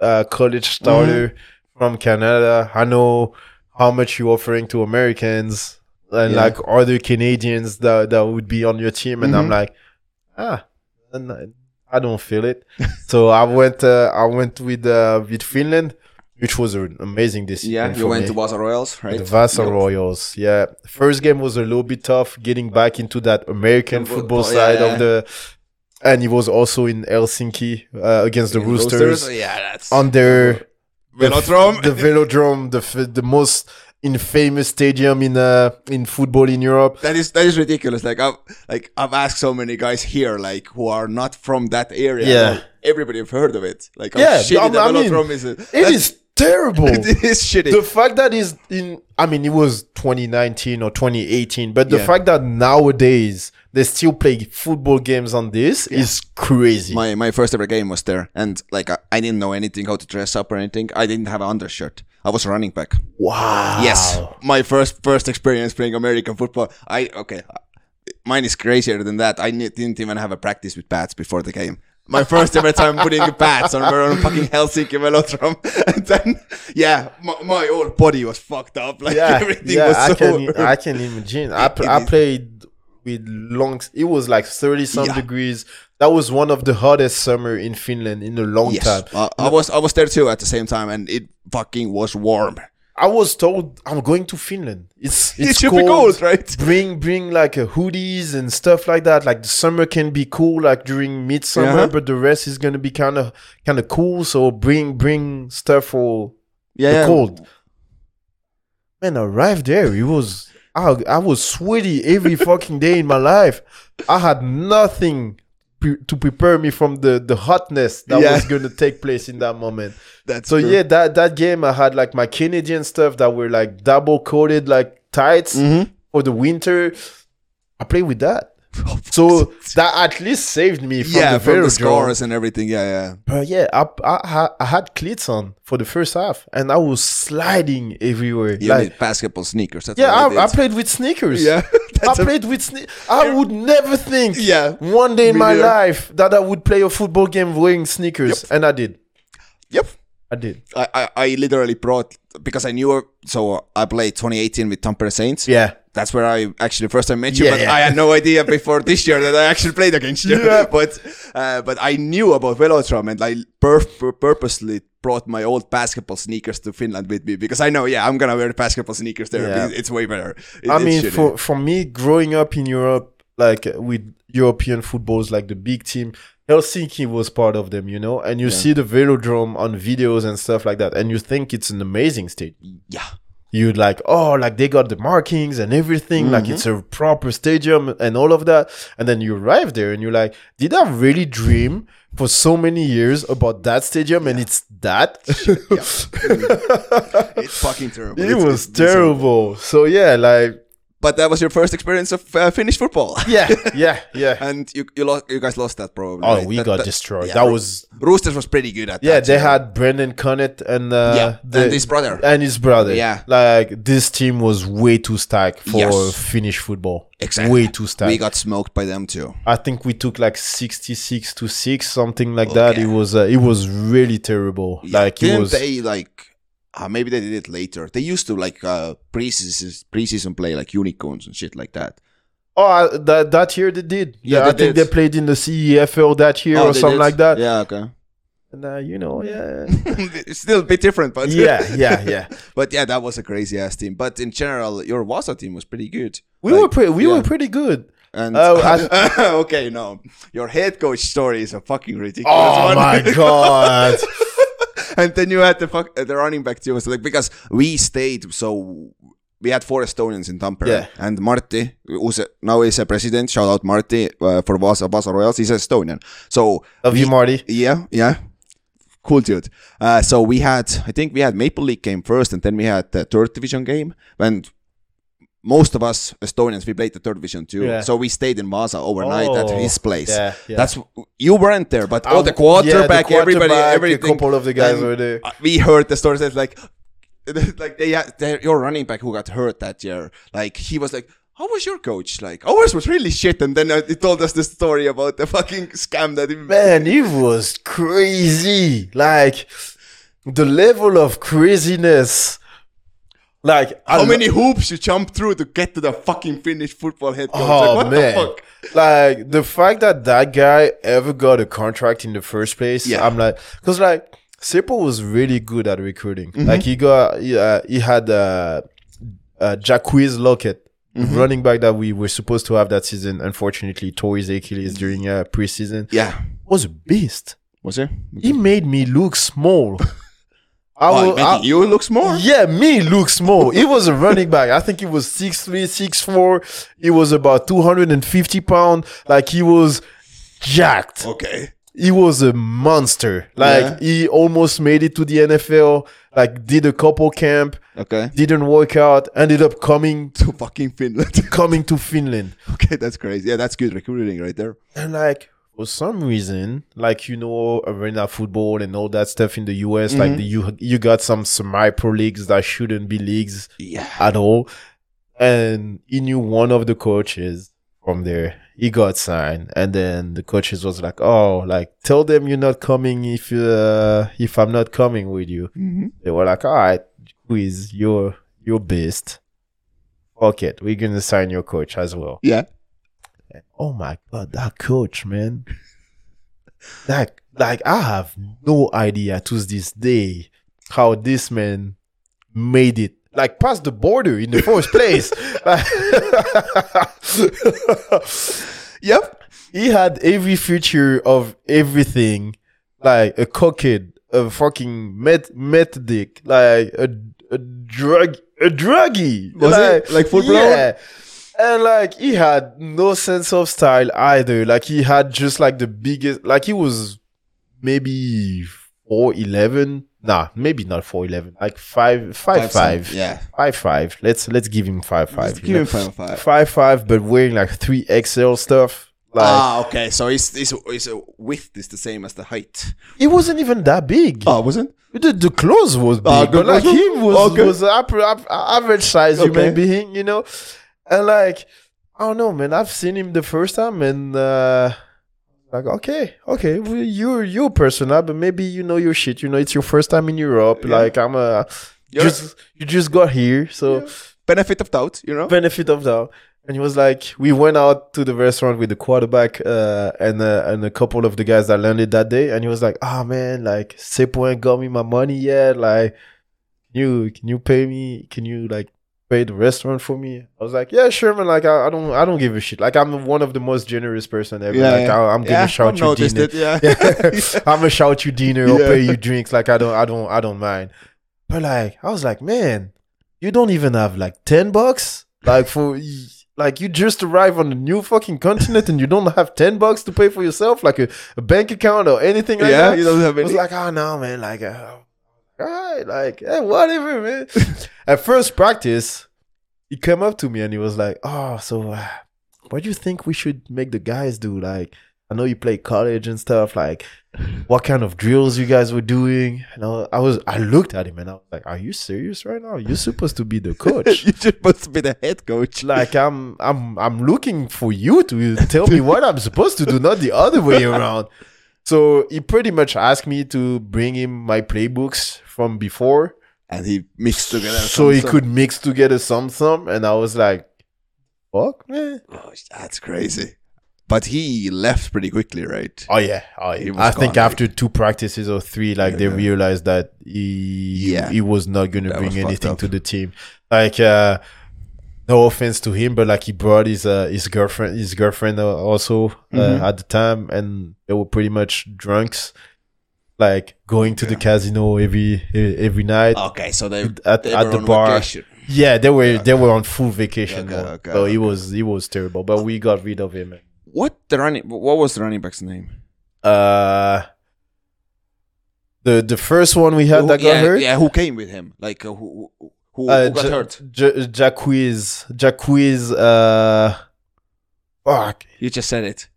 [SPEAKER 4] uh, college
[SPEAKER 3] Mm-hmm.
[SPEAKER 4] starter from Canada. I know how much you're offering to Americans and
[SPEAKER 3] Yeah.
[SPEAKER 4] like other Canadians that, that would be on your team. And I'm
[SPEAKER 3] Mm-hmm.
[SPEAKER 4] like, ah, and I- I don't feel it. so I went, uh, I went with, uh, with Finland, which was an amazing decision.
[SPEAKER 3] Yeah, you
[SPEAKER 4] for
[SPEAKER 3] went
[SPEAKER 4] me.
[SPEAKER 3] to Vasa Royals, right?
[SPEAKER 4] The Vasa Royals, yeah. First game was a little bit tough getting back into that American
[SPEAKER 3] Football,
[SPEAKER 4] football
[SPEAKER 3] yeah,
[SPEAKER 4] side
[SPEAKER 3] yeah.
[SPEAKER 4] of the, and it was also in Helsinki uh, against the Roosters
[SPEAKER 3] Oh, Yeah, that's
[SPEAKER 4] on their
[SPEAKER 3] Velodrome.
[SPEAKER 4] the Velodrome, the f- the most infamous stadium in uh, in football in Europe.
[SPEAKER 3] That is that is ridiculous. Like I've like I've asked so many guys here, like who are not from that area.
[SPEAKER 4] Yeah.
[SPEAKER 3] Like, everybody have heard of it. Like how
[SPEAKER 4] Yeah,
[SPEAKER 3] shitty
[SPEAKER 4] I-
[SPEAKER 3] the
[SPEAKER 4] I mean,
[SPEAKER 3] velodrome is.
[SPEAKER 4] It
[SPEAKER 3] That's-
[SPEAKER 4] is terrible.
[SPEAKER 3] It is shitty.
[SPEAKER 4] the fact that is in i mean it was 2019 or 2018 but the
[SPEAKER 3] Yeah.
[SPEAKER 4] fact that nowadays they still play football games on this is crazy
[SPEAKER 3] my my first ever game was there, and like I, I didn't know anything how to dress up or anything. I didn't have an undershirt. I was a running back.
[SPEAKER 4] wow
[SPEAKER 3] Yes, my first first experience playing American football. I okay, mine is crazier than that. I ne- didn't even have a practice with pads before the game. My first ever time putting pads on we're on fucking Helsinki Velodrome, and then yeah, my, my whole body was fucked up. Like
[SPEAKER 4] yeah,
[SPEAKER 3] everything
[SPEAKER 4] yeah,
[SPEAKER 3] was so.
[SPEAKER 4] I can I can imagine. I, pl-
[SPEAKER 3] it
[SPEAKER 4] I
[SPEAKER 3] is-
[SPEAKER 4] played with long. It was like thirty some
[SPEAKER 3] Yeah.
[SPEAKER 4] degrees. That was one of the hottest summer in Finland in a long
[SPEAKER 3] yes,
[SPEAKER 4] time.
[SPEAKER 3] I- I was I was there too at the same time, and it fucking was warm.
[SPEAKER 4] I was told I'm going to Finland. It's,
[SPEAKER 3] It
[SPEAKER 4] it's
[SPEAKER 3] should be cold, right?
[SPEAKER 4] Bring bring like uh, hoodies and stuff like that. Like the summer can be cool, like during midsummer,
[SPEAKER 3] Yeah.
[SPEAKER 4] but the rest is gonna be kind of kind of cool. So bring bring stuff for
[SPEAKER 3] Yeah,
[SPEAKER 4] the cold. Man, I arrived there. It was I, I was sweaty every fucking day in my life. I had nothing pre- to prepare me from the the hotness that
[SPEAKER 3] Yeah.
[SPEAKER 4] was gonna take place in that moment.
[SPEAKER 3] That's
[SPEAKER 4] So
[SPEAKER 3] true.
[SPEAKER 4] yeah, that that game I had like my Canadian stuff that were like double coated like tights
[SPEAKER 3] Mm-hmm.
[SPEAKER 4] for the winter. I played with that. So that at least saved me from
[SPEAKER 3] yeah,
[SPEAKER 4] the
[SPEAKER 3] from
[SPEAKER 4] very
[SPEAKER 3] the scores and everything. Yeah, yeah.
[SPEAKER 4] But yeah, I, I ha- I had cleats on for the first half, and I was sliding everywhere.
[SPEAKER 3] You
[SPEAKER 4] like
[SPEAKER 3] need basketball sneakers. That's
[SPEAKER 4] yeah,
[SPEAKER 3] what
[SPEAKER 4] I, I
[SPEAKER 3] did.
[SPEAKER 4] played with sneakers.
[SPEAKER 3] Yeah,
[SPEAKER 4] I
[SPEAKER 3] that's a-
[SPEAKER 4] played with sne- I would never think
[SPEAKER 3] Yeah.
[SPEAKER 4] one day in
[SPEAKER 3] Me
[SPEAKER 4] my
[SPEAKER 3] neither.
[SPEAKER 4] life that I would play a football game wearing sneakers, and I did.
[SPEAKER 3] Yep.
[SPEAKER 4] I did.
[SPEAKER 3] I, I, I literally brought because I knew her, so I played 2018 with Tampere Saints.
[SPEAKER 4] Yeah.
[SPEAKER 3] That's where I actually first time met you,
[SPEAKER 4] Yeah,
[SPEAKER 3] but
[SPEAKER 4] yeah.
[SPEAKER 3] I had no idea before this year that I actually played against you.
[SPEAKER 4] Yeah.
[SPEAKER 3] But uh, but I knew about Velotron and I pur- pur- purposely brought my old basketball sneakers to Finland with me because I know, yeah, I'm gonna wear basketball sneakers there.
[SPEAKER 4] Yeah.
[SPEAKER 3] It's, it's way better. It-
[SPEAKER 4] I
[SPEAKER 3] it's
[SPEAKER 4] mean,
[SPEAKER 3] shitty.
[SPEAKER 4] for, for me, growing up in Europe, like uh, with European footballs, like the big team, Helsinki was part of them, you know? And you see the velodrome on videos and stuff like that, and you think it's an amazing stadium.
[SPEAKER 3] yeah,
[SPEAKER 4] You'd like, oh, like they got the markings and everything, like it's a proper stadium and all of that. And then you arrive there and you're like, did I really dream for so many years about that stadium and it's that?
[SPEAKER 3] it's fucking terrible.
[SPEAKER 4] it
[SPEAKER 3] It's-
[SPEAKER 4] was
[SPEAKER 3] it's miserable.
[SPEAKER 4] terrible. So, yeah, like,
[SPEAKER 3] But that was your first experience of uh, Finnish football.
[SPEAKER 4] yeah, yeah, yeah.
[SPEAKER 3] And you you, lost, you guys lost that probably.
[SPEAKER 4] Oh,
[SPEAKER 3] right?
[SPEAKER 4] we
[SPEAKER 3] That-
[SPEAKER 4] got
[SPEAKER 3] that-
[SPEAKER 4] destroyed.
[SPEAKER 3] yeah,
[SPEAKER 4] that
[SPEAKER 3] Ro-
[SPEAKER 4] was
[SPEAKER 3] Roosters was pretty good at
[SPEAKER 4] yeah.
[SPEAKER 3] that.
[SPEAKER 4] They
[SPEAKER 3] yeah.
[SPEAKER 4] had Brendan Connett and uh,
[SPEAKER 3] Yeah,
[SPEAKER 4] the-
[SPEAKER 3] and his brother.
[SPEAKER 4] and his brother.
[SPEAKER 3] Yeah.
[SPEAKER 4] like this team was way too stacked for
[SPEAKER 3] Yes.
[SPEAKER 4] Finnish football.
[SPEAKER 3] Exactly.
[SPEAKER 4] way too stacked.
[SPEAKER 3] We got smoked by them too.
[SPEAKER 4] I think we took like sixty-six to six, something like that.
[SPEAKER 3] Okay.
[SPEAKER 4] It was uh, it was really terrible. Like it
[SPEAKER 3] didn't
[SPEAKER 4] was.
[SPEAKER 3] they like? Uh, maybe they did it later. They used to like uh, preseason preseason play like unicorns and shit like that.
[SPEAKER 4] oh, I, that that year they did.
[SPEAKER 3] Yeah,
[SPEAKER 4] Yeah,
[SPEAKER 3] they
[SPEAKER 4] I think
[SPEAKER 3] did.
[SPEAKER 4] they played in the CEFL that year
[SPEAKER 3] Oh,
[SPEAKER 4] or
[SPEAKER 3] they
[SPEAKER 4] something
[SPEAKER 3] did?
[SPEAKER 4] like that.
[SPEAKER 3] Yeah, okay.
[SPEAKER 4] And, uh, you know, yeah,
[SPEAKER 3] it's still a bit different, but
[SPEAKER 4] yeah, yeah, yeah.
[SPEAKER 3] but yeah, that was a crazy ass team. But in general, your Vasa team was pretty good.
[SPEAKER 4] We
[SPEAKER 3] Like,
[SPEAKER 4] were pretty. We
[SPEAKER 3] yeah.
[SPEAKER 4] were pretty good.
[SPEAKER 3] And
[SPEAKER 4] Oh,
[SPEAKER 3] okay, no, your head coach story is a fucking ridiculous
[SPEAKER 4] Oh
[SPEAKER 3] one.
[SPEAKER 4] my god.
[SPEAKER 3] and then you had the fuck uh, the running back too. So like because we stayed, so we had four Estonians in Tampere.
[SPEAKER 4] Yeah.
[SPEAKER 3] And Martti, who's a, now is a president. Shout out Martti uh, for Vasa Vasa Royals. He's Estonian. So
[SPEAKER 4] Of you,
[SPEAKER 3] we-
[SPEAKER 4] Marty.
[SPEAKER 3] Yeah, yeah. Cool dude. Uh, so we had, I think we had Maple League game first, and then we had the third division game. And most of us Estonians, we played the third division too.
[SPEAKER 4] Yeah.
[SPEAKER 3] So we stayed in Vasa overnight at
[SPEAKER 4] Oh,
[SPEAKER 3] his place.
[SPEAKER 4] yeah, yeah.
[SPEAKER 3] That's you weren't there, but all
[SPEAKER 4] Um,
[SPEAKER 3] Oh, the
[SPEAKER 4] yeah, the
[SPEAKER 3] quarterback, everybody,
[SPEAKER 4] quarterback, a
[SPEAKER 3] everything.
[SPEAKER 4] couple of the guys
[SPEAKER 3] And
[SPEAKER 4] were there.
[SPEAKER 3] uh, We heard the stories that like, like they had their, your running back who got hurt that year. Like he was like, "How was your coach?" Like "Oh, ours was really shit, and then uh, he told us the story about the fucking scam that he
[SPEAKER 4] Man, it was crazy. Like the level of craziness. Like
[SPEAKER 3] How many hoops you jump through to get to the fucking Finnish football head coach?
[SPEAKER 4] Oh
[SPEAKER 3] like, what
[SPEAKER 4] man!
[SPEAKER 3] the fuck?
[SPEAKER 4] Like the fact that that guy ever got a contract in the first place.
[SPEAKER 3] Yeah.
[SPEAKER 4] I'm like, because like Sipple was really good at recruiting.
[SPEAKER 3] Mm-hmm.
[SPEAKER 4] Like he got, he, uh, he had uh, uh, Jacquees Lockett.
[SPEAKER 3] Mm-hmm.
[SPEAKER 4] Running back that we were supposed to have that season, unfortunately, tore his Achilles during uh, preseason.
[SPEAKER 3] Yeah.
[SPEAKER 4] was a beast.
[SPEAKER 3] Was it?
[SPEAKER 4] He made me look small. I
[SPEAKER 3] Oh,
[SPEAKER 4] will-
[SPEAKER 3] maybe
[SPEAKER 4] I-
[SPEAKER 3] you look small.
[SPEAKER 4] Yeah, me looks small. He was a running back. I think he was 6'3, 6'4. He was about 250 pounds. Like he was jacked.
[SPEAKER 3] Okay.
[SPEAKER 4] He was a monster. Like
[SPEAKER 3] Yeah.
[SPEAKER 4] he almost made it to the NFL. Like did a couple camp,
[SPEAKER 3] Okay.
[SPEAKER 4] didn't work out, ended up coming
[SPEAKER 3] To fucking Finland.
[SPEAKER 4] coming to Finland.
[SPEAKER 3] okay, that's crazy. Yeah, that's good recruiting right there.
[SPEAKER 4] And like for some reason, like you know, arena football and all that stuff in the US,
[SPEAKER 3] Mm-hmm.
[SPEAKER 4] like the, you you got some semi pro leagues that shouldn't be leagues
[SPEAKER 3] Yeah.
[SPEAKER 4] at all. And he knew one of the coaches from there. He got signed, and then the coaches was like, "Oh, like tell them you're not coming if uh, if I'm not coming with you."
[SPEAKER 3] Mm-hmm.
[SPEAKER 4] They were like, "All right, quiz, you're you're best. Fuck it, we're gonna sign your coach as well."
[SPEAKER 3] Yeah.
[SPEAKER 4] oh my god, that coach, man. Like, like I have no idea to this day how this man made it. Like past the border in the first place.
[SPEAKER 3] Yep.
[SPEAKER 4] he had every feature of everything, like a cockhead, a fucking meth meth dick, like a, a drug a druggie.
[SPEAKER 3] Was it? Like full blown?
[SPEAKER 4] Yeah. And like he had no sense of style either. Like he had just like the biggest like he was maybe four eleven. Nah, maybe not four eleven. Like five five five.
[SPEAKER 3] some- Yeah.
[SPEAKER 4] Five five. Let's let's give him five five.
[SPEAKER 3] Just
[SPEAKER 4] you
[SPEAKER 3] give
[SPEAKER 4] know?
[SPEAKER 3] him five five.
[SPEAKER 4] five five, but wearing like three XL stuff. Like
[SPEAKER 3] ah, okay. So his, his, his width is the same as the height.
[SPEAKER 4] it wasn't even that big.
[SPEAKER 3] wasn't?
[SPEAKER 4] The, the clothes was big,
[SPEAKER 3] Ah, the
[SPEAKER 4] but like
[SPEAKER 3] clothes-
[SPEAKER 4] him was
[SPEAKER 3] okay.
[SPEAKER 4] was up, up, average size
[SPEAKER 3] Okay.
[SPEAKER 4] human being, you know. And like I don't know, man. I've seen him the first time, and uh like okay, okay, well, you're you persona, but maybe you know your shit. You know, it's your first time in Europe.
[SPEAKER 3] Yeah.
[SPEAKER 4] Like I'm a
[SPEAKER 3] You're-
[SPEAKER 4] just you just got here, so.
[SPEAKER 3] Benefit of doubt, you know?
[SPEAKER 4] benefit of doubt. And he was like, we went out to the restaurant with the quarterback uh, and uh, and a couple of the guys that landed that day. And he was like, ah man, like Sepo ain't got me my money yet. Like, can you can you pay me? Can you like pay the restaurant for me? I was like, yeah, sure, man. Like, I, I don't I don't give a shit. Like, I'm one of the most generous person ever. like, I, I'm gonna
[SPEAKER 3] Yeah,
[SPEAKER 4] shout
[SPEAKER 3] I've
[SPEAKER 4] you
[SPEAKER 3] noticed
[SPEAKER 4] dinner.
[SPEAKER 3] it, yeah.
[SPEAKER 4] I'm gonna shout you dinner or
[SPEAKER 3] Yeah.
[SPEAKER 4] pay you drinks. Like I don't, I don't, I don't mind. But like, I was like, man, you don't even have like ten bucks. Like for like you just arrived on a new fucking continent and you don't have ten bucks to pay for yourself, like a, a bank account or anything like
[SPEAKER 3] Yeah,
[SPEAKER 4] that.
[SPEAKER 3] you don't have
[SPEAKER 4] I was
[SPEAKER 3] any.
[SPEAKER 4] like, oh no, man, like, uh, all right, like, eh, whatever, man. At first practice, he came up to me and he was like, oh, so uh, what do you think we should make the guys do? Like, I know you play college and stuff. Like, what kind of drills you guys were doing? And I was, I, was, I looked at him and I was like, are you serious right now? You're supposed to be the coach.
[SPEAKER 3] You're supposed to be the head coach.
[SPEAKER 4] Like I'm, I'm, I'm looking for you to tell me what I'm supposed to do, not the other way around. So he pretty much asked me to bring him my playbooks from before,
[SPEAKER 3] And he mixed together.
[SPEAKER 4] so he
[SPEAKER 3] some-
[SPEAKER 4] could mix together some some. And I was like, "Fuck, man!
[SPEAKER 3] Oh, that's crazy. But he left pretty quickly, right?
[SPEAKER 4] Oh yeah, oh
[SPEAKER 3] He
[SPEAKER 4] yeah."
[SPEAKER 3] was
[SPEAKER 4] I think
[SPEAKER 3] gone,
[SPEAKER 4] after two practices or three, like they
[SPEAKER 3] Yeah.
[SPEAKER 4] realized that he
[SPEAKER 3] Yeah.
[SPEAKER 4] he was not gonna
[SPEAKER 3] That was
[SPEAKER 4] bring
[SPEAKER 3] fucked
[SPEAKER 4] anything
[SPEAKER 3] up.
[SPEAKER 4] to the team. Like, uh, no offense to him, but like he brought his uh, his girlfriend, his girlfriend uh, also
[SPEAKER 3] Mhm.
[SPEAKER 4] uh, at the time, and they were pretty much drunks, like going to the casino every e- every night.
[SPEAKER 3] Okay, so they,
[SPEAKER 4] At-
[SPEAKER 3] they
[SPEAKER 4] at
[SPEAKER 3] were
[SPEAKER 4] the
[SPEAKER 3] on
[SPEAKER 4] bar.
[SPEAKER 3] vacation.
[SPEAKER 4] Yeah, they were they were on full vacation.
[SPEAKER 3] Okay,
[SPEAKER 4] mode.
[SPEAKER 3] okay,
[SPEAKER 4] so
[SPEAKER 3] okay.
[SPEAKER 4] he was he was terrible, but we got rid of him.
[SPEAKER 3] What the running? What was the running back's name?
[SPEAKER 4] Uh, the the first one we had
[SPEAKER 3] Who-
[SPEAKER 4] that got
[SPEAKER 3] yeah,
[SPEAKER 4] hurt.
[SPEAKER 3] yeah, who came with him? Like uh, who who, who,
[SPEAKER 4] uh,
[SPEAKER 3] who got
[SPEAKER 4] Ja-
[SPEAKER 3] hurt?
[SPEAKER 4] Ja- Jacquees, Jacquees, uh, fuck,
[SPEAKER 3] You just said it.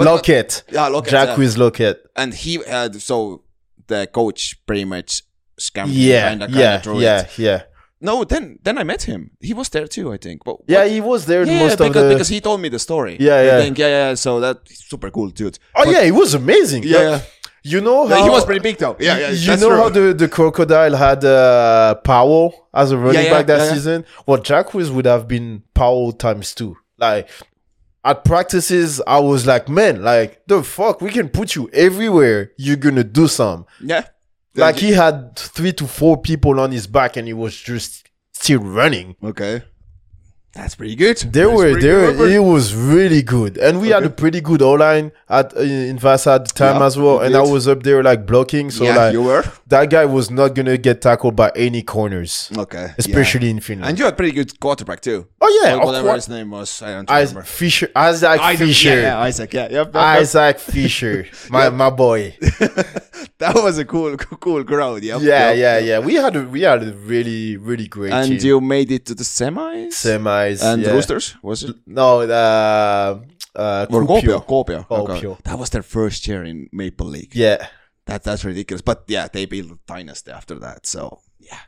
[SPEAKER 4] Lockett,
[SPEAKER 3] Yeah, Lockett. yeah.
[SPEAKER 4] Jacquees Lockett.
[SPEAKER 3] and he had so the coach pretty much scammed him,
[SPEAKER 4] Yeah,
[SPEAKER 3] kinda, kinda
[SPEAKER 4] yeah,
[SPEAKER 3] through
[SPEAKER 4] yeah,
[SPEAKER 3] It.
[SPEAKER 4] yeah,
[SPEAKER 3] No, then then I met him. He was there too, I think. But
[SPEAKER 4] yeah.
[SPEAKER 3] what-
[SPEAKER 4] He was there
[SPEAKER 3] yeah,
[SPEAKER 4] most
[SPEAKER 3] because,
[SPEAKER 4] of the.
[SPEAKER 3] because he told me the story.
[SPEAKER 4] Yeah,
[SPEAKER 3] I
[SPEAKER 4] yeah.
[SPEAKER 3] think, yeah, yeah. So that's super cool, dude.
[SPEAKER 4] oh
[SPEAKER 3] But-
[SPEAKER 4] yeah, he was amazing.
[SPEAKER 3] yeah, yeah.
[SPEAKER 4] you know how
[SPEAKER 3] Like, he was pretty big though. Yeah, yeah.
[SPEAKER 4] you
[SPEAKER 3] that's
[SPEAKER 4] know
[SPEAKER 3] true.
[SPEAKER 4] how the, the crocodile had uh, Powell as a running
[SPEAKER 3] yeah,
[SPEAKER 4] back that
[SPEAKER 3] yeah, yeah.
[SPEAKER 4] season? Well, Jacquees would have been Powell times two. Like at practices, I was like, man, like the fuck, we can put you everywhere. You're gonna do some.
[SPEAKER 3] yeah.
[SPEAKER 4] Like he had three to four people on his back, and he was just still running.
[SPEAKER 3] Okay. That's pretty good.
[SPEAKER 4] They
[SPEAKER 3] That's
[SPEAKER 4] were,
[SPEAKER 3] pretty
[SPEAKER 4] they
[SPEAKER 3] good,
[SPEAKER 4] were,
[SPEAKER 3] Robert.
[SPEAKER 4] it was really good. And we had a pretty good O line at, uh, in Vasa at the time
[SPEAKER 3] Yeah,
[SPEAKER 4] as well.
[SPEAKER 3] we
[SPEAKER 4] And I
[SPEAKER 3] did.
[SPEAKER 4] was up there like blocking. So,
[SPEAKER 3] Yeah,
[SPEAKER 4] like,
[SPEAKER 3] you were.
[SPEAKER 4] that guy was not going to get tackled by any corners,
[SPEAKER 3] Okay. yeah.
[SPEAKER 4] especially in Finland.
[SPEAKER 3] And you had pretty good quarterback too.
[SPEAKER 4] Oh, yeah,
[SPEAKER 3] Or
[SPEAKER 4] of
[SPEAKER 3] whatever
[SPEAKER 4] cour-
[SPEAKER 3] his name was, I don't
[SPEAKER 4] Isaac
[SPEAKER 3] remember.
[SPEAKER 4] Fisher, Isaac Fisher,
[SPEAKER 3] Yeah, yeah, Isaac. Yeah, yep, yep, yep.
[SPEAKER 4] Isaac Fisher, my my boy.
[SPEAKER 3] That was a cool, cool crowd. Yep,
[SPEAKER 4] Yeah,
[SPEAKER 3] yep,
[SPEAKER 4] yeah,
[SPEAKER 3] yep.
[SPEAKER 4] yeah. We had a, we had a really really great
[SPEAKER 3] And
[SPEAKER 4] team.
[SPEAKER 3] you made it to the semis.
[SPEAKER 4] semis
[SPEAKER 3] and
[SPEAKER 4] yeah.
[SPEAKER 3] Roosters was it?
[SPEAKER 4] No, uh, uh,
[SPEAKER 3] Or Kuopio?
[SPEAKER 4] Kuopio.
[SPEAKER 3] Kuopio. okay.
[SPEAKER 4] Kuopio.
[SPEAKER 3] That was their first year in Maple League.
[SPEAKER 4] Yeah,
[SPEAKER 3] That that's ridiculous. But yeah, they built a dynasty after that. So yeah,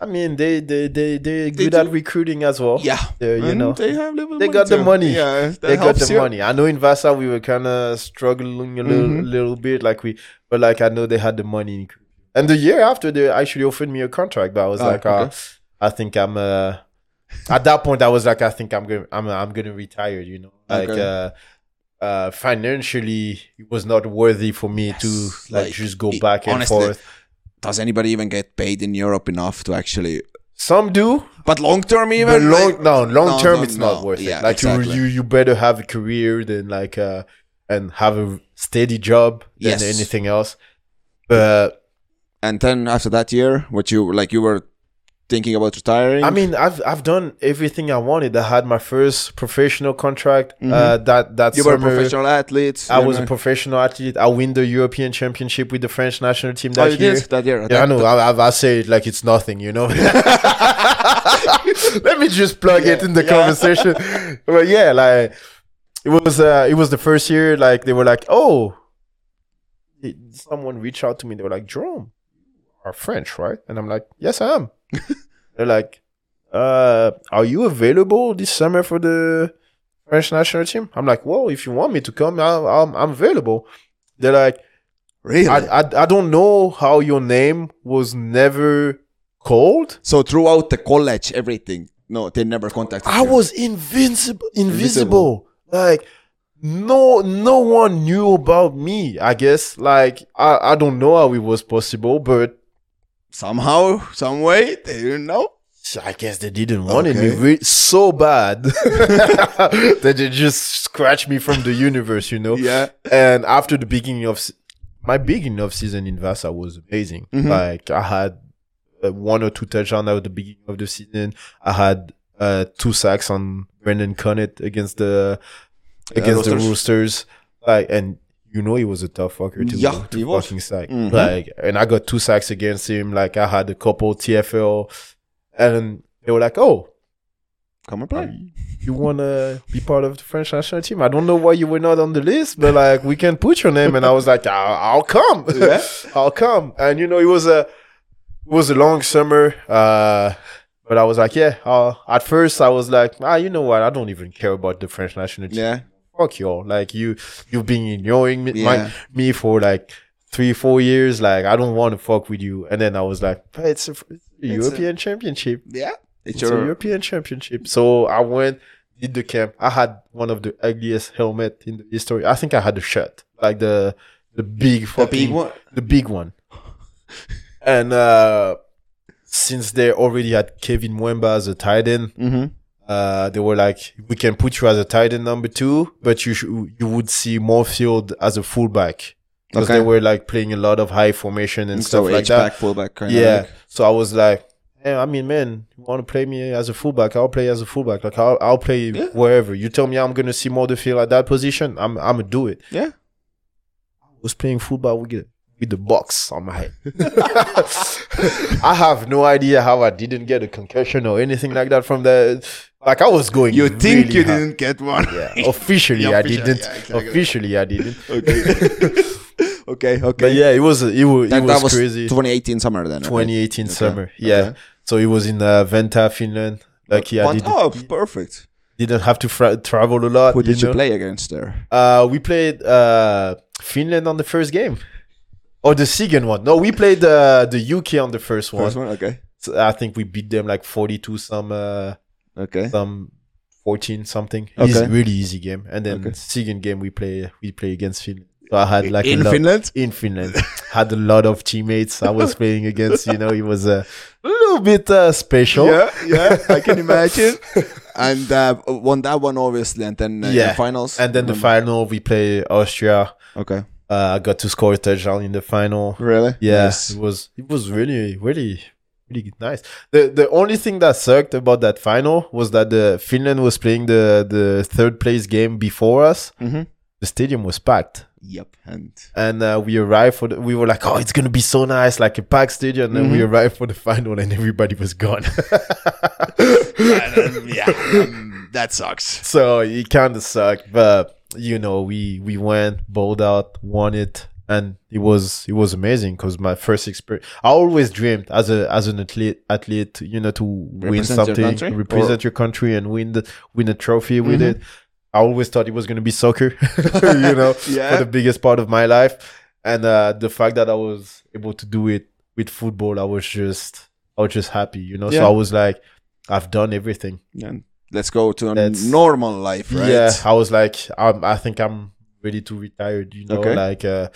[SPEAKER 4] I mean they they they they're good
[SPEAKER 3] do.
[SPEAKER 4] at recruiting as well.
[SPEAKER 3] yeah.
[SPEAKER 4] They're, you
[SPEAKER 3] And
[SPEAKER 4] know
[SPEAKER 3] they have little.
[SPEAKER 4] they got the
[SPEAKER 3] too.
[SPEAKER 4] money.
[SPEAKER 3] Yeah, that
[SPEAKER 4] they got
[SPEAKER 3] helps
[SPEAKER 4] the
[SPEAKER 3] you.
[SPEAKER 4] money. I know in Vasa we were kind of struggling a little,
[SPEAKER 3] Mm-hmm.
[SPEAKER 4] little bit, like we, but like I know they had the money. And the year after, they actually offered me a contract, but I was
[SPEAKER 3] Ah,
[SPEAKER 4] like, uh,
[SPEAKER 3] okay.
[SPEAKER 4] I think I'm. Uh, at that point, I was like, I think I'm gonna, I'm, I'm gonna retire. You know, like
[SPEAKER 3] Okay.
[SPEAKER 4] uh, uh, financially, it was not worthy for me
[SPEAKER 3] Yes,
[SPEAKER 4] to like,
[SPEAKER 3] like,
[SPEAKER 4] just go
[SPEAKER 3] it-
[SPEAKER 4] back and
[SPEAKER 3] honestly,
[SPEAKER 4] forth.
[SPEAKER 3] Does anybody even get paid in Europe enough to actually?
[SPEAKER 4] Some do,
[SPEAKER 3] But long term,
[SPEAKER 4] but
[SPEAKER 3] even
[SPEAKER 4] long,
[SPEAKER 3] like-
[SPEAKER 4] no, long
[SPEAKER 3] no,
[SPEAKER 4] term,
[SPEAKER 3] no,
[SPEAKER 4] it's not
[SPEAKER 3] no.
[SPEAKER 4] worth
[SPEAKER 3] Yeah,
[SPEAKER 4] it. Like
[SPEAKER 3] exactly.
[SPEAKER 4] you, you, you better have a career than like uh, and have a steady job than
[SPEAKER 3] Yes.
[SPEAKER 4] anything else. But
[SPEAKER 3] And then after that year, what you like, you were thinking about retiring.
[SPEAKER 4] I mean, I've I've done everything I wanted. I had my first professional contract. Uh, that that
[SPEAKER 3] Mm-hmm. you were a
[SPEAKER 4] summer,
[SPEAKER 3] professional athlete.
[SPEAKER 4] I
[SPEAKER 3] you
[SPEAKER 4] was a
[SPEAKER 3] know.
[SPEAKER 4] professional athlete. I win the European Championship with the French national team
[SPEAKER 3] Oh,
[SPEAKER 4] that
[SPEAKER 3] you
[SPEAKER 4] year.
[SPEAKER 3] did that year.
[SPEAKER 4] Yeah, I know. I, I- I say it like it's nothing, you know. Let me just plug it in the conversation. But yeah, like it was. Uh, it was the first year. Like they were like, oh, it- someone reached out to me. They were like, Jerome, you are French, right? And I'm like, yes, I am. They're like, uh, are you available this summer for the French national team? I'm like, well, if you want me to come, I'm, I'm, I'm available. They're like,
[SPEAKER 3] Really?
[SPEAKER 4] I, I, I don't know how your name was never called.
[SPEAKER 3] so throughout the college, everything. No, they never contacted.
[SPEAKER 4] I
[SPEAKER 3] you.
[SPEAKER 4] was invincible, invisible.
[SPEAKER 3] Invisible.
[SPEAKER 4] Like no, no one knew about me. I guess. Like I, I don't know how it was possible, but
[SPEAKER 3] somehow, some way. They didn't know.
[SPEAKER 4] I guess they didn't want it me
[SPEAKER 3] Okay.
[SPEAKER 4] re- so bad that they just scratched me from the universe. You know.
[SPEAKER 3] Yeah.
[SPEAKER 4] and after the beginning of se- my beginning of season in Vasa was amazing.
[SPEAKER 3] Mhm.
[SPEAKER 4] Like I had uh, one or two touchdowns at the beginning of the season. I had uh, two sacks on Brendan Connett against the against the
[SPEAKER 3] Uh, Roosters.
[SPEAKER 4] Roosters. Like and you know he was a tough fucker too.
[SPEAKER 3] Yeah,
[SPEAKER 4] to
[SPEAKER 3] he was.
[SPEAKER 4] fucking sack.
[SPEAKER 3] Mhm.
[SPEAKER 4] Like and I got two sacks against him. Like I had a couple TFL, and they were like, oh.
[SPEAKER 3] Come and play.
[SPEAKER 4] You wanna be part of the French national team? I don't know why you were not on the list, but like we can put your name. And I was like, I'll, I'll come,
[SPEAKER 3] Yeah.
[SPEAKER 4] I'll come. And you know, it was a it was a long summer, uh, but I was like, yeah. Uh, at first, I was like, ah, you know what? I don't even care about the French national team.
[SPEAKER 3] Yeah.
[SPEAKER 4] Fuck you all. Like you, you've been ignoring me, my-
[SPEAKER 3] Yeah.
[SPEAKER 4] me for like three, four years. Like I don't want to fuck with you. And then I was like, but it's a, it's a
[SPEAKER 3] a-
[SPEAKER 4] European championship.
[SPEAKER 3] Yeah. It's
[SPEAKER 4] It's a
[SPEAKER 3] your
[SPEAKER 4] European Championship. So I went, did the camp. I had one of the ugliest helmet in the history. I think I had a shirt, like the the big
[SPEAKER 3] the
[SPEAKER 4] fucking,
[SPEAKER 3] big one.
[SPEAKER 4] the big one. and uh, since they already had Kevin Mwemba as a tight end,
[SPEAKER 3] Mm-hmm.
[SPEAKER 4] uh, they were like, "We can put you as a tight end number two, but you should you would see Moorfield as a fullback." Because
[SPEAKER 3] Okay.
[SPEAKER 4] they were like playing a lot of high formation and
[SPEAKER 3] so
[SPEAKER 4] stuff like
[SPEAKER 3] H
[SPEAKER 4] that.
[SPEAKER 3] back, fullback, kind
[SPEAKER 4] Yeah.
[SPEAKER 3] of.
[SPEAKER 4] So I was like, hey, I mean, man, you want to play me as a fullback? I'll play as a fullback. Like I'll, I'll play wherever. You tell me I'm gonna see more the field at that position. I'm I'm gonna do it.
[SPEAKER 3] Yeah.
[SPEAKER 4] I was playing football with the, with the box on my head. I have no idea how I didn't get a concussion or anything like that from the. Like I was going.
[SPEAKER 3] You think
[SPEAKER 4] really
[SPEAKER 3] you
[SPEAKER 4] hard.
[SPEAKER 3] didn't get one?
[SPEAKER 4] Yeah. Officially,
[SPEAKER 3] Yeah,
[SPEAKER 4] I
[SPEAKER 3] officially,
[SPEAKER 4] didn't.
[SPEAKER 3] yeah, exactly.
[SPEAKER 4] Officially, I didn't.
[SPEAKER 3] okay. okay. Okay.
[SPEAKER 4] But yeah, it was it was, it
[SPEAKER 3] That,
[SPEAKER 4] was,
[SPEAKER 3] that was
[SPEAKER 4] crazy.
[SPEAKER 3] 2018 summer then. right?
[SPEAKER 4] 2018 summer. Yeah.
[SPEAKER 3] okay.
[SPEAKER 4] So it was in uh, Venta, Finland. Like yeah,
[SPEAKER 3] What?
[SPEAKER 4] did,
[SPEAKER 3] Oh, perfect.
[SPEAKER 4] didn't have to fra- travel a lot.
[SPEAKER 3] Who did you
[SPEAKER 4] know?
[SPEAKER 3] play against there?
[SPEAKER 4] Uh, we played uh, Finland on the first game. Or the second one. No, we played uh, the UK on the first one.
[SPEAKER 3] First one. Okay.
[SPEAKER 4] So I think we beat them like 42 some uh,
[SPEAKER 3] Okay.
[SPEAKER 4] some 14 something.
[SPEAKER 3] Okay.
[SPEAKER 4] Easy, really easy game. And then
[SPEAKER 3] Okay.
[SPEAKER 4] second game we play we play against Finland. So I had like a
[SPEAKER 3] In
[SPEAKER 4] lot,
[SPEAKER 3] Finland?
[SPEAKER 4] in Finland. had a lot of teammates I was playing against, you know, it was a little bit uh, special.
[SPEAKER 3] yeah, I can imagine. and uh, won that one obviously, and then uh, in the finals.
[SPEAKER 4] And then the
[SPEAKER 3] Remember?
[SPEAKER 4] final, we play Austria.
[SPEAKER 3] Okay.
[SPEAKER 4] Uh, I got to score a touchdown in the final.
[SPEAKER 3] Really?
[SPEAKER 4] Yes, it was. It was really, really, really nice. the The only thing that sucked about that final was that the Finland was playing the the third place game before us.
[SPEAKER 3] Mm-hmm.
[SPEAKER 4] The stadium was packed,
[SPEAKER 3] Yep. And
[SPEAKER 4] and uh, we arrived for. The, we were like, "Oh, it's gonna be so nice, like a packed stadium." And then we arrived for the final, and everybody was gone.
[SPEAKER 3] yeah, um, that sucks.
[SPEAKER 4] so it kind of sucked, but you know, we we went, bowled out, won it, and it was it was amazing because my first experience. I always dreamed as a as an athlete, athlete, you know, to win
[SPEAKER 3] Represent your
[SPEAKER 4] something,
[SPEAKER 3] country? Mm-hmm.
[SPEAKER 4] represent your country, and win the win a trophy with it. I always thought it was gonna be soccer, you know,
[SPEAKER 3] Yeah.
[SPEAKER 4] for the biggest part of my life, and uh, the fact that I was able to do it with football, I was just I was just happy, you know.
[SPEAKER 3] Yeah.
[SPEAKER 4] So I was like, I've done everything.
[SPEAKER 3] And let's go to a
[SPEAKER 4] That's-
[SPEAKER 3] normal life, right?
[SPEAKER 4] Yeah, I was like, um, I think I'm ready to retire, you know,
[SPEAKER 3] Okay.
[SPEAKER 4] like uh,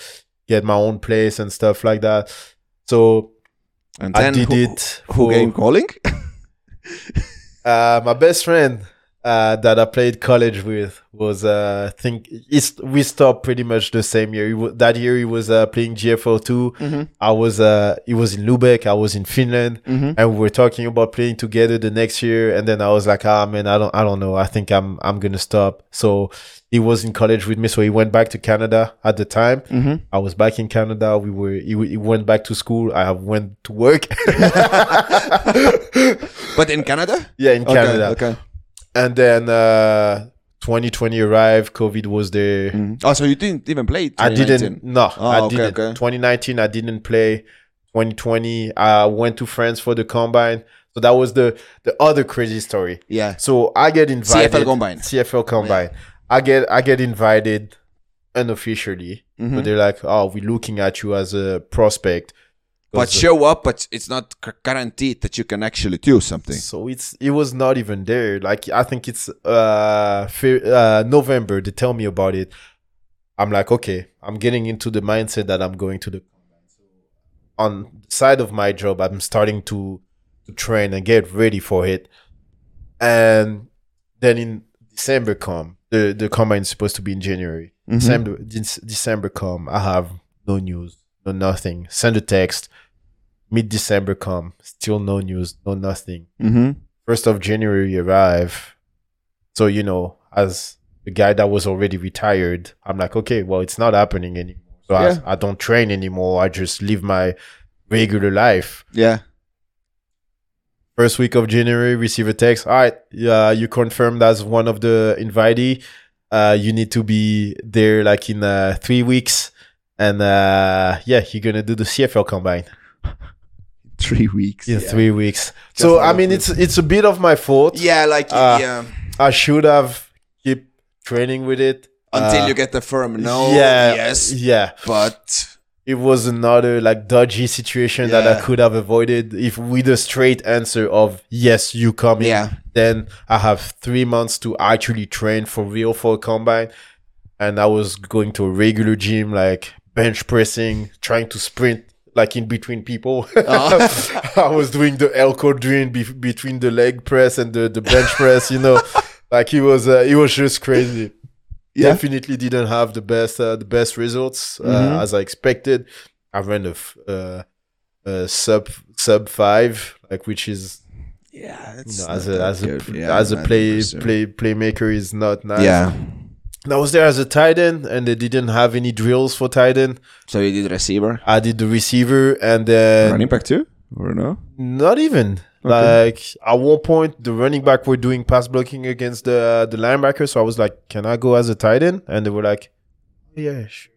[SPEAKER 4] get my own place and stuff like that. So
[SPEAKER 3] And
[SPEAKER 4] I
[SPEAKER 3] then
[SPEAKER 4] did
[SPEAKER 3] who,
[SPEAKER 4] it.
[SPEAKER 3] Who
[SPEAKER 4] for,
[SPEAKER 3] game calling?
[SPEAKER 4] Uh, my best friend uh, that I played college with was, uh, I think, it's, we stopped pretty much the same year. He wa- that year he was uh, playing GFO 2 I was, uh, he was in Lubeck. I was in Finland, and we were talking about playing together the next year. And then I was like, ah, man, I don't, I don't know. I think I'm, I'm gonna stop. So he was in college with me, so he went back to Canada at the time. I was back in Canada. We were, he, w- he went back to school. I went to work.
[SPEAKER 3] But in Canada?
[SPEAKER 4] yeah, in Canada
[SPEAKER 3] Okay. okay.
[SPEAKER 4] and then uh 2020 arrived covid was there
[SPEAKER 3] Oh, so you didn't even play?
[SPEAKER 4] i didn't
[SPEAKER 3] 2019?
[SPEAKER 4] no
[SPEAKER 3] Oh,
[SPEAKER 4] i
[SPEAKER 3] okay,
[SPEAKER 4] didn't
[SPEAKER 3] okay.
[SPEAKER 4] 2019 i didn't play 2020 i went to france for the combine so that was the the other crazy story
[SPEAKER 3] Yeah.
[SPEAKER 4] so i get invited
[SPEAKER 3] Combine.
[SPEAKER 4] cfl combine i get i get invited unofficially
[SPEAKER 3] Mm-hmm.
[SPEAKER 4] but they're like oh we're looking at you as a prospect uh,
[SPEAKER 3] But show up, but it's not c- guaranteed that you can actually do something.
[SPEAKER 4] So it's it was not even there. Like I think it's uh, fe- uh November. They tell me about it. I'm like, okay, I'm getting into the mindset that I'm going to the on the side of my job. I'm starting to to train and get ready for it. And then in December come the the combine is supposed to be in January. December Dec- December come. I have no news, no nothing. Send a text. Mid December come. Still no news, no nothing
[SPEAKER 3] Mm-hmm.
[SPEAKER 4] first of January arrive. So you know, as the guy that was already retired, I'm like, okay, well, it's not happening anymore. So
[SPEAKER 3] Yeah.
[SPEAKER 4] I, I don't train anymore. I just live my regular life.
[SPEAKER 3] Yeah.
[SPEAKER 4] First week of January, receive a text. All right, yeah, you confirmed as one of the invitee. Uh, you need to be there like in uh, three weeks, and uh, yeah, you're gonna do the CFL combine.
[SPEAKER 3] Three weeks.
[SPEAKER 4] in
[SPEAKER 3] Yeah.
[SPEAKER 4] three weeks. so
[SPEAKER 3] out
[SPEAKER 4] I
[SPEAKER 3] of
[SPEAKER 4] mean, it's it's a bit of my fault.
[SPEAKER 3] Yeah, like
[SPEAKER 4] Uh,
[SPEAKER 3] yeah.
[SPEAKER 4] I should have keep training with it
[SPEAKER 3] Until
[SPEAKER 4] uh,
[SPEAKER 3] you get the firm no.
[SPEAKER 4] yeah,
[SPEAKER 3] Yes.
[SPEAKER 4] yeah.
[SPEAKER 3] But
[SPEAKER 4] It was another like dodgy situation that I
[SPEAKER 3] Yeah.
[SPEAKER 4] could have avoided if with a straight answer of yes, you come in.
[SPEAKER 3] Yeah.
[SPEAKER 4] Then I have three months to actually train for real for a combine, and I was going to a regular gym like bench pressing, trying to sprint. Like in between people,
[SPEAKER 3] Oh.
[SPEAKER 4] I was doing the L quadrine be- between the leg press and the, the bench press. You know, like it was uh, it was just crazy
[SPEAKER 3] Yeah.
[SPEAKER 4] definitely didn't have the best uh, the best results uh,
[SPEAKER 3] Mhm.
[SPEAKER 4] as I expected. I ran a, f- uh, a sub sub five, like which is
[SPEAKER 3] yeah,
[SPEAKER 4] you
[SPEAKER 3] it's
[SPEAKER 4] know,
[SPEAKER 3] not
[SPEAKER 4] as a
[SPEAKER 3] that
[SPEAKER 4] as a
[SPEAKER 3] good.
[SPEAKER 4] pl-
[SPEAKER 3] Yeah,
[SPEAKER 4] as a
[SPEAKER 3] not
[SPEAKER 4] play
[SPEAKER 3] impressive.
[SPEAKER 4] play playmaker is not nice.
[SPEAKER 3] Yeah.
[SPEAKER 4] And I was there as a tight end, and they didn't have any drills for tight end.
[SPEAKER 3] So you did receiver,
[SPEAKER 4] I did the receiver, and then
[SPEAKER 3] running back too, or no?
[SPEAKER 4] Not even. Like at one point, the running back were doing pass blocking against the the linebacker, so I was like, "Can I go as a tight end?" And they were like, "Oh, "Yeah, sure,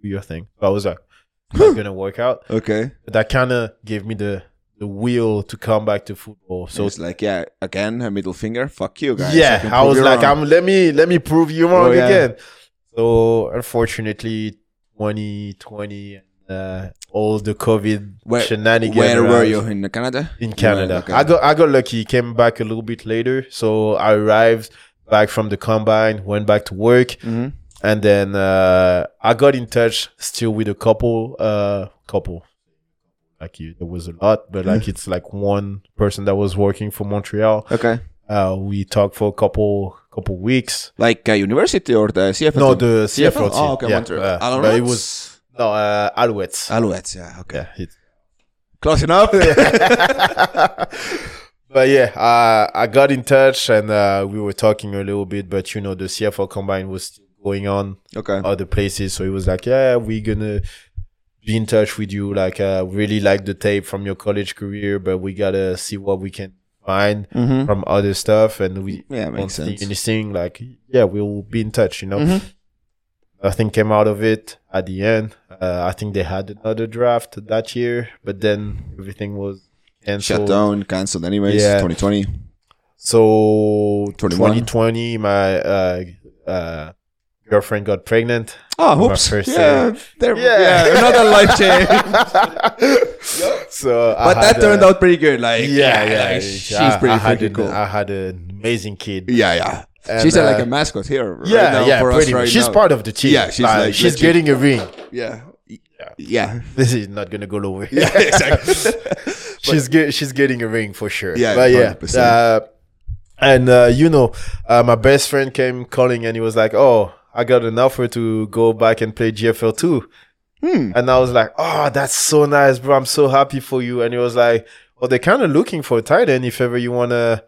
[SPEAKER 4] do your thing." So I was like, "Not gonna work out."
[SPEAKER 3] Okay.
[SPEAKER 4] But that kind of gave me the the will to come back to football.
[SPEAKER 3] So
[SPEAKER 4] So
[SPEAKER 3] it's like yeah, again a middle finger. Fuck you guys.
[SPEAKER 4] yeah,
[SPEAKER 3] can
[SPEAKER 4] I
[SPEAKER 3] prove
[SPEAKER 4] was
[SPEAKER 3] you
[SPEAKER 4] like,
[SPEAKER 3] wrong.
[SPEAKER 4] "I'm let me let me prove you wrong
[SPEAKER 3] Oh, yeah.
[SPEAKER 4] again." So unfortunately, 2020 uh, all the COVID
[SPEAKER 3] Where-
[SPEAKER 4] shenanigans.
[SPEAKER 3] Where were
[SPEAKER 4] around.
[SPEAKER 3] you in Canada? You
[SPEAKER 4] in
[SPEAKER 3] were
[SPEAKER 4] Canada.
[SPEAKER 3] okay.
[SPEAKER 4] I got I got lucky. Came back a little bit later, so I arrived back from the combine, went back to work,
[SPEAKER 3] Mhm.
[SPEAKER 4] and then uh, I got in touch still with a couple, uh, couple. Like you, there was a lot, but like it's like one person that was working for Montreal,
[SPEAKER 3] Okay.
[SPEAKER 4] Uh, we talked for a couple couple weeks.
[SPEAKER 3] Like uh, university or the CFL?
[SPEAKER 4] No,
[SPEAKER 3] team?
[SPEAKER 4] the CFL.
[SPEAKER 3] Oh, okay,
[SPEAKER 4] team. yeah,
[SPEAKER 3] Montreal.
[SPEAKER 4] uh,
[SPEAKER 3] Alouettes?
[SPEAKER 4] but it was no uh, Alouettes.
[SPEAKER 3] Alouettes, yeah, okay.
[SPEAKER 4] yeah, it-
[SPEAKER 3] Close enough.
[SPEAKER 4] but yeah, uh, I got in touch and uh, we were talking a little bit. But you know, the CFL combine was still going on
[SPEAKER 3] okay.
[SPEAKER 4] other places, so it was like, yeah, we're gonna be in touch with you. Like, uh, really like the tape from your college career, but we gotta see what we can find
[SPEAKER 3] Mhm.
[SPEAKER 4] from other stuff. And we
[SPEAKER 3] Yeah,
[SPEAKER 4] don't
[SPEAKER 3] makes
[SPEAKER 4] see
[SPEAKER 3] sense. Mm-hmm.
[SPEAKER 4] anything. Like, yeah, we'll be in touch. You know. Nothing came out of it at the end. Uh, I think they had another draft that year, but then everything was
[SPEAKER 3] Shut
[SPEAKER 4] canceled.
[SPEAKER 3] down, cancelled anyways.
[SPEAKER 4] Yeah.
[SPEAKER 3] 2020.
[SPEAKER 4] So
[SPEAKER 3] 21.
[SPEAKER 4] 2020, my uh, uh, girlfriend got pregnant.
[SPEAKER 3] Oh,
[SPEAKER 4] My
[SPEAKER 3] oops.
[SPEAKER 4] first
[SPEAKER 3] Yeah,
[SPEAKER 4] year.
[SPEAKER 3] there,
[SPEAKER 4] Yeah.
[SPEAKER 3] yeah. another life change.
[SPEAKER 4] So,
[SPEAKER 3] but that turned out pretty good. Like,
[SPEAKER 4] uh, Yeah, yeah,
[SPEAKER 3] like,
[SPEAKER 4] yeah.
[SPEAKER 3] she's
[SPEAKER 4] I-
[SPEAKER 3] pretty
[SPEAKER 4] I had
[SPEAKER 3] freaking
[SPEAKER 4] an-
[SPEAKER 3] cool.
[SPEAKER 4] I had an amazing kid.
[SPEAKER 3] yeah, yeah.
[SPEAKER 4] And,
[SPEAKER 3] she's uh, like
[SPEAKER 4] uh,
[SPEAKER 3] a mascot here. Right
[SPEAKER 4] yeah,
[SPEAKER 3] now
[SPEAKER 4] yeah,
[SPEAKER 3] for us
[SPEAKER 4] pretty much.
[SPEAKER 3] right
[SPEAKER 4] she's
[SPEAKER 3] now.
[SPEAKER 4] part of the team.
[SPEAKER 3] Yeah, she's like
[SPEAKER 4] she's
[SPEAKER 3] legit.
[SPEAKER 4] getting a ring.
[SPEAKER 3] Yeah. Yeah.
[SPEAKER 4] This is not gonna go nowhere.
[SPEAKER 3] Yeah, exactly.
[SPEAKER 4] she's get, she's getting a ring for sure.
[SPEAKER 3] Yeah,
[SPEAKER 4] but yeah.
[SPEAKER 3] 100%.
[SPEAKER 4] uh, and uh, you know, uh, my best friend came calling and he was like, "Oh, I got an offer to go back and play GFL two. And I was like, "Oh, that's so nice, bro! I'm so happy for you." And he was like, "Well, they're kind of looking for a tight end if ever you wanna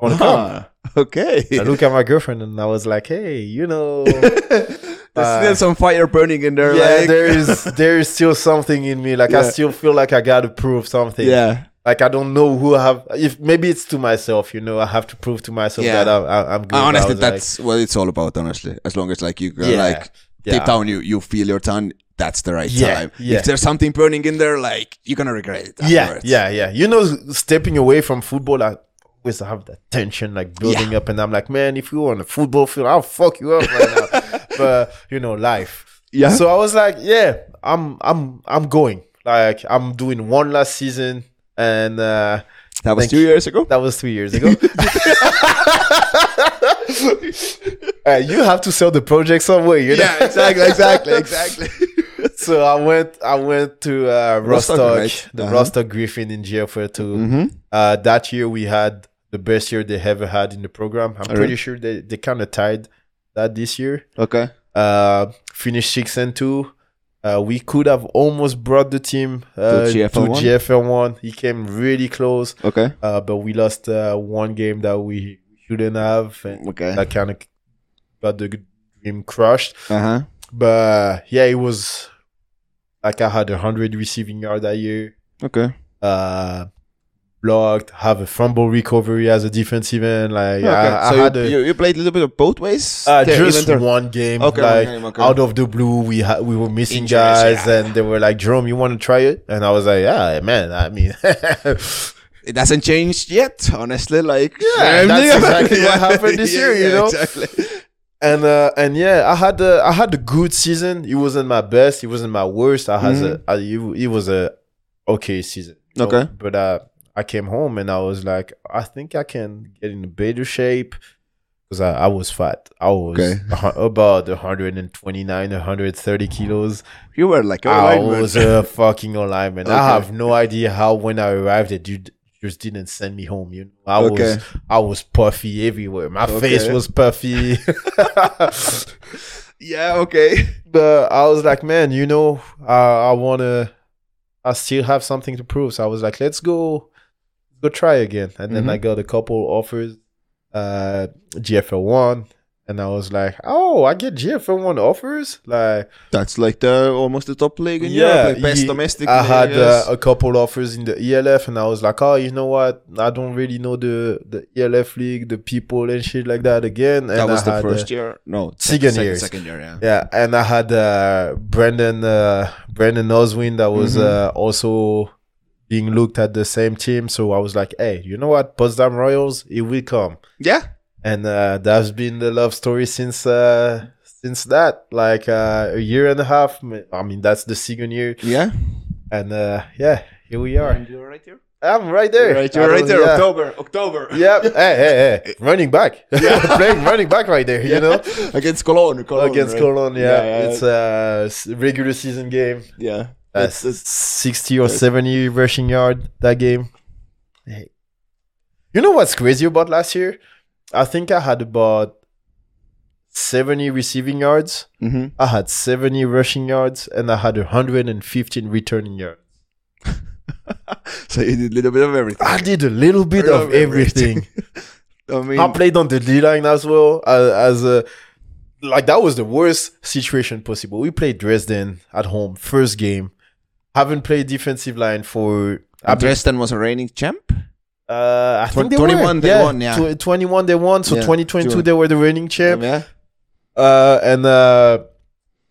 [SPEAKER 4] wanna
[SPEAKER 3] Ah.
[SPEAKER 4] come."
[SPEAKER 3] Huh. Okay.
[SPEAKER 4] I look at my girlfriend and I was like, "Hey, you know."
[SPEAKER 3] There's still some fire burning in there.
[SPEAKER 4] Uh, Yeah,
[SPEAKER 3] like,
[SPEAKER 4] there is there is still something in me. Like I
[SPEAKER 3] Yeah.
[SPEAKER 4] still feel like I gotta prove something.
[SPEAKER 3] Yeah.
[SPEAKER 4] Like I don't know who I have. If maybe it's to myself, you know, I have to prove to myself
[SPEAKER 3] Yeah.
[SPEAKER 4] that I'm, I- I'm good.
[SPEAKER 3] Uh, honestly,
[SPEAKER 4] I was like,
[SPEAKER 3] that's what it's all about. Honestly, as long as like you uh,
[SPEAKER 4] Yeah,
[SPEAKER 3] like
[SPEAKER 4] yeah.
[SPEAKER 3] deep down you you feel your tongue, that's the right
[SPEAKER 4] Yeah,
[SPEAKER 3] time.
[SPEAKER 4] yeah.
[SPEAKER 3] If there's something burning in there, like you're gonna regret it.
[SPEAKER 4] yeah,
[SPEAKER 3] afterwards.
[SPEAKER 4] yeah, yeah. You know, stepping away from football, I always have that tension like building up, and I'm like, man, if you were on a football field, I'll fuck you up right now. but you know, life.
[SPEAKER 3] Yeah.
[SPEAKER 4] So I was like, yeah, I'm, I'm, I'm going. Like I'm doing one last season, and uh,
[SPEAKER 3] That was
[SPEAKER 4] Thank
[SPEAKER 3] two
[SPEAKER 4] you.
[SPEAKER 3] years ago.
[SPEAKER 4] That was three years ago. Uh, you have to sell the project somewhere, you know.
[SPEAKER 3] yeah, exactly, exactly, exactly.
[SPEAKER 4] So I went, I went to uh, Rostock,
[SPEAKER 3] Rostock, right?
[SPEAKER 4] the
[SPEAKER 3] Uh-huh. Mm-hmm.
[SPEAKER 4] Rostock Griffin in GFL two. Uh, that year we had the best year they ever had in the program. I'm pretty
[SPEAKER 3] really?
[SPEAKER 4] sure they, they kind of tied that this year.
[SPEAKER 3] okay.
[SPEAKER 4] Uh, finished six and two. Uh, we could have almost brought the team uh,
[SPEAKER 3] To GFL one?
[SPEAKER 4] GFL one. He came really close.
[SPEAKER 3] Okay.
[SPEAKER 4] uh, but we lost uh, one game that we shouldn't have, and
[SPEAKER 3] Okay.
[SPEAKER 4] that kind of got the dream crushed.
[SPEAKER 3] Uh huh.
[SPEAKER 4] But yeah, it was like I had hundred receiving yard that year,
[SPEAKER 3] Okay.
[SPEAKER 4] uh, blocked, have a fumble recovery as a defensive end. Like I, I
[SPEAKER 3] so
[SPEAKER 4] had
[SPEAKER 3] you,
[SPEAKER 4] a,
[SPEAKER 3] you, you played a little bit of both ways.
[SPEAKER 4] uh,
[SPEAKER 3] There,
[SPEAKER 4] just
[SPEAKER 3] even there?
[SPEAKER 4] one game,
[SPEAKER 3] Okay, one
[SPEAKER 4] like
[SPEAKER 3] game, okay.
[SPEAKER 4] out of the blue, we ha- we were missing
[SPEAKER 3] Injuries,
[SPEAKER 4] guys,
[SPEAKER 3] yeah.
[SPEAKER 4] and they were like, "Jerome, you want to try it?" And I was like, "Yeah, man. I mean,
[SPEAKER 3] It hasn't changed yet, honestly. Like
[SPEAKER 4] Yeah, that's exactly what
[SPEAKER 3] Yeah.
[SPEAKER 4] happened this
[SPEAKER 3] Yeah,
[SPEAKER 4] year, you
[SPEAKER 3] yeah,
[SPEAKER 4] know?
[SPEAKER 3] Exactly.
[SPEAKER 4] and uh, and yeah, I had a, I had a good season. It wasn't my best. It wasn't my worst. I had a, I, it, it was a okay season. you know?
[SPEAKER 3] Mm-hmm. Okay.
[SPEAKER 4] but uh, I came home and I was like, I think I can get in better shape because I, I was fat. I was
[SPEAKER 3] Okay.
[SPEAKER 4] a hun- about 129, 130 kilos.
[SPEAKER 3] You were like,
[SPEAKER 4] I
[SPEAKER 3] alright, man.
[SPEAKER 4] was a fucking alignment. I
[SPEAKER 3] Okay.
[SPEAKER 4] have no idea how when I arrived, they did just didn't send me home. You know, I
[SPEAKER 3] Okay.
[SPEAKER 4] was I was puffy everywhere. My face
[SPEAKER 3] Okay.
[SPEAKER 4] was puffy.
[SPEAKER 3] yeah, okay.
[SPEAKER 4] but I was like, man, you know, I, I wanna, I still have something to prove. So I was like, let's go, go try again. And then
[SPEAKER 3] Mhm.
[SPEAKER 4] I got a couple offers, uh, GFL one, and I was like, oh, I get GFL one offers, like
[SPEAKER 3] That's like the almost the top league in Europe, like best
[SPEAKER 4] ye-
[SPEAKER 3] domestic. E
[SPEAKER 4] I
[SPEAKER 3] league,
[SPEAKER 4] had uh,
[SPEAKER 3] guess.
[SPEAKER 4] a couple offers in the ELF, and I was like, oh, you know what? I don't really know the the ELF league, the people and shit like that again. And
[SPEAKER 3] that was
[SPEAKER 4] I
[SPEAKER 3] the
[SPEAKER 4] had, uh,
[SPEAKER 3] first year. No,
[SPEAKER 4] second
[SPEAKER 3] second
[SPEAKER 4] years.
[SPEAKER 3] Second year, yeah.
[SPEAKER 4] Yeah, and I had uh, Brandon uh, Brandon Oswin that was uh,
[SPEAKER 3] Mm-hmm.
[SPEAKER 4] also being looked at the same team. So I was like, hey, you know what, Potsdam Royals, it will come.
[SPEAKER 3] Yeah.
[SPEAKER 4] And uh, that's been the love story since uh, since that, like uh, a year and a half. I mean, that's the second year,
[SPEAKER 3] Yeah.
[SPEAKER 4] and uh, yeah, here we are.
[SPEAKER 3] You're right here.
[SPEAKER 4] I'm right there.
[SPEAKER 3] Right,
[SPEAKER 4] I
[SPEAKER 3] you're right
[SPEAKER 4] don't-
[SPEAKER 3] there.
[SPEAKER 4] yeah.
[SPEAKER 3] October. October.
[SPEAKER 4] Yep. Hey, hey, hey. Running back. Playing running back right there, you know?
[SPEAKER 3] Against Cologne. Cologne
[SPEAKER 4] Against
[SPEAKER 3] right?
[SPEAKER 4] Cologne, yeah.
[SPEAKER 3] Oh, Yeah, yeah.
[SPEAKER 4] It's a s- regular season game.
[SPEAKER 3] Yeah.
[SPEAKER 4] Uh,
[SPEAKER 3] It's- it's-
[SPEAKER 4] 60 or 70 rushing yard that game. You know what's crazy about last year? I think I had about 70 receiving yards,
[SPEAKER 3] Mhm.
[SPEAKER 4] I had 70 rushing yards, and I had 115 returning yards.
[SPEAKER 3] So you did a little bit of everything.
[SPEAKER 4] I did a little bit of everything.
[SPEAKER 3] I mean,
[SPEAKER 4] I played on the D line as well as, as a like that was the worst situation possible. We played Dresden at home, first game. Haven't played defensive line for I
[SPEAKER 3] and
[SPEAKER 4] been-
[SPEAKER 3] Dresden was a reigning champ.
[SPEAKER 4] uh, I think they
[SPEAKER 3] 21
[SPEAKER 4] won.
[SPEAKER 3] they
[SPEAKER 4] yeah.
[SPEAKER 3] won, yeah.
[SPEAKER 4] Tw- 21 they won, so
[SPEAKER 3] Yeah,
[SPEAKER 4] 2022
[SPEAKER 3] sure.
[SPEAKER 4] they were the reigning champ.
[SPEAKER 3] Yeah.
[SPEAKER 4] Uh, and uh,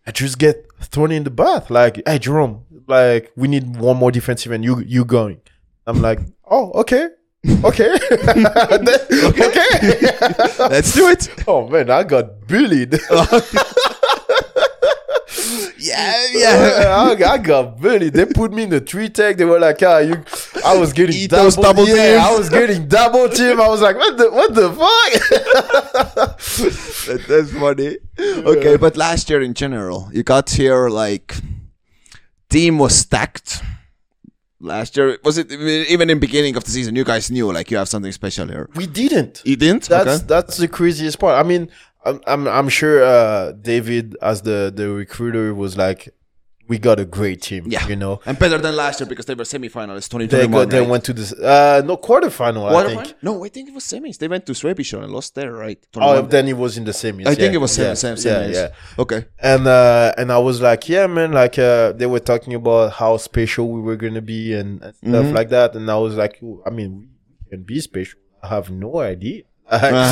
[SPEAKER 4] I just get thrown in the bath. Like, hey Jerome, like we need one more defensive and you you going. I'm like, oh okay, okay, okay.
[SPEAKER 3] Let's do it.
[SPEAKER 4] Oh man, I got bullied.
[SPEAKER 3] Yeah,
[SPEAKER 4] I, I got bullied. They put me in the three tech. They were like, ah, you. I was getting
[SPEAKER 3] Eat those double
[SPEAKER 4] yeah,
[SPEAKER 3] teams.
[SPEAKER 4] I was getting double team. I was like, what the what the fuck?
[SPEAKER 3] That- That's funny. Okay, but last year in general, you got here like team was stacked. Last year was it even in beginning of the season? You guys knew like you have something special here.
[SPEAKER 4] We didn't.
[SPEAKER 3] You didn't.
[SPEAKER 4] That's
[SPEAKER 3] okay.
[SPEAKER 4] that's the craziest part. I mean, I'm I'm, I'm sure uh, David, as the the recruiter, was like, we got a great team.
[SPEAKER 3] Yeah.
[SPEAKER 4] you know.
[SPEAKER 3] and better than last year because they were semifinalists. Twenty
[SPEAKER 4] They
[SPEAKER 3] twenty
[SPEAKER 4] got,
[SPEAKER 3] one.
[SPEAKER 4] they went to this uh no quarterfinal I think
[SPEAKER 3] No, I think it was semis. They went to Srebisho and lost there, right?
[SPEAKER 4] oh
[SPEAKER 3] 21.
[SPEAKER 4] then it was in the semis
[SPEAKER 3] I think
[SPEAKER 4] yeah,
[SPEAKER 3] it was semis.
[SPEAKER 4] yeah,
[SPEAKER 3] semis,
[SPEAKER 4] yeah
[SPEAKER 3] semis.
[SPEAKER 4] yeah
[SPEAKER 3] Okay.
[SPEAKER 4] and uh and i was like yeah man like uh they were talking about how special we were gonna be and, and stuff
[SPEAKER 3] Mm-hmm.
[SPEAKER 4] like that and i was like i mean we can be special i have no idea
[SPEAKER 3] Uh-huh.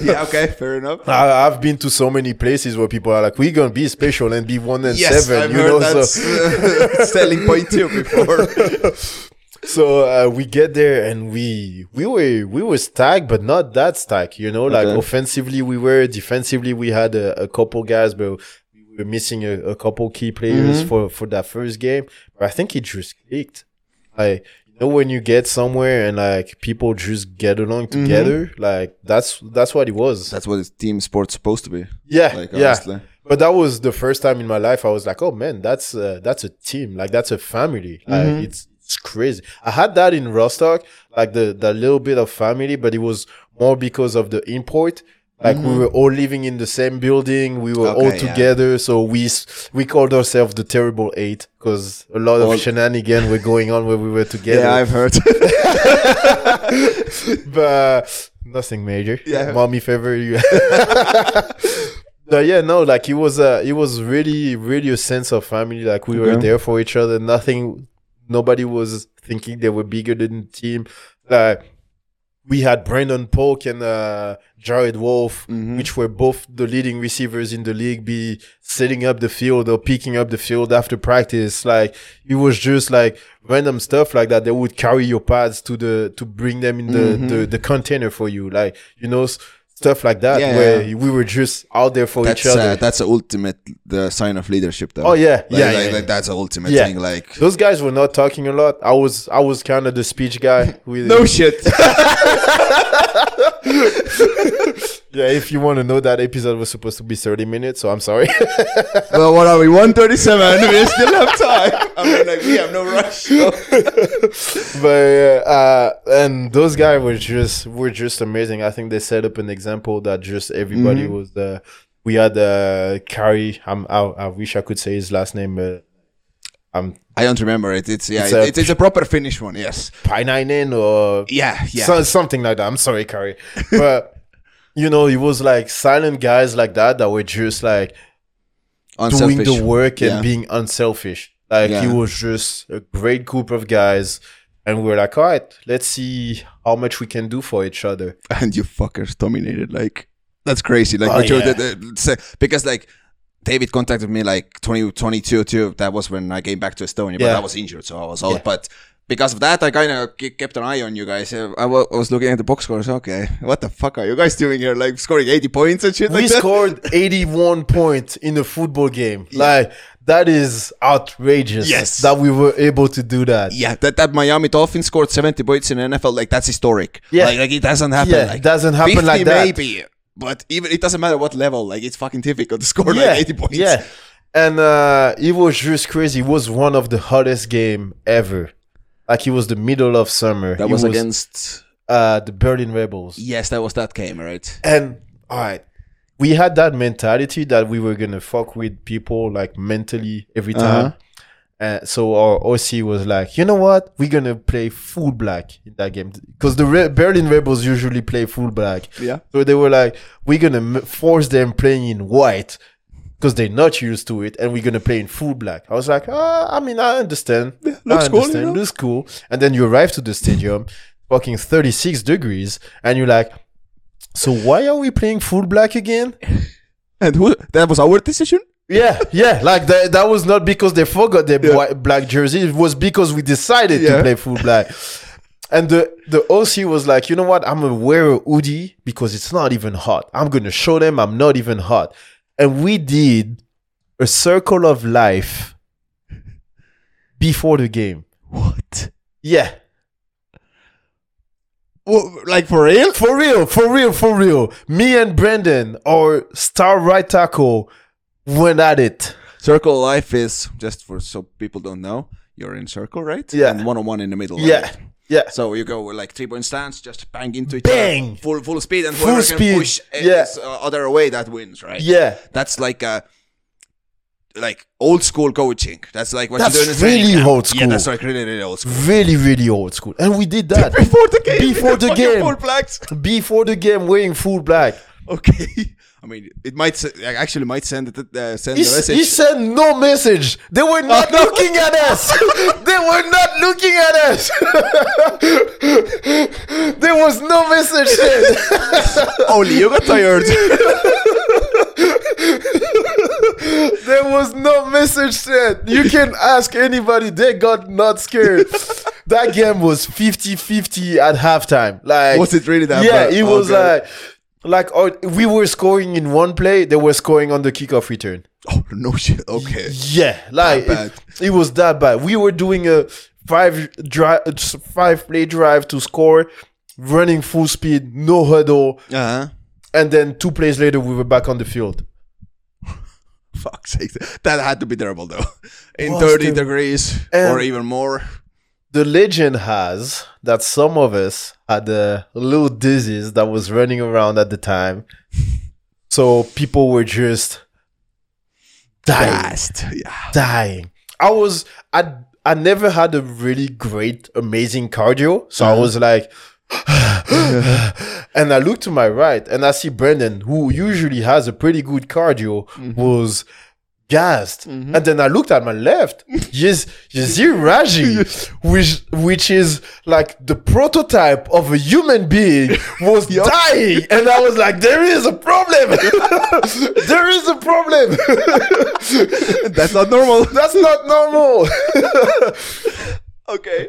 [SPEAKER 3] yeah. Okay. Fair enough.
[SPEAKER 4] I, I've been to so many places where people are like, "We're gonna be special and be one and
[SPEAKER 3] Yes,
[SPEAKER 4] 7
[SPEAKER 3] I've
[SPEAKER 4] you
[SPEAKER 3] heard
[SPEAKER 4] know.
[SPEAKER 3] that's
[SPEAKER 4] So,
[SPEAKER 3] uh, selling point too before.
[SPEAKER 4] so uh, we get there and we we were we were stacked, but not that stacked. You know, like
[SPEAKER 3] Okay.
[SPEAKER 4] offensively we were, defensively we had a, a couple guys, but we were missing a, a couple key players for for that first game. But I think it just clicked. Like you know, when you get somewhere and like people just get along together, like that's that's what it was.
[SPEAKER 3] That's what a team sport's supposed to be.
[SPEAKER 4] yeah,
[SPEAKER 3] Like,
[SPEAKER 4] yeah.
[SPEAKER 3] honestly.
[SPEAKER 4] But that was the first time in my life I was like, oh man, that's a, that's a team, like that's a family. Like
[SPEAKER 3] Mm-hmm.
[SPEAKER 4] it's it's crazy. I had that in Rostock, like the the little bit of family, but it was more because of the import. Like we were all living in the same building, we were all
[SPEAKER 3] Mm-hmm. Okay, yeah.
[SPEAKER 4] together, so we s- we called ourselves the Terrible Eight because a lot
[SPEAKER 3] All-
[SPEAKER 4] of shenanigans were going on when we were together.
[SPEAKER 3] Yeah, I've heard.
[SPEAKER 4] but uh, nothing major.
[SPEAKER 3] Yeah.
[SPEAKER 4] mommy favor you. but yeah, no, like it was a, it was really, really a sense of family. Like we were
[SPEAKER 3] Okay.
[SPEAKER 4] there for each other. Nothing, nobody was thinking they were bigger than the team. Like we had Brandon Polk and uh, Jared Wolf,
[SPEAKER 3] Mm-hmm.
[SPEAKER 4] which were both the leading receivers in the league, be setting up the field or picking up the field after practice. Like it was just like random stuff like that. They would carry your pads to the to bring them in the
[SPEAKER 3] Mm-hmm.
[SPEAKER 4] the, the container for you, like you know s- stuff like that.
[SPEAKER 3] Yeah,
[SPEAKER 4] where
[SPEAKER 3] yeah.
[SPEAKER 4] we were just out there for
[SPEAKER 3] that's
[SPEAKER 4] each other.
[SPEAKER 3] uh, that's the ultimate the sign of leadership. Though.
[SPEAKER 4] Oh, yeah,
[SPEAKER 3] Like-
[SPEAKER 4] yeah,
[SPEAKER 3] like,
[SPEAKER 4] yeah,
[SPEAKER 3] like
[SPEAKER 4] yeah.
[SPEAKER 3] that's the ultimate
[SPEAKER 4] Yeah.
[SPEAKER 3] thing. Like
[SPEAKER 4] Those guys were not talking a lot. I was I was kind of the speech guy. With,
[SPEAKER 3] shit.
[SPEAKER 4] yeah. If you want to know, that episode was supposed to be thirty minutes, so I'm sorry.
[SPEAKER 3] well, what are we? One thirty-seven. We still have time. I mean, like we have no rush.
[SPEAKER 4] but uh, and those guys were just were just amazing. I think they set up an example that just everybody was. Uh, we had uh, Carrie. I'm, I, I wish I could say his last name. Uh, I'm
[SPEAKER 3] I don't remember it. It's yeah.
[SPEAKER 4] It's
[SPEAKER 3] It's,
[SPEAKER 4] a-
[SPEAKER 3] it's, it's a proper Finnish one. Yes.
[SPEAKER 4] Painainen or
[SPEAKER 3] Yeah. Yeah.
[SPEAKER 4] so, something like that. I'm sorry, Carrie, but you know, it was like silent guys like that that were just like
[SPEAKER 3] Unselfish.
[SPEAKER 4] doing the work and
[SPEAKER 3] Yeah.
[SPEAKER 4] being unselfish. Like
[SPEAKER 3] Yeah.
[SPEAKER 4] he was just a great group of guys, and we were like, all right, let's see how much we can do for each other.
[SPEAKER 3] and you fuckers dominated. Like that's crazy. Like
[SPEAKER 4] Oh,
[SPEAKER 3] what you
[SPEAKER 4] yeah.
[SPEAKER 3] did, uh, say- because like David contacted me like 20, 22 too. That was when I came back to Estonia, but
[SPEAKER 4] Yeah.
[SPEAKER 3] I was injured, so I was out.
[SPEAKER 4] Yeah.
[SPEAKER 3] But because of that, I kind of kept an eye on you guys. Uh, I wa- I was looking at the box scores. Okay, what the fuck are you guys doing here? Like scoring eighty points and shit.
[SPEAKER 4] we
[SPEAKER 3] like that?
[SPEAKER 4] scored 81 points in a football game. Like that is outrageous.
[SPEAKER 3] Yes.
[SPEAKER 4] that we were able to do that.
[SPEAKER 3] Yeah, that, that Miami Dolphins scored 70 points in NFL, like that's historic.
[SPEAKER 4] Yeah.
[SPEAKER 3] Like, like, it doesn't happen.
[SPEAKER 4] Yeah,
[SPEAKER 3] like,
[SPEAKER 4] it doesn't happen
[SPEAKER 3] 50
[SPEAKER 4] like that.
[SPEAKER 3] Maybe, but even it doesn't matter what level, like it's fucking difficult to score
[SPEAKER 4] yeah,
[SPEAKER 3] like 80 points.
[SPEAKER 4] yeah. And uh, it was just crazy. It was one of the hottest game ever. Like it was the middle of summer.
[SPEAKER 3] That
[SPEAKER 4] It
[SPEAKER 3] was, against
[SPEAKER 4] uh, the Berlin Rebels.
[SPEAKER 3] Yes, that was that game, right?
[SPEAKER 4] And all right, we had that mentality that we were gonna fuck with people like mentally every time. And so our OC was like, you know what? We're gonna play full black in that game because the Re- Berlin Rebels usually play full black.
[SPEAKER 3] Yeah.
[SPEAKER 4] So they were like, we're gonna m- force them playing in white because they're not used to it, and we're gonna play in full black. I was like, ah, I mean, I understand.
[SPEAKER 3] looks
[SPEAKER 4] I
[SPEAKER 3] cool, you
[SPEAKER 4] understand.
[SPEAKER 3] know?
[SPEAKER 4] Looks cool. And then you arrive to the stadium, fucking 36 degrees, and you're like, so why are we playing full black again?
[SPEAKER 3] And who? That was our decision.
[SPEAKER 4] Yeah, yeah. Like that, that was not because they forgot their
[SPEAKER 3] Yeah.
[SPEAKER 4] white, black jersey. It was because we decided
[SPEAKER 3] Yeah.
[SPEAKER 4] to play full black. And the, the OC was like, you know what? I'm gonna wear a hoodie because it's not even hot. I'm gonna show them I'm not even hot. And we did a circle of life before the game.
[SPEAKER 3] What?
[SPEAKER 4] Yeah.
[SPEAKER 3] Well, like for real?
[SPEAKER 4] For real, for real, for real. Me and Brendan, our star right tackle, went at it.
[SPEAKER 3] Circle life is just for so people don't know. You're in circle, right?
[SPEAKER 4] Yeah.
[SPEAKER 3] And one on one in the middle.
[SPEAKER 4] Yeah.
[SPEAKER 3] right?
[SPEAKER 4] Yeah.
[SPEAKER 3] So you go with like three point stance, just bang into each
[SPEAKER 4] Bang!
[SPEAKER 3] other, full full speed, and
[SPEAKER 4] Full
[SPEAKER 3] whoever
[SPEAKER 4] speed,
[SPEAKER 3] can push uh,
[SPEAKER 4] yeah.
[SPEAKER 3] this, uh, other away that wins, right?
[SPEAKER 4] Yeah.
[SPEAKER 3] That's like a like old school coaching. That's like what
[SPEAKER 4] That's
[SPEAKER 3] you do in the training
[SPEAKER 4] really
[SPEAKER 3] camp.
[SPEAKER 4] old
[SPEAKER 3] Yeah,
[SPEAKER 4] school.
[SPEAKER 3] that's like really really old school.
[SPEAKER 4] really, really old school. And we did that
[SPEAKER 3] Before the game,
[SPEAKER 4] Before the
[SPEAKER 3] fucking
[SPEAKER 4] game.
[SPEAKER 3] full blacks.
[SPEAKER 4] before the game wearing full black.
[SPEAKER 3] Okay. I mean, it might se- like, actually might send it, uh, send
[SPEAKER 4] He,
[SPEAKER 3] the
[SPEAKER 4] s-
[SPEAKER 3] message.
[SPEAKER 4] he sent no message. They were not looking at us. they were not looking at us. there was no message sent. uh,
[SPEAKER 3] Only you Oh, got tired.
[SPEAKER 4] there was no message sent. You can ask anybody. They got not scared. that game was 50-50 at halftime. Like
[SPEAKER 3] Was it really that
[SPEAKER 4] Yeah,
[SPEAKER 3] bad?
[SPEAKER 4] it was
[SPEAKER 3] Okay.
[SPEAKER 4] like like oh, we were scoring in one play, they were scoring on the kickoff return.
[SPEAKER 3] oh no shit. Okay.
[SPEAKER 4] Yeah, like
[SPEAKER 3] bad.
[SPEAKER 4] it, it was that bad. We were doing a five drive, five play drive to score, running full speed, no huddle,
[SPEAKER 3] Uh huh.
[SPEAKER 4] and then two plays later we were back on the field.
[SPEAKER 3] Fuck's sake. That had to be terrible though. In
[SPEAKER 4] Was
[SPEAKER 3] 30
[SPEAKER 4] the-
[SPEAKER 3] degrees
[SPEAKER 4] And-
[SPEAKER 3] or even more.
[SPEAKER 4] The legend has that some of us had a little disease that was running around at the time, so people were just dying.
[SPEAKER 3] Fast. Yeah.
[SPEAKER 4] dying. I was I I never had a really great amazing cardio, so I was like and I look to my right and I see Brendan who usually has a pretty good cardio was gassed. And then I looked at my left. yes, you see Raji, which which is like the prototype of a human being was dying and I was like there is a problem. there is a problem.
[SPEAKER 3] That's not normal.
[SPEAKER 4] That's not normal.
[SPEAKER 3] okay.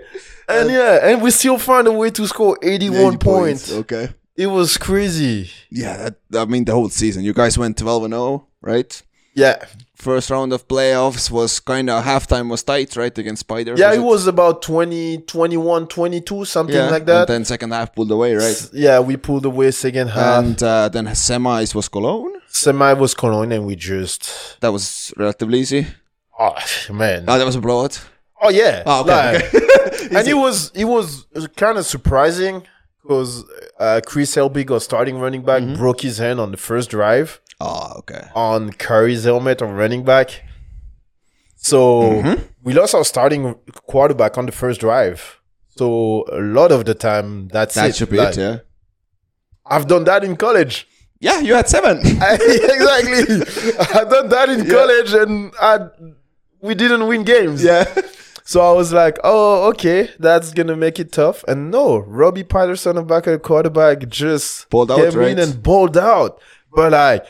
[SPEAKER 4] and yeah, and we still found a way to score 81 points.
[SPEAKER 3] Okay.
[SPEAKER 4] It was crazy.
[SPEAKER 3] Yeah, that, I mean the whole season. You guys went 12 and 0, right?
[SPEAKER 4] Yeah.
[SPEAKER 3] First round of playoffs was kind of halftime was tight, right, against Spider.
[SPEAKER 4] Yeah, it was about 20, 21, 22, something
[SPEAKER 3] Yeah,
[SPEAKER 4] like that.
[SPEAKER 3] And then second half pulled away, right?
[SPEAKER 4] yeah, we pulled away second half.
[SPEAKER 3] And uh, then semis was Cologne.
[SPEAKER 4] Semi was Cologne and we just
[SPEAKER 3] That was relatively easy.
[SPEAKER 4] oh man.
[SPEAKER 3] Oh, that was a blowout.
[SPEAKER 4] oh yeah.
[SPEAKER 3] Oh, okay.
[SPEAKER 4] like- and it was it was kind of surprising because uh, Chris Elbig, our starting running back,
[SPEAKER 3] Mm-hmm.
[SPEAKER 4] broke his hand on the first drive.
[SPEAKER 3] oh, okay.
[SPEAKER 4] on Curry's helmet on running back. So
[SPEAKER 3] Mm-hmm.
[SPEAKER 4] we lost our starting quarterback on the first drive. So a lot of the time, that's
[SPEAKER 3] That
[SPEAKER 4] it.
[SPEAKER 3] should be
[SPEAKER 4] Like,
[SPEAKER 3] it, yeah.
[SPEAKER 4] I've done that in college.
[SPEAKER 3] Yeah, you had seven.
[SPEAKER 4] exactly. I've done that in college, and I we didn't win games.
[SPEAKER 3] yeah.
[SPEAKER 4] So I was like, oh, okay, that's gonna make it tough. And no, Robbie Patterson, a backup quarterback, just
[SPEAKER 3] Balled out,
[SPEAKER 4] came
[SPEAKER 3] right?
[SPEAKER 4] in and balled out. But like,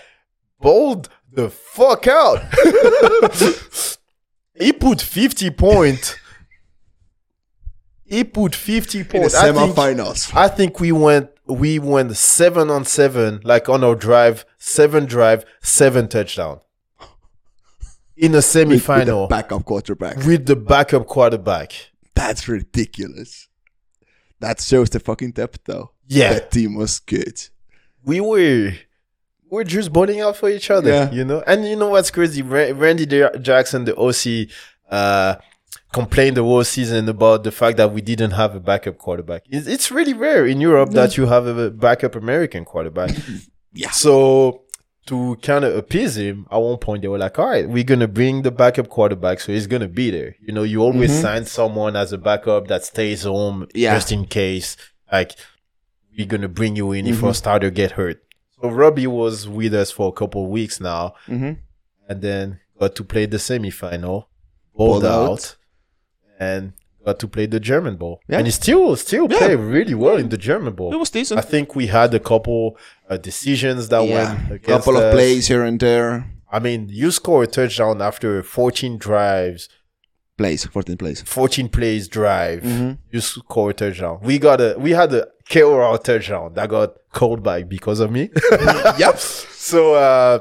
[SPEAKER 4] balled the fuck out. he put fifty point. He put fifty
[SPEAKER 3] In the
[SPEAKER 4] points. I think-
[SPEAKER 3] semifinals.
[SPEAKER 4] I think we went we went seven on seven, like on our drive, seven drive, seven touchdown. In a semifinal
[SPEAKER 3] Backup quarterback.
[SPEAKER 4] with the backup quarterback.
[SPEAKER 3] That's ridiculous. That shows the fucking depth, though.
[SPEAKER 4] Yeah.
[SPEAKER 3] That team was good.
[SPEAKER 4] We were we're just bowling out for each other,
[SPEAKER 3] Yeah.
[SPEAKER 4] you know. And you know what's crazy? Ra- Randy J- Jackson, the OC, uh, complained the whole season about the fact that we didn't have a backup quarterback. It's, it's really rare in Europe that you have a backup American quarterback.
[SPEAKER 3] Yeah.
[SPEAKER 4] So to kind of appease him, at one point they were like, "All right, we're gonna bring the backup quarterback, so he's gonna be there." You know, you always sign someone as a backup that stays home
[SPEAKER 3] Mm-hmm. Yeah.
[SPEAKER 4] just in case. Like, we're gonna bring you in
[SPEAKER 3] Mm-hmm.
[SPEAKER 4] if our starter get hurt. So Robbie was with us for a couple of weeks now,
[SPEAKER 3] Mhm.
[SPEAKER 4] and then got to play the semifinal, bowled
[SPEAKER 3] Bowled out.
[SPEAKER 4] out. and got to play the German Bowl.
[SPEAKER 3] Yeah.
[SPEAKER 4] And he still still
[SPEAKER 3] Yeah.
[SPEAKER 4] played really well in the German Bowl.
[SPEAKER 3] It was decent.
[SPEAKER 4] I think we had a couple uh, decisions that went
[SPEAKER 3] yeah.
[SPEAKER 4] against
[SPEAKER 3] Couple of
[SPEAKER 4] us.
[SPEAKER 3] plays here and there.
[SPEAKER 4] I mean, you score a touchdown after 14 drives,
[SPEAKER 3] Plays, 14 plays.
[SPEAKER 4] 14 plays drive.
[SPEAKER 3] Mm-hmm.
[SPEAKER 4] You score a touchdown. We got a we had a KOR touchdown that got called back because of me.
[SPEAKER 3] yep.
[SPEAKER 4] so uh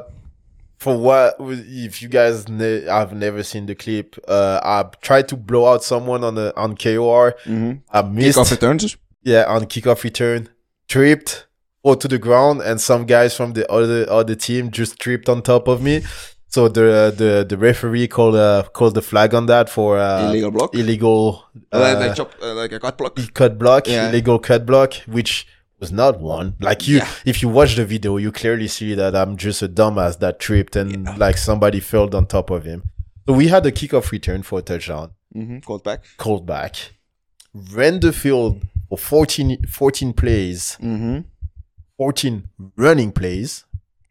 [SPEAKER 4] for what if you guys ne- have never seen the clip, uh I tried to blow out someone on the on KOR.
[SPEAKER 3] Mm-hmm.
[SPEAKER 4] I missed
[SPEAKER 3] Kickoff returns.
[SPEAKER 4] yeah, on kickoff return, tripped or to the ground, and some guys from the other other team just tripped on top of me. So the the the referee called uh, called the flag on that for uh,
[SPEAKER 3] Illegal block?
[SPEAKER 4] illegal
[SPEAKER 3] like,
[SPEAKER 4] uh,
[SPEAKER 3] like, chop, uh, like a cut block.
[SPEAKER 4] cut block,
[SPEAKER 3] Yeah.
[SPEAKER 4] illegal cut block, which was not one. Like you,
[SPEAKER 3] Yeah.
[SPEAKER 4] if you watch the video, you clearly see that I'm just a dumbass that tripped and like somebody fell on top of him. So we had a kickoff return for a touchdown
[SPEAKER 3] Mm-hmm. Called back.
[SPEAKER 4] called back, ran the field for 14, 14 plays, 14 running plays.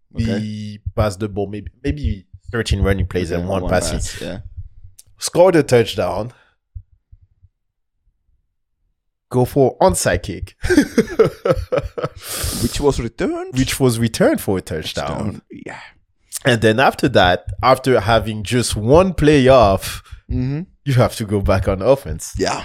[SPEAKER 4] We passed the ball, maybe maybe 13 running plays and one, passing.
[SPEAKER 3] pass, Yeah.
[SPEAKER 4] Scored a touchdown. Go for onside kick,
[SPEAKER 3] Which was returned.
[SPEAKER 4] which was returned for a touchdown.
[SPEAKER 3] Down. Yeah.
[SPEAKER 4] And then after that, after having just one play off,
[SPEAKER 3] Mm-hmm.
[SPEAKER 4] you have to go back on offense.
[SPEAKER 3] Yeah.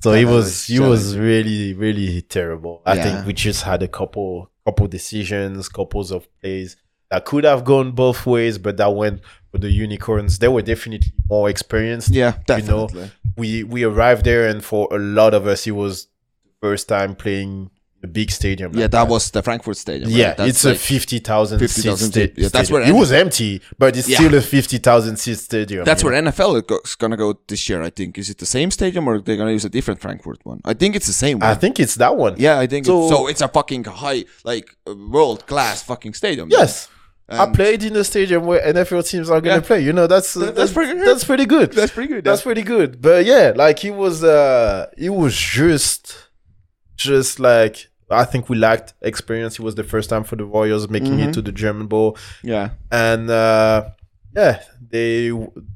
[SPEAKER 4] So it was
[SPEAKER 3] was
[SPEAKER 4] he was really really terrible. I
[SPEAKER 3] Yeah.
[SPEAKER 4] think we just had a couple couple decisions, couples of plays that could have gone both ways, but that went for the unicorns. They were definitely more experienced.
[SPEAKER 3] Yeah.
[SPEAKER 4] you know,
[SPEAKER 3] Definitely.
[SPEAKER 4] we we arrived there, and for a lot of us, it was the first time playing a big stadium. like
[SPEAKER 3] yeah, that was the Frankfurt Stadium.
[SPEAKER 4] yeah,
[SPEAKER 3] right? That's
[SPEAKER 4] it's a
[SPEAKER 3] like-
[SPEAKER 4] fifty thousand seat
[SPEAKER 3] 50,000
[SPEAKER 4] sta-
[SPEAKER 3] seat. Yeah, that's
[SPEAKER 4] stadium.
[SPEAKER 3] where
[SPEAKER 4] it was empty, but it's
[SPEAKER 3] Yeah.
[SPEAKER 4] still a fifty thousand seat stadium.
[SPEAKER 3] That's
[SPEAKER 4] you know?
[SPEAKER 3] where NFL go- is gonna go this year, I think. Is it the same stadium or they're gonna use a different Frankfurt one? I think it's the same one.
[SPEAKER 4] I think it's that one.
[SPEAKER 3] yeah, I think so.
[SPEAKER 4] So-
[SPEAKER 3] It's, so it's a fucking high, like world class fucking stadium.
[SPEAKER 4] Yes. I
[SPEAKER 3] And-
[SPEAKER 4] played in a stadium where NFL teams are gonna
[SPEAKER 3] Yeah.
[SPEAKER 4] play. You know, that's
[SPEAKER 3] That-
[SPEAKER 4] that's,
[SPEAKER 3] that's pretty good.
[SPEAKER 4] That's pretty good.
[SPEAKER 3] That's pretty good,
[SPEAKER 4] That's
[SPEAKER 3] yeah.
[SPEAKER 4] pretty good. But yeah, like he was uh he was just just like I think we lacked experience. It was the first time for the Warriors making
[SPEAKER 3] Mm-hmm.
[SPEAKER 4] it to the German Bowl.
[SPEAKER 3] Yeah.
[SPEAKER 4] And uh yeah, they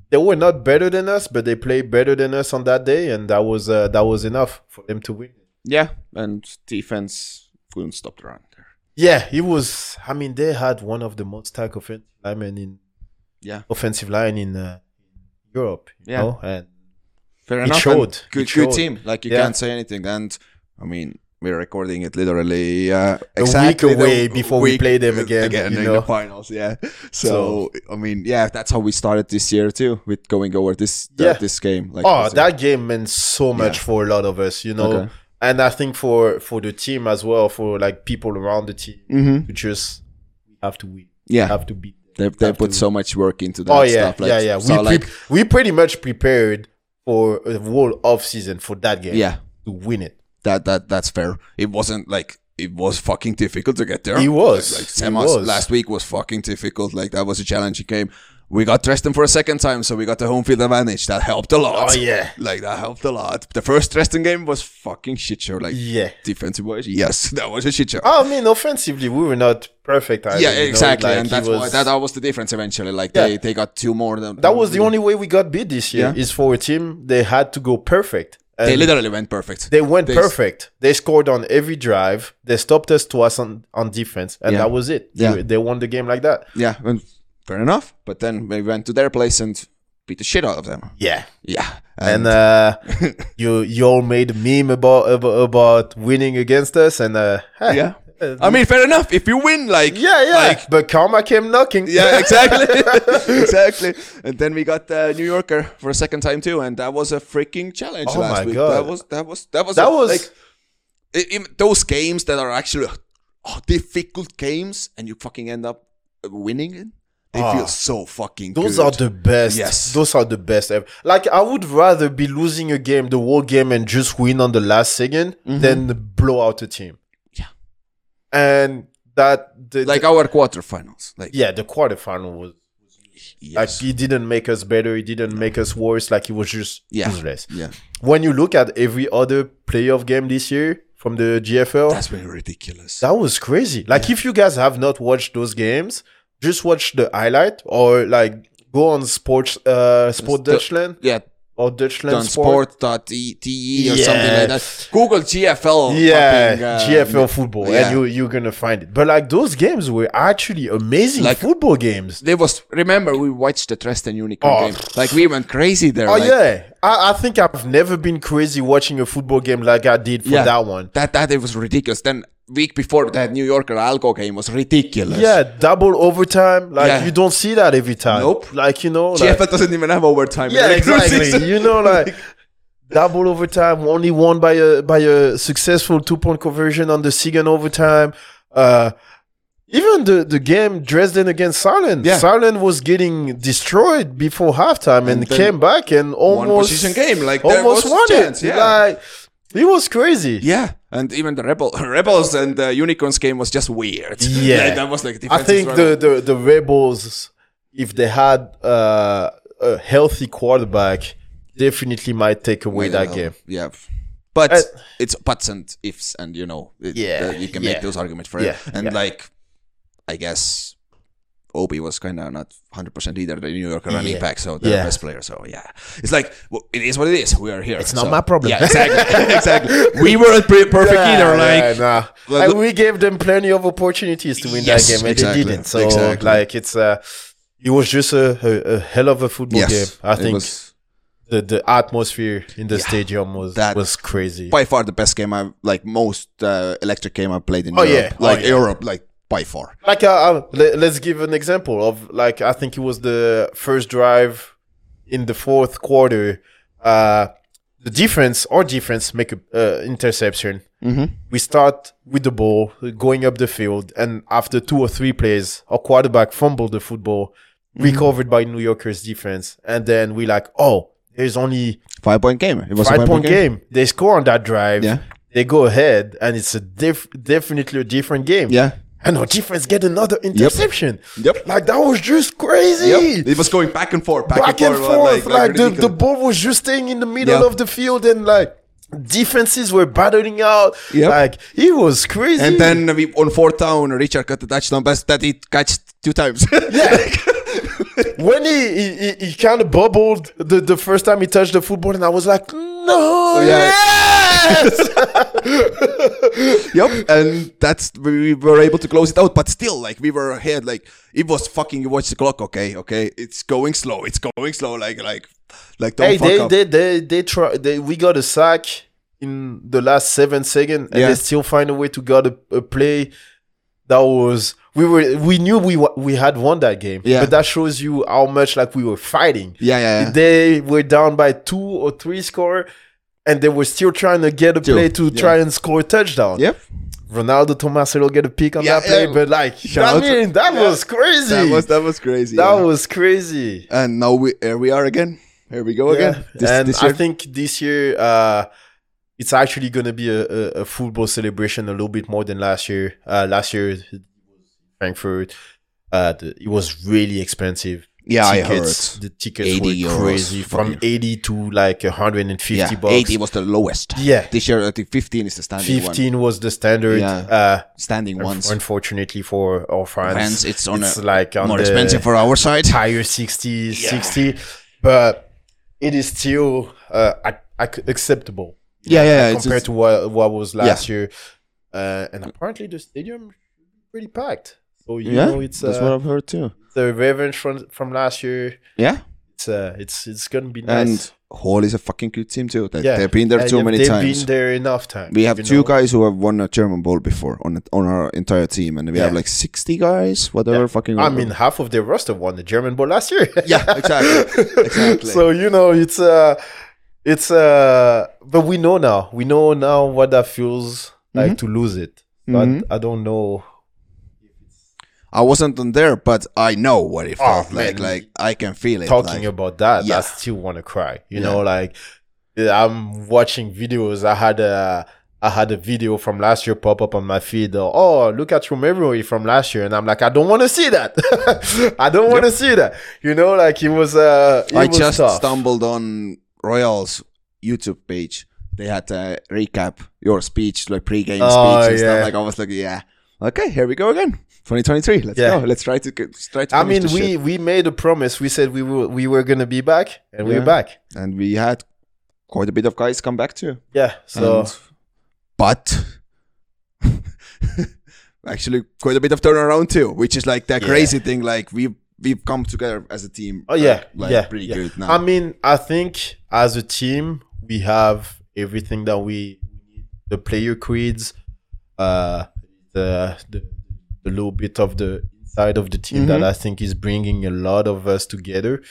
[SPEAKER 4] they were not better than us, but they played better than us on that day, and that was uh, that was enough for them to win.
[SPEAKER 3] Yeah. And defense couldn't stop the run there.
[SPEAKER 4] Yeah, it was. I mean, they had one of the most tag offensive linemen in
[SPEAKER 3] Yeah.
[SPEAKER 4] offensive line in uh, Europe. You
[SPEAKER 3] Yeah.
[SPEAKER 4] know? and
[SPEAKER 3] Fair
[SPEAKER 4] It
[SPEAKER 3] enough. and
[SPEAKER 4] showed. It
[SPEAKER 3] Good,
[SPEAKER 4] showed.
[SPEAKER 3] good team. Like you
[SPEAKER 4] Yeah.
[SPEAKER 3] can't say anything. And I mean, we're recording it literally uh,
[SPEAKER 4] week
[SPEAKER 3] exactly the
[SPEAKER 4] away before we
[SPEAKER 3] week
[SPEAKER 4] play them again, you
[SPEAKER 3] in
[SPEAKER 4] know.
[SPEAKER 3] the finals. Yeah. So, I mean, yeah, that's how we started this year too with going over this that-
[SPEAKER 4] Yeah.
[SPEAKER 3] this game. Like,
[SPEAKER 4] oh,
[SPEAKER 3] this-
[SPEAKER 4] that game meant so much
[SPEAKER 3] Yeah.
[SPEAKER 4] for a lot of us, you know.
[SPEAKER 3] Okay.
[SPEAKER 4] And I think for for the team as well, for like people around the team,
[SPEAKER 3] Mhm.
[SPEAKER 4] to just we have to win,
[SPEAKER 3] Yeah.
[SPEAKER 4] we have to beat. them.
[SPEAKER 3] They they put so much work into that
[SPEAKER 4] Oh yeah,
[SPEAKER 3] stuff. Like,
[SPEAKER 4] yeah, yeah.
[SPEAKER 3] So
[SPEAKER 4] we
[SPEAKER 3] like,
[SPEAKER 4] pre- we pretty much prepared for a whole off season for that game.
[SPEAKER 3] Yeah.
[SPEAKER 4] to win it.
[SPEAKER 3] that that that's fair. It wasn't like it was fucking difficult to get there.
[SPEAKER 4] It was.
[SPEAKER 3] Like, like
[SPEAKER 4] It
[SPEAKER 3] semis
[SPEAKER 4] was.
[SPEAKER 3] last week was fucking difficult. Like that was a challenging game. We got Dresden for a second time, so we got the home field advantage. That helped a lot.
[SPEAKER 4] Oh, yeah.
[SPEAKER 3] like that helped a lot. The first Dresden game was fucking shit show. Like
[SPEAKER 4] Yeah.
[SPEAKER 3] defensive wise, yes, that was a shit show.
[SPEAKER 4] I mean, offensively, we were not perfect. Either,
[SPEAKER 3] yeah,
[SPEAKER 4] you know,
[SPEAKER 3] exactly,
[SPEAKER 4] like,
[SPEAKER 3] and
[SPEAKER 4] it
[SPEAKER 3] that's why
[SPEAKER 4] was-
[SPEAKER 3] that, that was the difference eventually. Like
[SPEAKER 4] Yeah.
[SPEAKER 3] they, they got two more than
[SPEAKER 4] that was the only way we got beat this year
[SPEAKER 3] Yeah.
[SPEAKER 4] is for a team they had to go perfect And
[SPEAKER 3] They literally went perfect.
[SPEAKER 4] they went
[SPEAKER 3] they-
[SPEAKER 4] perfect they scored on every drive they stopped us twice on, on defense and
[SPEAKER 3] Yeah.
[SPEAKER 4] that was it
[SPEAKER 3] Yeah.
[SPEAKER 4] they, they won the game like that
[SPEAKER 3] yeah, well, fair enough. But then we went to their place and beat the shit out of them.
[SPEAKER 4] yeah
[SPEAKER 3] Yeah,
[SPEAKER 4] and uh, you you all made a meme about about, about winning against us and uh, hey,
[SPEAKER 3] Yeah.
[SPEAKER 4] uh,
[SPEAKER 3] I mean, fair enough. If you win, like
[SPEAKER 4] yeah yeah
[SPEAKER 3] like,
[SPEAKER 4] but karma came knocking
[SPEAKER 3] yeah, exactly, exactly. And then we got uh, New Yorker for a second time too, and that was a freaking challenge
[SPEAKER 4] Oh
[SPEAKER 3] last
[SPEAKER 4] my
[SPEAKER 3] week.
[SPEAKER 4] God.
[SPEAKER 3] That was that was that was
[SPEAKER 4] that
[SPEAKER 3] a-
[SPEAKER 4] was
[SPEAKER 3] like i- im- those oh, games that are actually uh, difficult games, and you fucking end up winning. it. They
[SPEAKER 4] Ah.
[SPEAKER 3] feel so fucking
[SPEAKER 4] Those
[SPEAKER 3] good.
[SPEAKER 4] are the best.
[SPEAKER 3] Yes.
[SPEAKER 4] Those are the best ever. Like I would rather be losing a game, the whole game, and just win on the last 2nd than blow out a team.
[SPEAKER 3] Mm-hmm. Yeah.
[SPEAKER 4] And that the,
[SPEAKER 3] like
[SPEAKER 4] the-
[SPEAKER 3] our quarterfinals. Like
[SPEAKER 4] yeah, the quarterfinal was
[SPEAKER 3] yes.
[SPEAKER 4] like he didn't make us better, he didn't make us worse, like he was just
[SPEAKER 3] Yeah.
[SPEAKER 4] useless.
[SPEAKER 3] yeah.
[SPEAKER 4] When you look at every other playoff game this year from the GFL,
[SPEAKER 3] That's been ridiculous.
[SPEAKER 4] That was crazy. Like, if you guys have not watched those games, just watch the highlight or like go on sports, uh, Sport
[SPEAKER 3] the-
[SPEAKER 4] Dutchland
[SPEAKER 3] yeah,
[SPEAKER 4] or Dutchland
[SPEAKER 3] done
[SPEAKER 4] Sport. E
[SPEAKER 3] sport.te or
[SPEAKER 4] Yeah.
[SPEAKER 3] something like that. Google GFL.
[SPEAKER 4] Yeah,
[SPEAKER 3] fucking, uh,
[SPEAKER 4] GFL football,
[SPEAKER 3] yeah.
[SPEAKER 4] and you you're gonna find it. But like those games were actually amazing
[SPEAKER 3] Like-
[SPEAKER 4] football games.
[SPEAKER 3] There was remember we watched the Dresden Unicorn
[SPEAKER 4] Oh.
[SPEAKER 3] game. Like we went crazy there.
[SPEAKER 4] Oh
[SPEAKER 3] like,
[SPEAKER 4] yeah, I, I think I've never been crazy watching a football game like I did for
[SPEAKER 3] yeah,
[SPEAKER 4] that one.
[SPEAKER 3] That that it was ridiculous. Then week before that New Yorker Alco game was ridiculous.
[SPEAKER 4] Yeah, double overtime. Like
[SPEAKER 3] Yeah.
[SPEAKER 4] you don't see that every time.
[SPEAKER 3] Nope.
[SPEAKER 4] Like you know, like,
[SPEAKER 3] GFL doesn't even have overtime. in
[SPEAKER 4] Yeah,
[SPEAKER 3] the regular
[SPEAKER 4] exactly.
[SPEAKER 3] season.
[SPEAKER 4] you know, like double overtime, only won by a by a successful two point conversion on the second overtime. Uh, even the, the game Dresden against Saarland,
[SPEAKER 3] Yeah.
[SPEAKER 4] Saarland was getting destroyed before halftime and,
[SPEAKER 3] And then
[SPEAKER 4] came back and almost
[SPEAKER 3] possession game, like, there
[SPEAKER 4] almost
[SPEAKER 3] was
[SPEAKER 4] won
[SPEAKER 3] chance,
[SPEAKER 4] it.
[SPEAKER 3] yeah.
[SPEAKER 4] Like it was crazy.
[SPEAKER 3] Yeah, and even the rebel rebels and the unicorns game was just weird.
[SPEAKER 4] Yeah.
[SPEAKER 3] Like, that was like
[SPEAKER 4] I
[SPEAKER 3] defensive
[SPEAKER 4] think the,
[SPEAKER 3] struggle.
[SPEAKER 4] the the Rebels, if they had uh, a healthy quarterback, definitely might take away that
[SPEAKER 3] Well,
[SPEAKER 4] game.
[SPEAKER 3] Yeah, but
[SPEAKER 4] Uh,
[SPEAKER 3] it's buts and ifs, and you know, it,
[SPEAKER 4] Yeah,
[SPEAKER 3] uh, you can
[SPEAKER 4] yeah.
[SPEAKER 3] make those arguments for it.
[SPEAKER 4] Yeah,
[SPEAKER 3] and
[SPEAKER 4] yeah.
[SPEAKER 3] like, I guess Obi was kind of not hundred percent either the New Yorker running
[SPEAKER 4] Yeah.
[SPEAKER 3] back, so the
[SPEAKER 4] Yeah.
[SPEAKER 3] best player. So yeah, it's like well, it is what it is. We are here.
[SPEAKER 4] It's not
[SPEAKER 3] so-
[SPEAKER 4] my problem.
[SPEAKER 3] Yeah, exactly, exactly. We weren't pre- perfect either. Like,
[SPEAKER 4] yeah, nah.
[SPEAKER 3] Like,
[SPEAKER 4] and we gave them plenty of opportunities to win
[SPEAKER 3] Yes,
[SPEAKER 4] that game, and
[SPEAKER 3] exactly,
[SPEAKER 4] they didn't. So,
[SPEAKER 3] exactly.
[SPEAKER 4] like, it's uh, it was just a, a, a hell of a football
[SPEAKER 3] yes,
[SPEAKER 4] game. I
[SPEAKER 3] it
[SPEAKER 4] think
[SPEAKER 3] was
[SPEAKER 4] the, the atmosphere in the
[SPEAKER 3] Yeah,
[SPEAKER 4] stadium was
[SPEAKER 3] that-
[SPEAKER 4] was crazy.
[SPEAKER 3] by far the best game I've like most uh, electric game I've played in
[SPEAKER 4] Oh,
[SPEAKER 3] Europe.
[SPEAKER 4] yeah. Oh,
[SPEAKER 3] Like
[SPEAKER 4] yeah.
[SPEAKER 3] Europe, like by far.
[SPEAKER 4] Like, uh, uh, le- let's give an example of like I think it was the first drive in the fourth quarter. Uh, the defense, our defense, make a uh, interception. We start with the ball going up the field, and after two or three plays, our quarterback fumbled the football, recovered by New Yorkers defense, and then we like, oh, there's only
[SPEAKER 3] Five point game. It was a
[SPEAKER 4] five point game. They score on that drive.
[SPEAKER 3] Yeah.
[SPEAKER 4] They go ahead, and it's a diff- definitely a different game.
[SPEAKER 3] Yeah.
[SPEAKER 4] And our defense get another interception.
[SPEAKER 3] Yep.
[SPEAKER 4] Like that was just crazy.
[SPEAKER 3] Yep. It was going back and forth, back,
[SPEAKER 4] Back and forth. Like, the, the
[SPEAKER 3] ridiculous.
[SPEAKER 4] ball was just staying in the middle
[SPEAKER 3] Yeah.
[SPEAKER 4] of the field and like defenses were battling out.
[SPEAKER 3] Yep.
[SPEAKER 4] Like it was crazy.
[SPEAKER 3] and then we, on fourth down, Richard got the touchdown pass that he catched two times. yeah,
[SPEAKER 4] when he he, he, he kind of bubbled the, the first time he touched the football and I was like, no.
[SPEAKER 3] Yeah.
[SPEAKER 4] Yes.
[SPEAKER 3] yep. And that's we were able to close it out, but still, like we were ahead. Like it was fucking. You watch the clock, okay, okay. It's going slow. It's going slow. Like like like don't
[SPEAKER 4] hey,
[SPEAKER 3] fuck
[SPEAKER 4] they,
[SPEAKER 3] up.
[SPEAKER 4] they they they try. They, we got a sack in the last seven seconds, and
[SPEAKER 3] Yeah.
[SPEAKER 4] they still find a way to got a, a play that was. We were we knew we wa- we had won that game,
[SPEAKER 3] Yeah.
[SPEAKER 4] but that shows you how much like we were fighting.
[SPEAKER 3] yeah, yeah, yeah.
[SPEAKER 4] They were down by two or three score, and they were still trying to get a
[SPEAKER 3] Two,
[SPEAKER 4] play to
[SPEAKER 3] yeah.
[SPEAKER 4] try and score a touchdown.
[SPEAKER 3] Yep.
[SPEAKER 4] Ronaldo Tomasello get a pick on
[SPEAKER 3] Yeah,
[SPEAKER 4] that play,
[SPEAKER 3] yeah.
[SPEAKER 4] but like
[SPEAKER 3] Shout
[SPEAKER 4] I
[SPEAKER 3] out to-
[SPEAKER 4] mean that
[SPEAKER 3] Yeah.
[SPEAKER 4] was crazy.
[SPEAKER 3] That was that was crazy.
[SPEAKER 4] That
[SPEAKER 3] yeah.
[SPEAKER 4] was crazy.
[SPEAKER 3] and now we here we are again. Here we go again.
[SPEAKER 4] Yeah.
[SPEAKER 3] This,
[SPEAKER 4] and
[SPEAKER 3] this
[SPEAKER 4] I
[SPEAKER 3] year.
[SPEAKER 4] think this year uh, it's actually going to be a, a, a football celebration a little bit more than last year. Uh, last year, it was Frankfurt, uh, the, it was really expensive.
[SPEAKER 3] yeah, I heard.
[SPEAKER 4] tickets, The tickets
[SPEAKER 3] 80
[SPEAKER 4] were
[SPEAKER 3] euros
[SPEAKER 4] crazy
[SPEAKER 3] for
[SPEAKER 4] from
[SPEAKER 3] you.
[SPEAKER 4] 80 to like 150
[SPEAKER 3] Yeah,
[SPEAKER 4] bucks.
[SPEAKER 3] 80 was the lowest.
[SPEAKER 4] Yeah.
[SPEAKER 3] This year, I think 15 is the standing one.
[SPEAKER 4] 15 was the standard.
[SPEAKER 3] Yeah.
[SPEAKER 4] Uh,
[SPEAKER 3] Standing ones.
[SPEAKER 4] Unfortunately for our fans,
[SPEAKER 3] Hence, it's on a
[SPEAKER 4] like on
[SPEAKER 3] More
[SPEAKER 4] the-
[SPEAKER 3] expensive for our side.
[SPEAKER 4] higher 60 60 but it is still uh, ac- ac- acceptable
[SPEAKER 3] Yeah, yeah, yeah. it's-
[SPEAKER 4] compared
[SPEAKER 3] it's-
[SPEAKER 4] to what, what was last year uh, and apparently the stadium is pretty packed so you know it's
[SPEAKER 3] that's what
[SPEAKER 4] uh,
[SPEAKER 3] I've heard too.
[SPEAKER 4] the revenge from, from last year
[SPEAKER 3] Yeah.
[SPEAKER 4] it's uh, it's it's gonna be nice
[SPEAKER 3] And Hall is a fucking good team too. They,
[SPEAKER 4] yeah
[SPEAKER 3] They've been there
[SPEAKER 4] And
[SPEAKER 3] too
[SPEAKER 4] if
[SPEAKER 3] many
[SPEAKER 4] they've
[SPEAKER 3] times.
[SPEAKER 4] been there enough times
[SPEAKER 3] We have
[SPEAKER 4] you
[SPEAKER 3] two
[SPEAKER 4] know.
[SPEAKER 3] guys who have won a German Bowl before on it- on our entire team, and we have
[SPEAKER 4] Yeah.
[SPEAKER 3] like 60 guys, whatever fucking.
[SPEAKER 4] I mean, half of their roster won the German Bowl last year.
[SPEAKER 3] yeah, exactly. exactly.
[SPEAKER 4] So you know, it's uh it's uh but we know now. We know now
[SPEAKER 3] Mm-hmm.
[SPEAKER 4] what that feels like to lose it. But I don't know.
[SPEAKER 3] I wasn't on there, but I know what it felt like.
[SPEAKER 4] Oh, man.
[SPEAKER 3] Like I can feel it.
[SPEAKER 4] talking
[SPEAKER 3] like-
[SPEAKER 4] about that,
[SPEAKER 3] Yeah.
[SPEAKER 4] I still want to cry. You
[SPEAKER 3] Yeah.
[SPEAKER 4] know, like I'm watching videos. I had a I had a video from last year pop up on my feed. uh, oh, look at your memory from last year, and I'm like, I don't want to see that. I don't want to see that. You know, like it was. Uh, it
[SPEAKER 3] I
[SPEAKER 4] was
[SPEAKER 3] just
[SPEAKER 4] tough.
[SPEAKER 3] stumbled on Royals YouTube page. They had a recap your speech, like pre-game
[SPEAKER 4] Oh,
[SPEAKER 3] speech and
[SPEAKER 4] yeah.
[SPEAKER 3] stuff. Like I was like, yeah, okay, here we go again. 2023. Let's
[SPEAKER 4] Yeah.
[SPEAKER 3] go. Let's try to get, let's try to.
[SPEAKER 4] I
[SPEAKER 3] finish
[SPEAKER 4] mean,
[SPEAKER 3] this
[SPEAKER 4] we
[SPEAKER 3] shit.
[SPEAKER 4] we made a promise. We said we were we were gonna be back, and we're
[SPEAKER 3] Yeah.
[SPEAKER 4] back.
[SPEAKER 3] and we had quite a bit of guys come back too.
[SPEAKER 4] Yeah. So
[SPEAKER 3] And- but actually, quite a bit of turnaround too, which is like that
[SPEAKER 4] Yeah.
[SPEAKER 3] crazy thing. Like we have we've come together as a team.
[SPEAKER 4] Oh yeah,
[SPEAKER 3] like
[SPEAKER 4] yeah,
[SPEAKER 3] pretty
[SPEAKER 4] yeah.
[SPEAKER 3] good now.
[SPEAKER 4] I mean, I think as a team we have everything that we need: the player creeds, uh, the the, the little bit of the inside of the team
[SPEAKER 3] Mm-hmm.
[SPEAKER 4] that I think is bringing a lot of us together.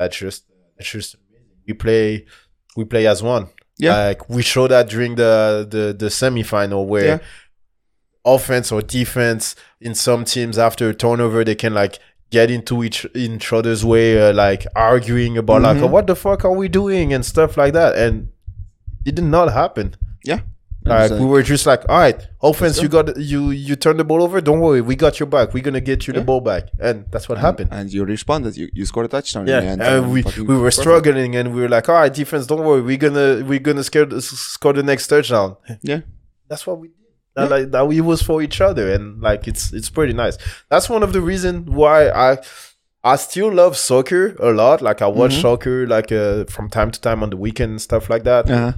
[SPEAKER 4] That's just that's just amazing. We play we play as one.
[SPEAKER 3] Yeah.
[SPEAKER 4] like we showed that during the the the semifinal where
[SPEAKER 3] Yeah.
[SPEAKER 4] offense or defense in some teams after a turnover they can like get into each, each other's way uh, like arguing about like oh,
[SPEAKER 3] Mm-hmm.
[SPEAKER 4] what the fuck are we doing and stuff like that and it did not happen
[SPEAKER 3] yeah.
[SPEAKER 4] like
[SPEAKER 3] It's
[SPEAKER 4] we were just like all right offense you got you you turn the ball over don't worry we got your back we're gonna get you the ball back and that's what happened
[SPEAKER 3] And you responded. You, you scored a touchdown.
[SPEAKER 4] yeah,
[SPEAKER 3] In the end,
[SPEAKER 4] and we,
[SPEAKER 3] fucking
[SPEAKER 4] we were
[SPEAKER 3] perfect.
[SPEAKER 4] struggling, and we were like, "All right, defense, don't worry, we're gonna we're gonna scare, the- s- score the next touchdown."
[SPEAKER 3] Yeah.
[SPEAKER 4] that's what we did. That, like, that we was for each other, and like it's it's pretty nice. That's one of the reasons why I I still love soccer a lot. Like I watch
[SPEAKER 3] Mm-hmm.
[SPEAKER 4] soccer like uh, from time to time on the weekend and stuff like that.
[SPEAKER 3] Uh-huh.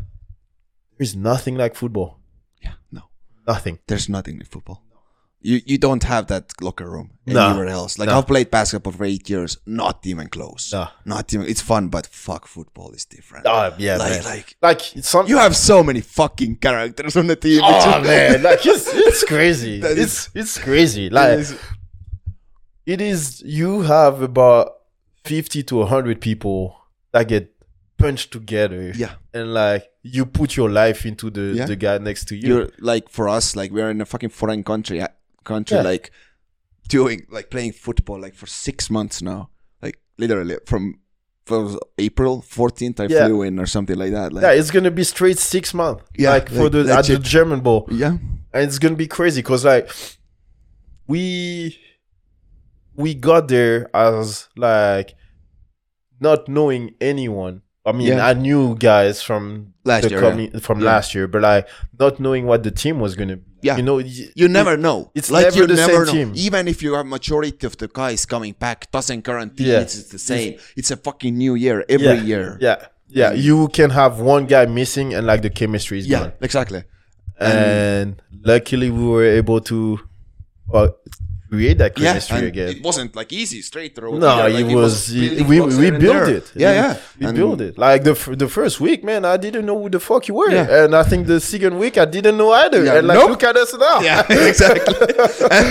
[SPEAKER 4] There's nothing like football.
[SPEAKER 3] Yeah. No.
[SPEAKER 4] Nothing.
[SPEAKER 3] There's nothing in football. You you don't have that locker room
[SPEAKER 4] No.
[SPEAKER 3] anywhere else. Like
[SPEAKER 4] No.
[SPEAKER 3] I've played basketball for eight years. Not even close.
[SPEAKER 4] No.
[SPEAKER 3] Not even. It's fun, but fuck, football is different.
[SPEAKER 4] Oh yeah,
[SPEAKER 3] like
[SPEAKER 4] man.
[SPEAKER 3] like
[SPEAKER 4] like it's some.
[SPEAKER 3] you have so many fucking characters on the team. It's
[SPEAKER 4] oh
[SPEAKER 3] just-
[SPEAKER 4] man, like it's it's crazy.
[SPEAKER 3] That
[SPEAKER 4] it's it's crazy. Like
[SPEAKER 3] is-
[SPEAKER 4] it is you have about 50 to 100 people that get punched together
[SPEAKER 3] Yeah.
[SPEAKER 4] and like you put your life into the
[SPEAKER 3] Yeah.
[SPEAKER 4] the guy next to you
[SPEAKER 3] you're like for us, like we're in a fucking foreign country, uh, country
[SPEAKER 4] Yeah.
[SPEAKER 3] like doing like playing football like for six months now, like literally from from April 14th I
[SPEAKER 4] Yeah.
[SPEAKER 3] flew in or something like that. Like,
[SPEAKER 4] yeah it's gonna be straight six months
[SPEAKER 3] Yeah,
[SPEAKER 4] like for
[SPEAKER 3] like,
[SPEAKER 4] the at the
[SPEAKER 3] legit.
[SPEAKER 4] german ball
[SPEAKER 3] yeah,
[SPEAKER 4] and it's gonna be crazy because like we we got there as like not knowing anyone i mean
[SPEAKER 3] Yeah.
[SPEAKER 4] i knew guys from
[SPEAKER 3] Last
[SPEAKER 4] the
[SPEAKER 3] year, yeah.
[SPEAKER 4] commu- from
[SPEAKER 3] Yeah.
[SPEAKER 4] last year but like not knowing what the team was gonna be
[SPEAKER 3] Yeah.
[SPEAKER 4] you know y-
[SPEAKER 3] You never know.
[SPEAKER 4] it's never the same team.
[SPEAKER 3] Even if you have majority of the guys coming back, doesn't guarantee
[SPEAKER 4] Yeah.
[SPEAKER 3] it's the same. It's a fucking new year every
[SPEAKER 4] yeah.
[SPEAKER 3] year.
[SPEAKER 4] Yeah. Yeah. You can have one guy missing and like the chemistry is
[SPEAKER 3] yeah,
[SPEAKER 4] gone.
[SPEAKER 3] exactly.
[SPEAKER 4] And luckily we were able to uh, create that
[SPEAKER 3] Yeah,
[SPEAKER 4] chemistry
[SPEAKER 3] and it
[SPEAKER 4] again.
[SPEAKER 3] wasn't like easy straight road.
[SPEAKER 4] No,
[SPEAKER 3] either. Like,
[SPEAKER 4] it was,
[SPEAKER 3] building
[SPEAKER 4] we,
[SPEAKER 3] blocks
[SPEAKER 4] we
[SPEAKER 3] here and
[SPEAKER 4] built
[SPEAKER 3] there.
[SPEAKER 4] it.
[SPEAKER 3] Yeah, yeah.
[SPEAKER 4] We
[SPEAKER 3] And-
[SPEAKER 4] built it. Like the f- the first week, man, I didn't know who the fuck you were,
[SPEAKER 3] Yeah.
[SPEAKER 4] and I think the second week I didn't know either.
[SPEAKER 3] Yeah,
[SPEAKER 4] and like,
[SPEAKER 3] nope.
[SPEAKER 4] look at us now.
[SPEAKER 3] Yeah, exactly. and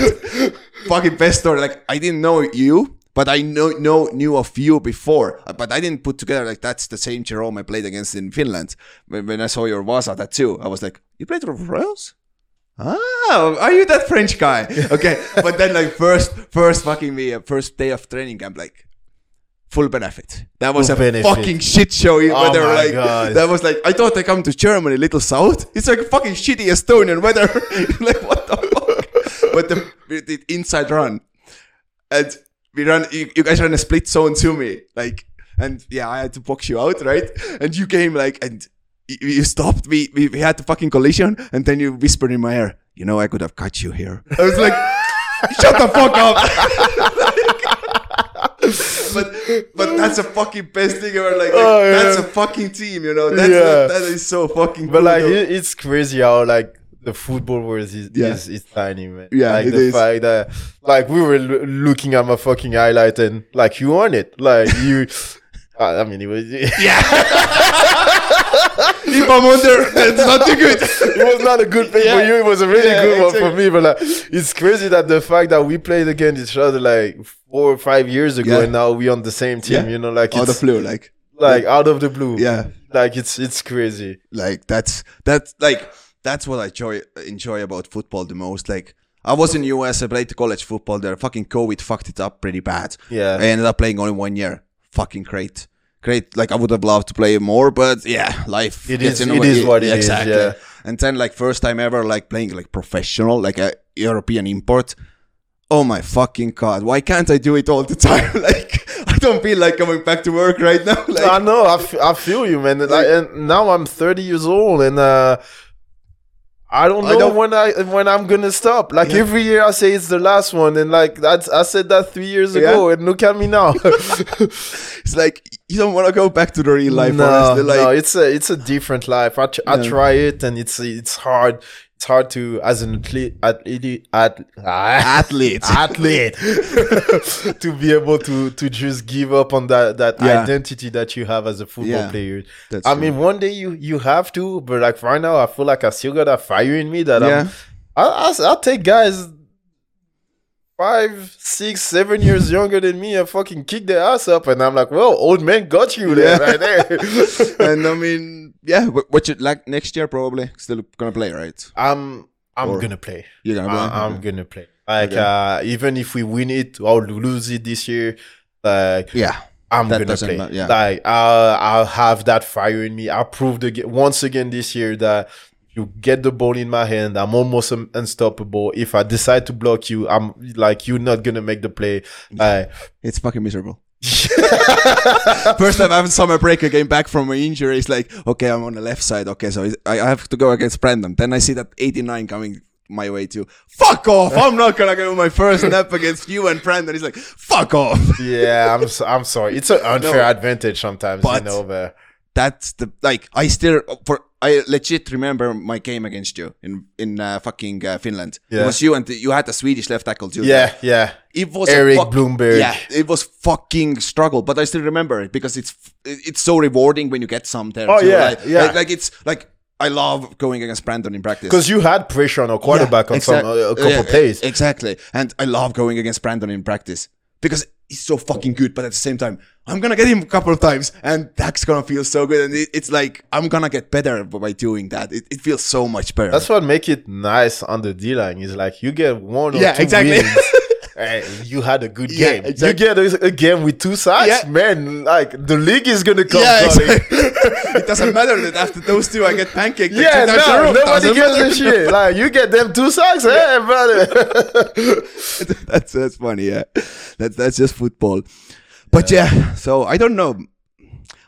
[SPEAKER 3] fucking best story. Like I didn't know you, but I know know knew of you before. Uh, But I didn't put together like that's the same Jerome I played against in Finland. When, when I saw your Vasa tattoo, I was like, you played for Royals? Ah, are you that French guy? Okay, but then like first first fucking me uh, first day of training camp like. Full benefit. That was
[SPEAKER 4] Full
[SPEAKER 3] a
[SPEAKER 4] benefit.
[SPEAKER 3] fucking shit show. Oh
[SPEAKER 4] my
[SPEAKER 3] like
[SPEAKER 4] God.
[SPEAKER 3] that was like I thought I come to Germany, little south. It's like fucking shitty Estonian weather. like what the fuck? But the we did inside run, and we run. You, you guys ran a split zone to me, like, and yeah, I had to box you out, right? And you came like and you, you stopped. We, we we had the fucking collision, and then you whispered in my ear, "You know, I could have cut you here." I was like, "Shut the fuck up." but but that's a fucking best thing ever. Like,
[SPEAKER 4] Oh, yeah.
[SPEAKER 3] that's a fucking team, you know. That's
[SPEAKER 4] Yeah.
[SPEAKER 3] that is so fucking.
[SPEAKER 4] But
[SPEAKER 3] cool,
[SPEAKER 4] like,
[SPEAKER 3] though.
[SPEAKER 4] it, it's crazy how like the football world is
[SPEAKER 3] Yeah.
[SPEAKER 4] is, is tiny, man.
[SPEAKER 3] Yeah,
[SPEAKER 4] like
[SPEAKER 3] it
[SPEAKER 4] the
[SPEAKER 3] is.
[SPEAKER 4] fact that like we were lo- looking at my fucking highlight and like you on it, like you. I I mean, it was it
[SPEAKER 3] if I'm on there, it's not too good.
[SPEAKER 4] was not a good play for
[SPEAKER 3] Yeah.
[SPEAKER 4] you. It was a really
[SPEAKER 3] Yeah,
[SPEAKER 4] good one
[SPEAKER 3] exactly.
[SPEAKER 4] for me. But like, it's crazy that the fact that we played against each other like four or five years ago,
[SPEAKER 3] Yeah.
[SPEAKER 4] and now we on the same team.
[SPEAKER 3] Yeah.
[SPEAKER 4] You know, like
[SPEAKER 3] Out
[SPEAKER 4] it's
[SPEAKER 3] of blue, like
[SPEAKER 4] like out of the blue.
[SPEAKER 3] Yeah.
[SPEAKER 4] like it's it's crazy.
[SPEAKER 3] like that's that's like that's what I enjoy enjoy about football the most. Like I was in US. I played college football there. Fucking COVID fucked it up pretty bad.
[SPEAKER 4] Yeah.
[SPEAKER 3] I ended up playing only one year. Fucking great, great. Like I would have loved to play more, but yeah, life.
[SPEAKER 4] It
[SPEAKER 3] gets
[SPEAKER 4] is-
[SPEAKER 3] in the
[SPEAKER 4] it
[SPEAKER 3] way.
[SPEAKER 4] is what it is,
[SPEAKER 3] exactly.
[SPEAKER 4] yeah.
[SPEAKER 3] And then like first time ever, like playing like professional, like a European import. Oh my fucking god! Why can't I do it all the time? like I don't feel like coming back to work right now. Like,
[SPEAKER 4] I know. I f- I feel you, man. Like, and now I'm 30 years old, and uh, I don't know
[SPEAKER 3] I don't-
[SPEAKER 4] when I when I'm gonna stop. Like every year, I say it's the last one, and like that's I said that three years
[SPEAKER 3] Yeah.
[SPEAKER 4] ago, and look at me now.
[SPEAKER 3] it's like you don't want to go back to the real life.
[SPEAKER 4] no,
[SPEAKER 3] honestly. Like,
[SPEAKER 4] no, it's a it's a different life. I, tr- I try it, and it's it's hard. It's hard to as an athlete athlete at, ah,
[SPEAKER 3] athlete.
[SPEAKER 4] athlete to be able to to just give up on that that
[SPEAKER 3] Yeah.
[SPEAKER 4] identity that you have as a football
[SPEAKER 3] Yeah.
[SPEAKER 4] player.
[SPEAKER 3] That's
[SPEAKER 4] I
[SPEAKER 3] true.
[SPEAKER 4] mean, one day you you have to, but like right now, I feel like I still got that fire in me that
[SPEAKER 3] Yeah.
[SPEAKER 4] I'm. I, I I'll take guys five, six, seven years younger than me and fucking kick their ass up, and I'm like, well, old man got you there,
[SPEAKER 3] Yeah.
[SPEAKER 4] right there.
[SPEAKER 3] and I mean, yeah, wh- what you like next year probably still gonna play, right?
[SPEAKER 4] I'm I'm
[SPEAKER 3] Or-
[SPEAKER 4] gonna play.
[SPEAKER 3] You're gonna play.
[SPEAKER 4] I, Uh, I'm
[SPEAKER 3] Okay.
[SPEAKER 4] gonna play. Like
[SPEAKER 3] Okay.
[SPEAKER 4] uh, even if we win it or lose it this year, like
[SPEAKER 3] Yeah,
[SPEAKER 4] I'm
[SPEAKER 3] That
[SPEAKER 4] gonna
[SPEAKER 3] doesn't
[SPEAKER 4] play.
[SPEAKER 3] ma- yeah.
[SPEAKER 4] Like I I'll have that fire in me. I proved aga once again this year that you get the ball in my hand. I'm almost un- unstoppable. If I decide to block you, I'm like you're not gonna make the play. Like,
[SPEAKER 3] it's fucking miserable. First time I have summer break, I came back from my injury. It's like, okay, I'm on the left side. Okay, so I I have to go against Brandon. Then I see that 89 coming my way too. Fuck off! I'm not gonna go my first nap against you and Brandon. He's like, fuck off.
[SPEAKER 4] yeah, I'm so, I'm sorry. It's an unfair advantage sometimes.
[SPEAKER 3] But-
[SPEAKER 4] you know, but
[SPEAKER 3] That's the like. I still for I legit remember my game against you in in uh, fucking uh, Finland. It
[SPEAKER 4] Yeah.
[SPEAKER 3] was you and the, you had a Swedish left tackle too.
[SPEAKER 4] yeah, yeah.
[SPEAKER 3] It was
[SPEAKER 4] Eric
[SPEAKER 3] a fuck-
[SPEAKER 4] Bloomberg.
[SPEAKER 3] Yeah, it was fucking struggle, but I still remember it because it's it's so rewarding when you get some there.
[SPEAKER 4] Oh,
[SPEAKER 3] too,
[SPEAKER 4] yeah,
[SPEAKER 3] like,
[SPEAKER 4] yeah.
[SPEAKER 3] Like, like it's like I love going against Brandon in practice
[SPEAKER 4] Because you had pressure on a
[SPEAKER 3] Yeah,
[SPEAKER 4] quarterback on some uh,
[SPEAKER 3] exact-
[SPEAKER 4] a couple
[SPEAKER 3] yeah,
[SPEAKER 4] plays.
[SPEAKER 3] e- Exactly, and I love going against Brandon in practice because he's so fucking good. But at the same time, I'm gonna get him a couple of times, and that's gonna feel so good. And it, it's like I'm gonna get better by doing that. It, it feels so much better.
[SPEAKER 4] That's what make it nice on the D line. Is like you get one or
[SPEAKER 3] Yeah,
[SPEAKER 4] two
[SPEAKER 3] exactly.
[SPEAKER 4] wins. eh, you had a good
[SPEAKER 3] Yeah,
[SPEAKER 4] game.
[SPEAKER 3] exactly.
[SPEAKER 4] You get a, a game with two sides,
[SPEAKER 3] Yeah.
[SPEAKER 4] man. Like the league is gonna come.
[SPEAKER 3] yeah,
[SPEAKER 4] calling.
[SPEAKER 3] exactly. it doesn't matter that after those two I get pancaked. like
[SPEAKER 4] Yeah,
[SPEAKER 3] two times in a
[SPEAKER 4] no,
[SPEAKER 3] row.
[SPEAKER 4] nobody
[SPEAKER 3] Doesn't
[SPEAKER 4] gives
[SPEAKER 3] matter.
[SPEAKER 4] a shit. Like you get them two sacks, eh, brother.
[SPEAKER 3] that's that's funny. Yeah, that's that's just football. But yeah. so I don't know.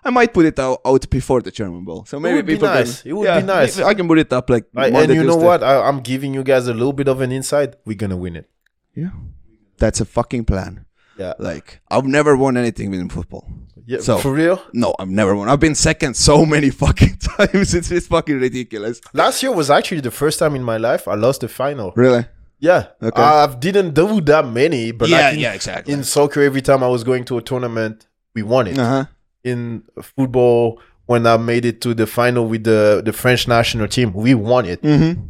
[SPEAKER 3] I might put it out, out before the German Bowl, so maybe
[SPEAKER 4] would be
[SPEAKER 3] people
[SPEAKER 4] nice.
[SPEAKER 3] Can,
[SPEAKER 4] It would be nice.
[SPEAKER 3] I can put it up like.
[SPEAKER 4] Like, and
[SPEAKER 3] Monday,
[SPEAKER 4] you know
[SPEAKER 3] Tuesday.
[SPEAKER 4] what? I, I'm giving you guys a little bit of an insight. We're gonna win it.
[SPEAKER 3] Yeah, that's a fucking plan.
[SPEAKER 4] Yeah,
[SPEAKER 3] Like I've never won anything within football.
[SPEAKER 4] yeah.
[SPEAKER 3] so-
[SPEAKER 4] for real.
[SPEAKER 3] No, I've never won. I've been second so many fucking times. It's, it's fucking ridiculous.
[SPEAKER 4] Last year was actually the first time in my life I lost the final.
[SPEAKER 3] Really?
[SPEAKER 4] Yeah,
[SPEAKER 3] Okay.
[SPEAKER 4] I didn't do that many, but
[SPEAKER 3] Yeah,
[SPEAKER 4] like in,
[SPEAKER 3] yeah, exactly.
[SPEAKER 4] In soccer, every time I was going to a tournament, we won it.
[SPEAKER 3] Uh huh.
[SPEAKER 4] In football, when I made it to the final with the the French national team, we won it.
[SPEAKER 3] Mm-hmm.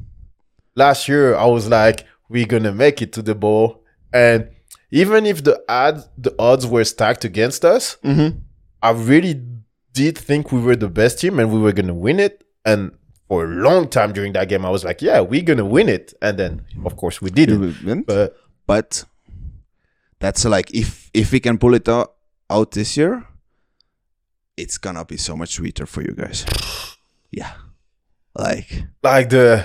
[SPEAKER 4] Last year, I was like, "We're gonna make it to the bowl," and even if the odds the odds were stacked against us,
[SPEAKER 3] Mm-hmm.
[SPEAKER 4] I really did think we were the best team and we were gonna win it. And for a long time during that game, I was like, "Yeah, we're gonna win it." And then, of course, we did it.
[SPEAKER 3] But,
[SPEAKER 4] But
[SPEAKER 3] but that's like if if we can pull it out, out this year, it's gonna be so much sweeter for you guys. Yeah, like
[SPEAKER 4] like the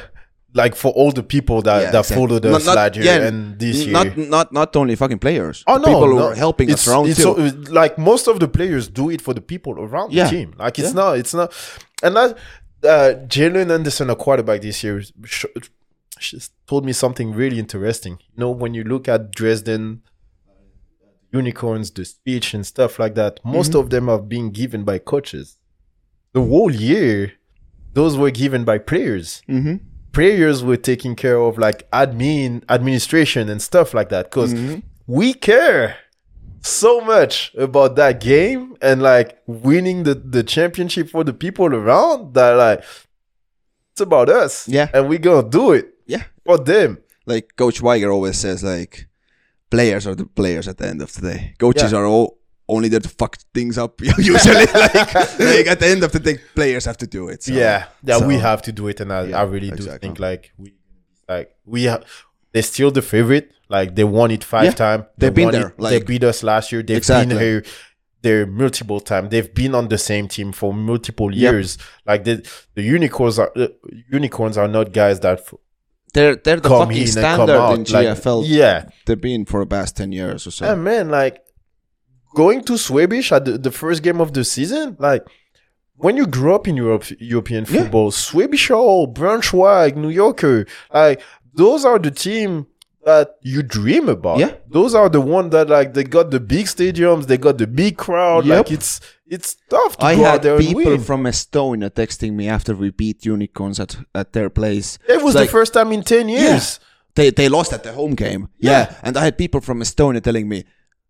[SPEAKER 4] like for all the people that
[SPEAKER 3] yeah,
[SPEAKER 4] that
[SPEAKER 3] exactly.
[SPEAKER 4] followed
[SPEAKER 3] Not-
[SPEAKER 4] us
[SPEAKER 3] not-
[SPEAKER 4] last year
[SPEAKER 3] yeah,
[SPEAKER 4] and this year.
[SPEAKER 3] Not not not only fucking players.
[SPEAKER 4] Oh
[SPEAKER 3] The
[SPEAKER 4] no!
[SPEAKER 3] people who
[SPEAKER 4] no.
[SPEAKER 3] are helping us
[SPEAKER 4] it's,
[SPEAKER 3] around
[SPEAKER 4] it's
[SPEAKER 3] too.
[SPEAKER 4] so- like most of the players do it for the people around
[SPEAKER 3] Yeah.
[SPEAKER 4] the team. Like it's
[SPEAKER 3] Yeah.
[SPEAKER 4] not, it's not, and that uh, Jalen Anderson, a quarterback this year, sh- she told me something really interesting. You know, when you look at Dresden unicorns, the speech and stuff like that, most
[SPEAKER 3] Mm-hmm.
[SPEAKER 4] of them are being given by coaches. The whole year, those were given by players
[SPEAKER 3] mm-hmm.
[SPEAKER 4] players were taking care of like admin administration and stuff like that because
[SPEAKER 3] Mm-hmm.
[SPEAKER 4] we care so much about that game and like winning the, the championship for the people around that like it's about us
[SPEAKER 3] Yeah.
[SPEAKER 4] and we're gonna do it
[SPEAKER 3] Yeah,
[SPEAKER 4] for them
[SPEAKER 3] like Coach Weiger always says, like players are the players at the end of the day. Coaches
[SPEAKER 4] Yeah.
[SPEAKER 3] are all only there to fuck things up usually. like, like at the end of the day, players have to do it. so-
[SPEAKER 4] yeah yeah
[SPEAKER 3] so-
[SPEAKER 4] we have to do it and i,
[SPEAKER 3] Yeah,
[SPEAKER 4] I really do
[SPEAKER 3] exactly.
[SPEAKER 4] think like we like we have they're still the favorite. Like they won it five
[SPEAKER 3] Yeah.
[SPEAKER 4] times.
[SPEAKER 3] They've been there,
[SPEAKER 4] they
[SPEAKER 3] like-
[SPEAKER 4] beat us last year. They've
[SPEAKER 3] Exactly.
[SPEAKER 4] been here. They're multiple time. They've been on the same team for multiple
[SPEAKER 3] Yep.
[SPEAKER 4] years. Like the the unicorns are uh, unicorns are not guys that f-
[SPEAKER 3] They're they're the
[SPEAKER 4] come
[SPEAKER 3] fucking
[SPEAKER 4] in and come
[SPEAKER 3] standard
[SPEAKER 4] out.
[SPEAKER 3] in
[SPEAKER 4] like,
[SPEAKER 3] GFL.
[SPEAKER 4] yeah,
[SPEAKER 3] They've been for the past ten years or so.
[SPEAKER 4] yeah, man, like going to Swabish at the, the first game of the season, like when you grew up in Europe, European
[SPEAKER 3] Yeah.
[SPEAKER 4] football, Swabish Hall, Braunschweig, New Yorker, like those are the team that you dream about.
[SPEAKER 3] Yeah.
[SPEAKER 4] Those are the one that like they got the big stadiums, they got the big crowd.
[SPEAKER 3] Yep.
[SPEAKER 4] Like it's it's tough to
[SPEAKER 3] I
[SPEAKER 4] go out
[SPEAKER 3] had
[SPEAKER 4] there and
[SPEAKER 3] people
[SPEAKER 4] win.
[SPEAKER 3] from Estonia texting me after we beat unicorns at, at their place.
[SPEAKER 4] it was
[SPEAKER 3] Like,
[SPEAKER 4] the first time in ten years.
[SPEAKER 3] They they lost at the home game. Yeah. And I had people from Estonia telling me,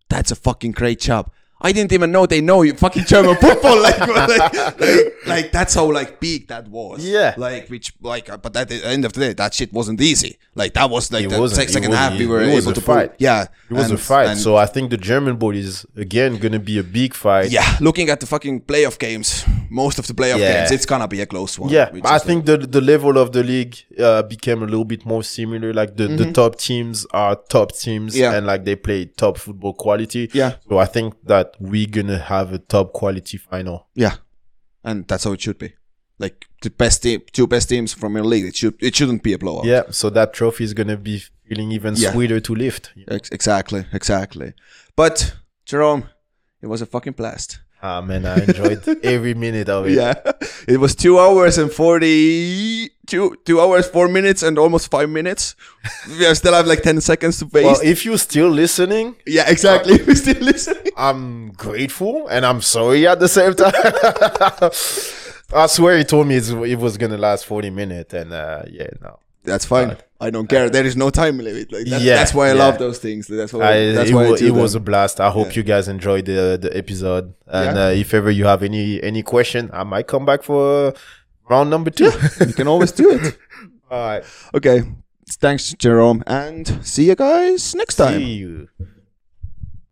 [SPEAKER 3] That's a fucking great job. I didn't even know they know you fucking German football. like, like, like, like, that's how like big that was.
[SPEAKER 4] Yeah.
[SPEAKER 3] Like which like uh, but at the end of the day that shit wasn't easy. Like that was like
[SPEAKER 4] It
[SPEAKER 3] the
[SPEAKER 4] wasn't-
[SPEAKER 3] sec-
[SPEAKER 4] it
[SPEAKER 3] second
[SPEAKER 4] wasn't
[SPEAKER 3] half we
[SPEAKER 4] easy.
[SPEAKER 3] were
[SPEAKER 4] It was
[SPEAKER 3] able
[SPEAKER 4] a
[SPEAKER 3] to
[SPEAKER 4] fight.
[SPEAKER 3] Prove, yeah.
[SPEAKER 4] It was a
[SPEAKER 3] And-
[SPEAKER 4] fight.
[SPEAKER 3] and-
[SPEAKER 4] so I think the German ball is again gonna be a big fight.
[SPEAKER 3] yeah, looking at the fucking playoff games, most of the playoff
[SPEAKER 4] Yeah.
[SPEAKER 3] games, it's gonna be a close one.
[SPEAKER 4] Yeah,
[SPEAKER 3] which
[SPEAKER 4] I
[SPEAKER 3] is, like,
[SPEAKER 4] think the the level of the league uh, became a little bit more similar. Like the, the top teams are top teams,
[SPEAKER 3] Yeah.
[SPEAKER 4] and like they play top football quality.
[SPEAKER 3] Yeah.
[SPEAKER 4] So I think that we're gonna have a top quality final.
[SPEAKER 3] Yeah, and that's how it should be. Like the best team, two best teams from your league. It should it shouldn't be a blowout.
[SPEAKER 4] Yeah. So that trophy is gonna be feeling even
[SPEAKER 3] Yeah.
[SPEAKER 4] sweeter to lift.
[SPEAKER 3] Ex- exactly, exactly. But Jerome, it was a fucking blast.
[SPEAKER 4] Ah man, I enjoyed every minute of it.
[SPEAKER 3] Yeah, it was two hours and forty two two hours four minutes and almost five minutes. we are still have like ten seconds to waste.
[SPEAKER 4] Well, uh, if you're still listening,
[SPEAKER 3] yeah, exactly. We're still listening.
[SPEAKER 4] I'm grateful and I'm sorry at the same time. I swear he told me it's, it was gonna last 40 minutes, and uh, yeah, no.
[SPEAKER 3] That's fine. I don't care. There is no time limit. Like that,
[SPEAKER 4] Yeah,
[SPEAKER 3] that's why I
[SPEAKER 4] yeah.
[SPEAKER 3] love those things. That's why.
[SPEAKER 4] I,
[SPEAKER 3] that's
[SPEAKER 4] it,
[SPEAKER 3] why I
[SPEAKER 4] wa-
[SPEAKER 3] do
[SPEAKER 4] it was a
[SPEAKER 3] them.
[SPEAKER 4] blast. I hope you guys enjoyed the the episode. And
[SPEAKER 3] Yeah.
[SPEAKER 4] uh, if ever you have any any question, I might come back for uh, round number two.
[SPEAKER 3] you can always do it.
[SPEAKER 4] All right,
[SPEAKER 3] Okay. Thanks, Jerome. And see you guys next time.
[SPEAKER 4] see you.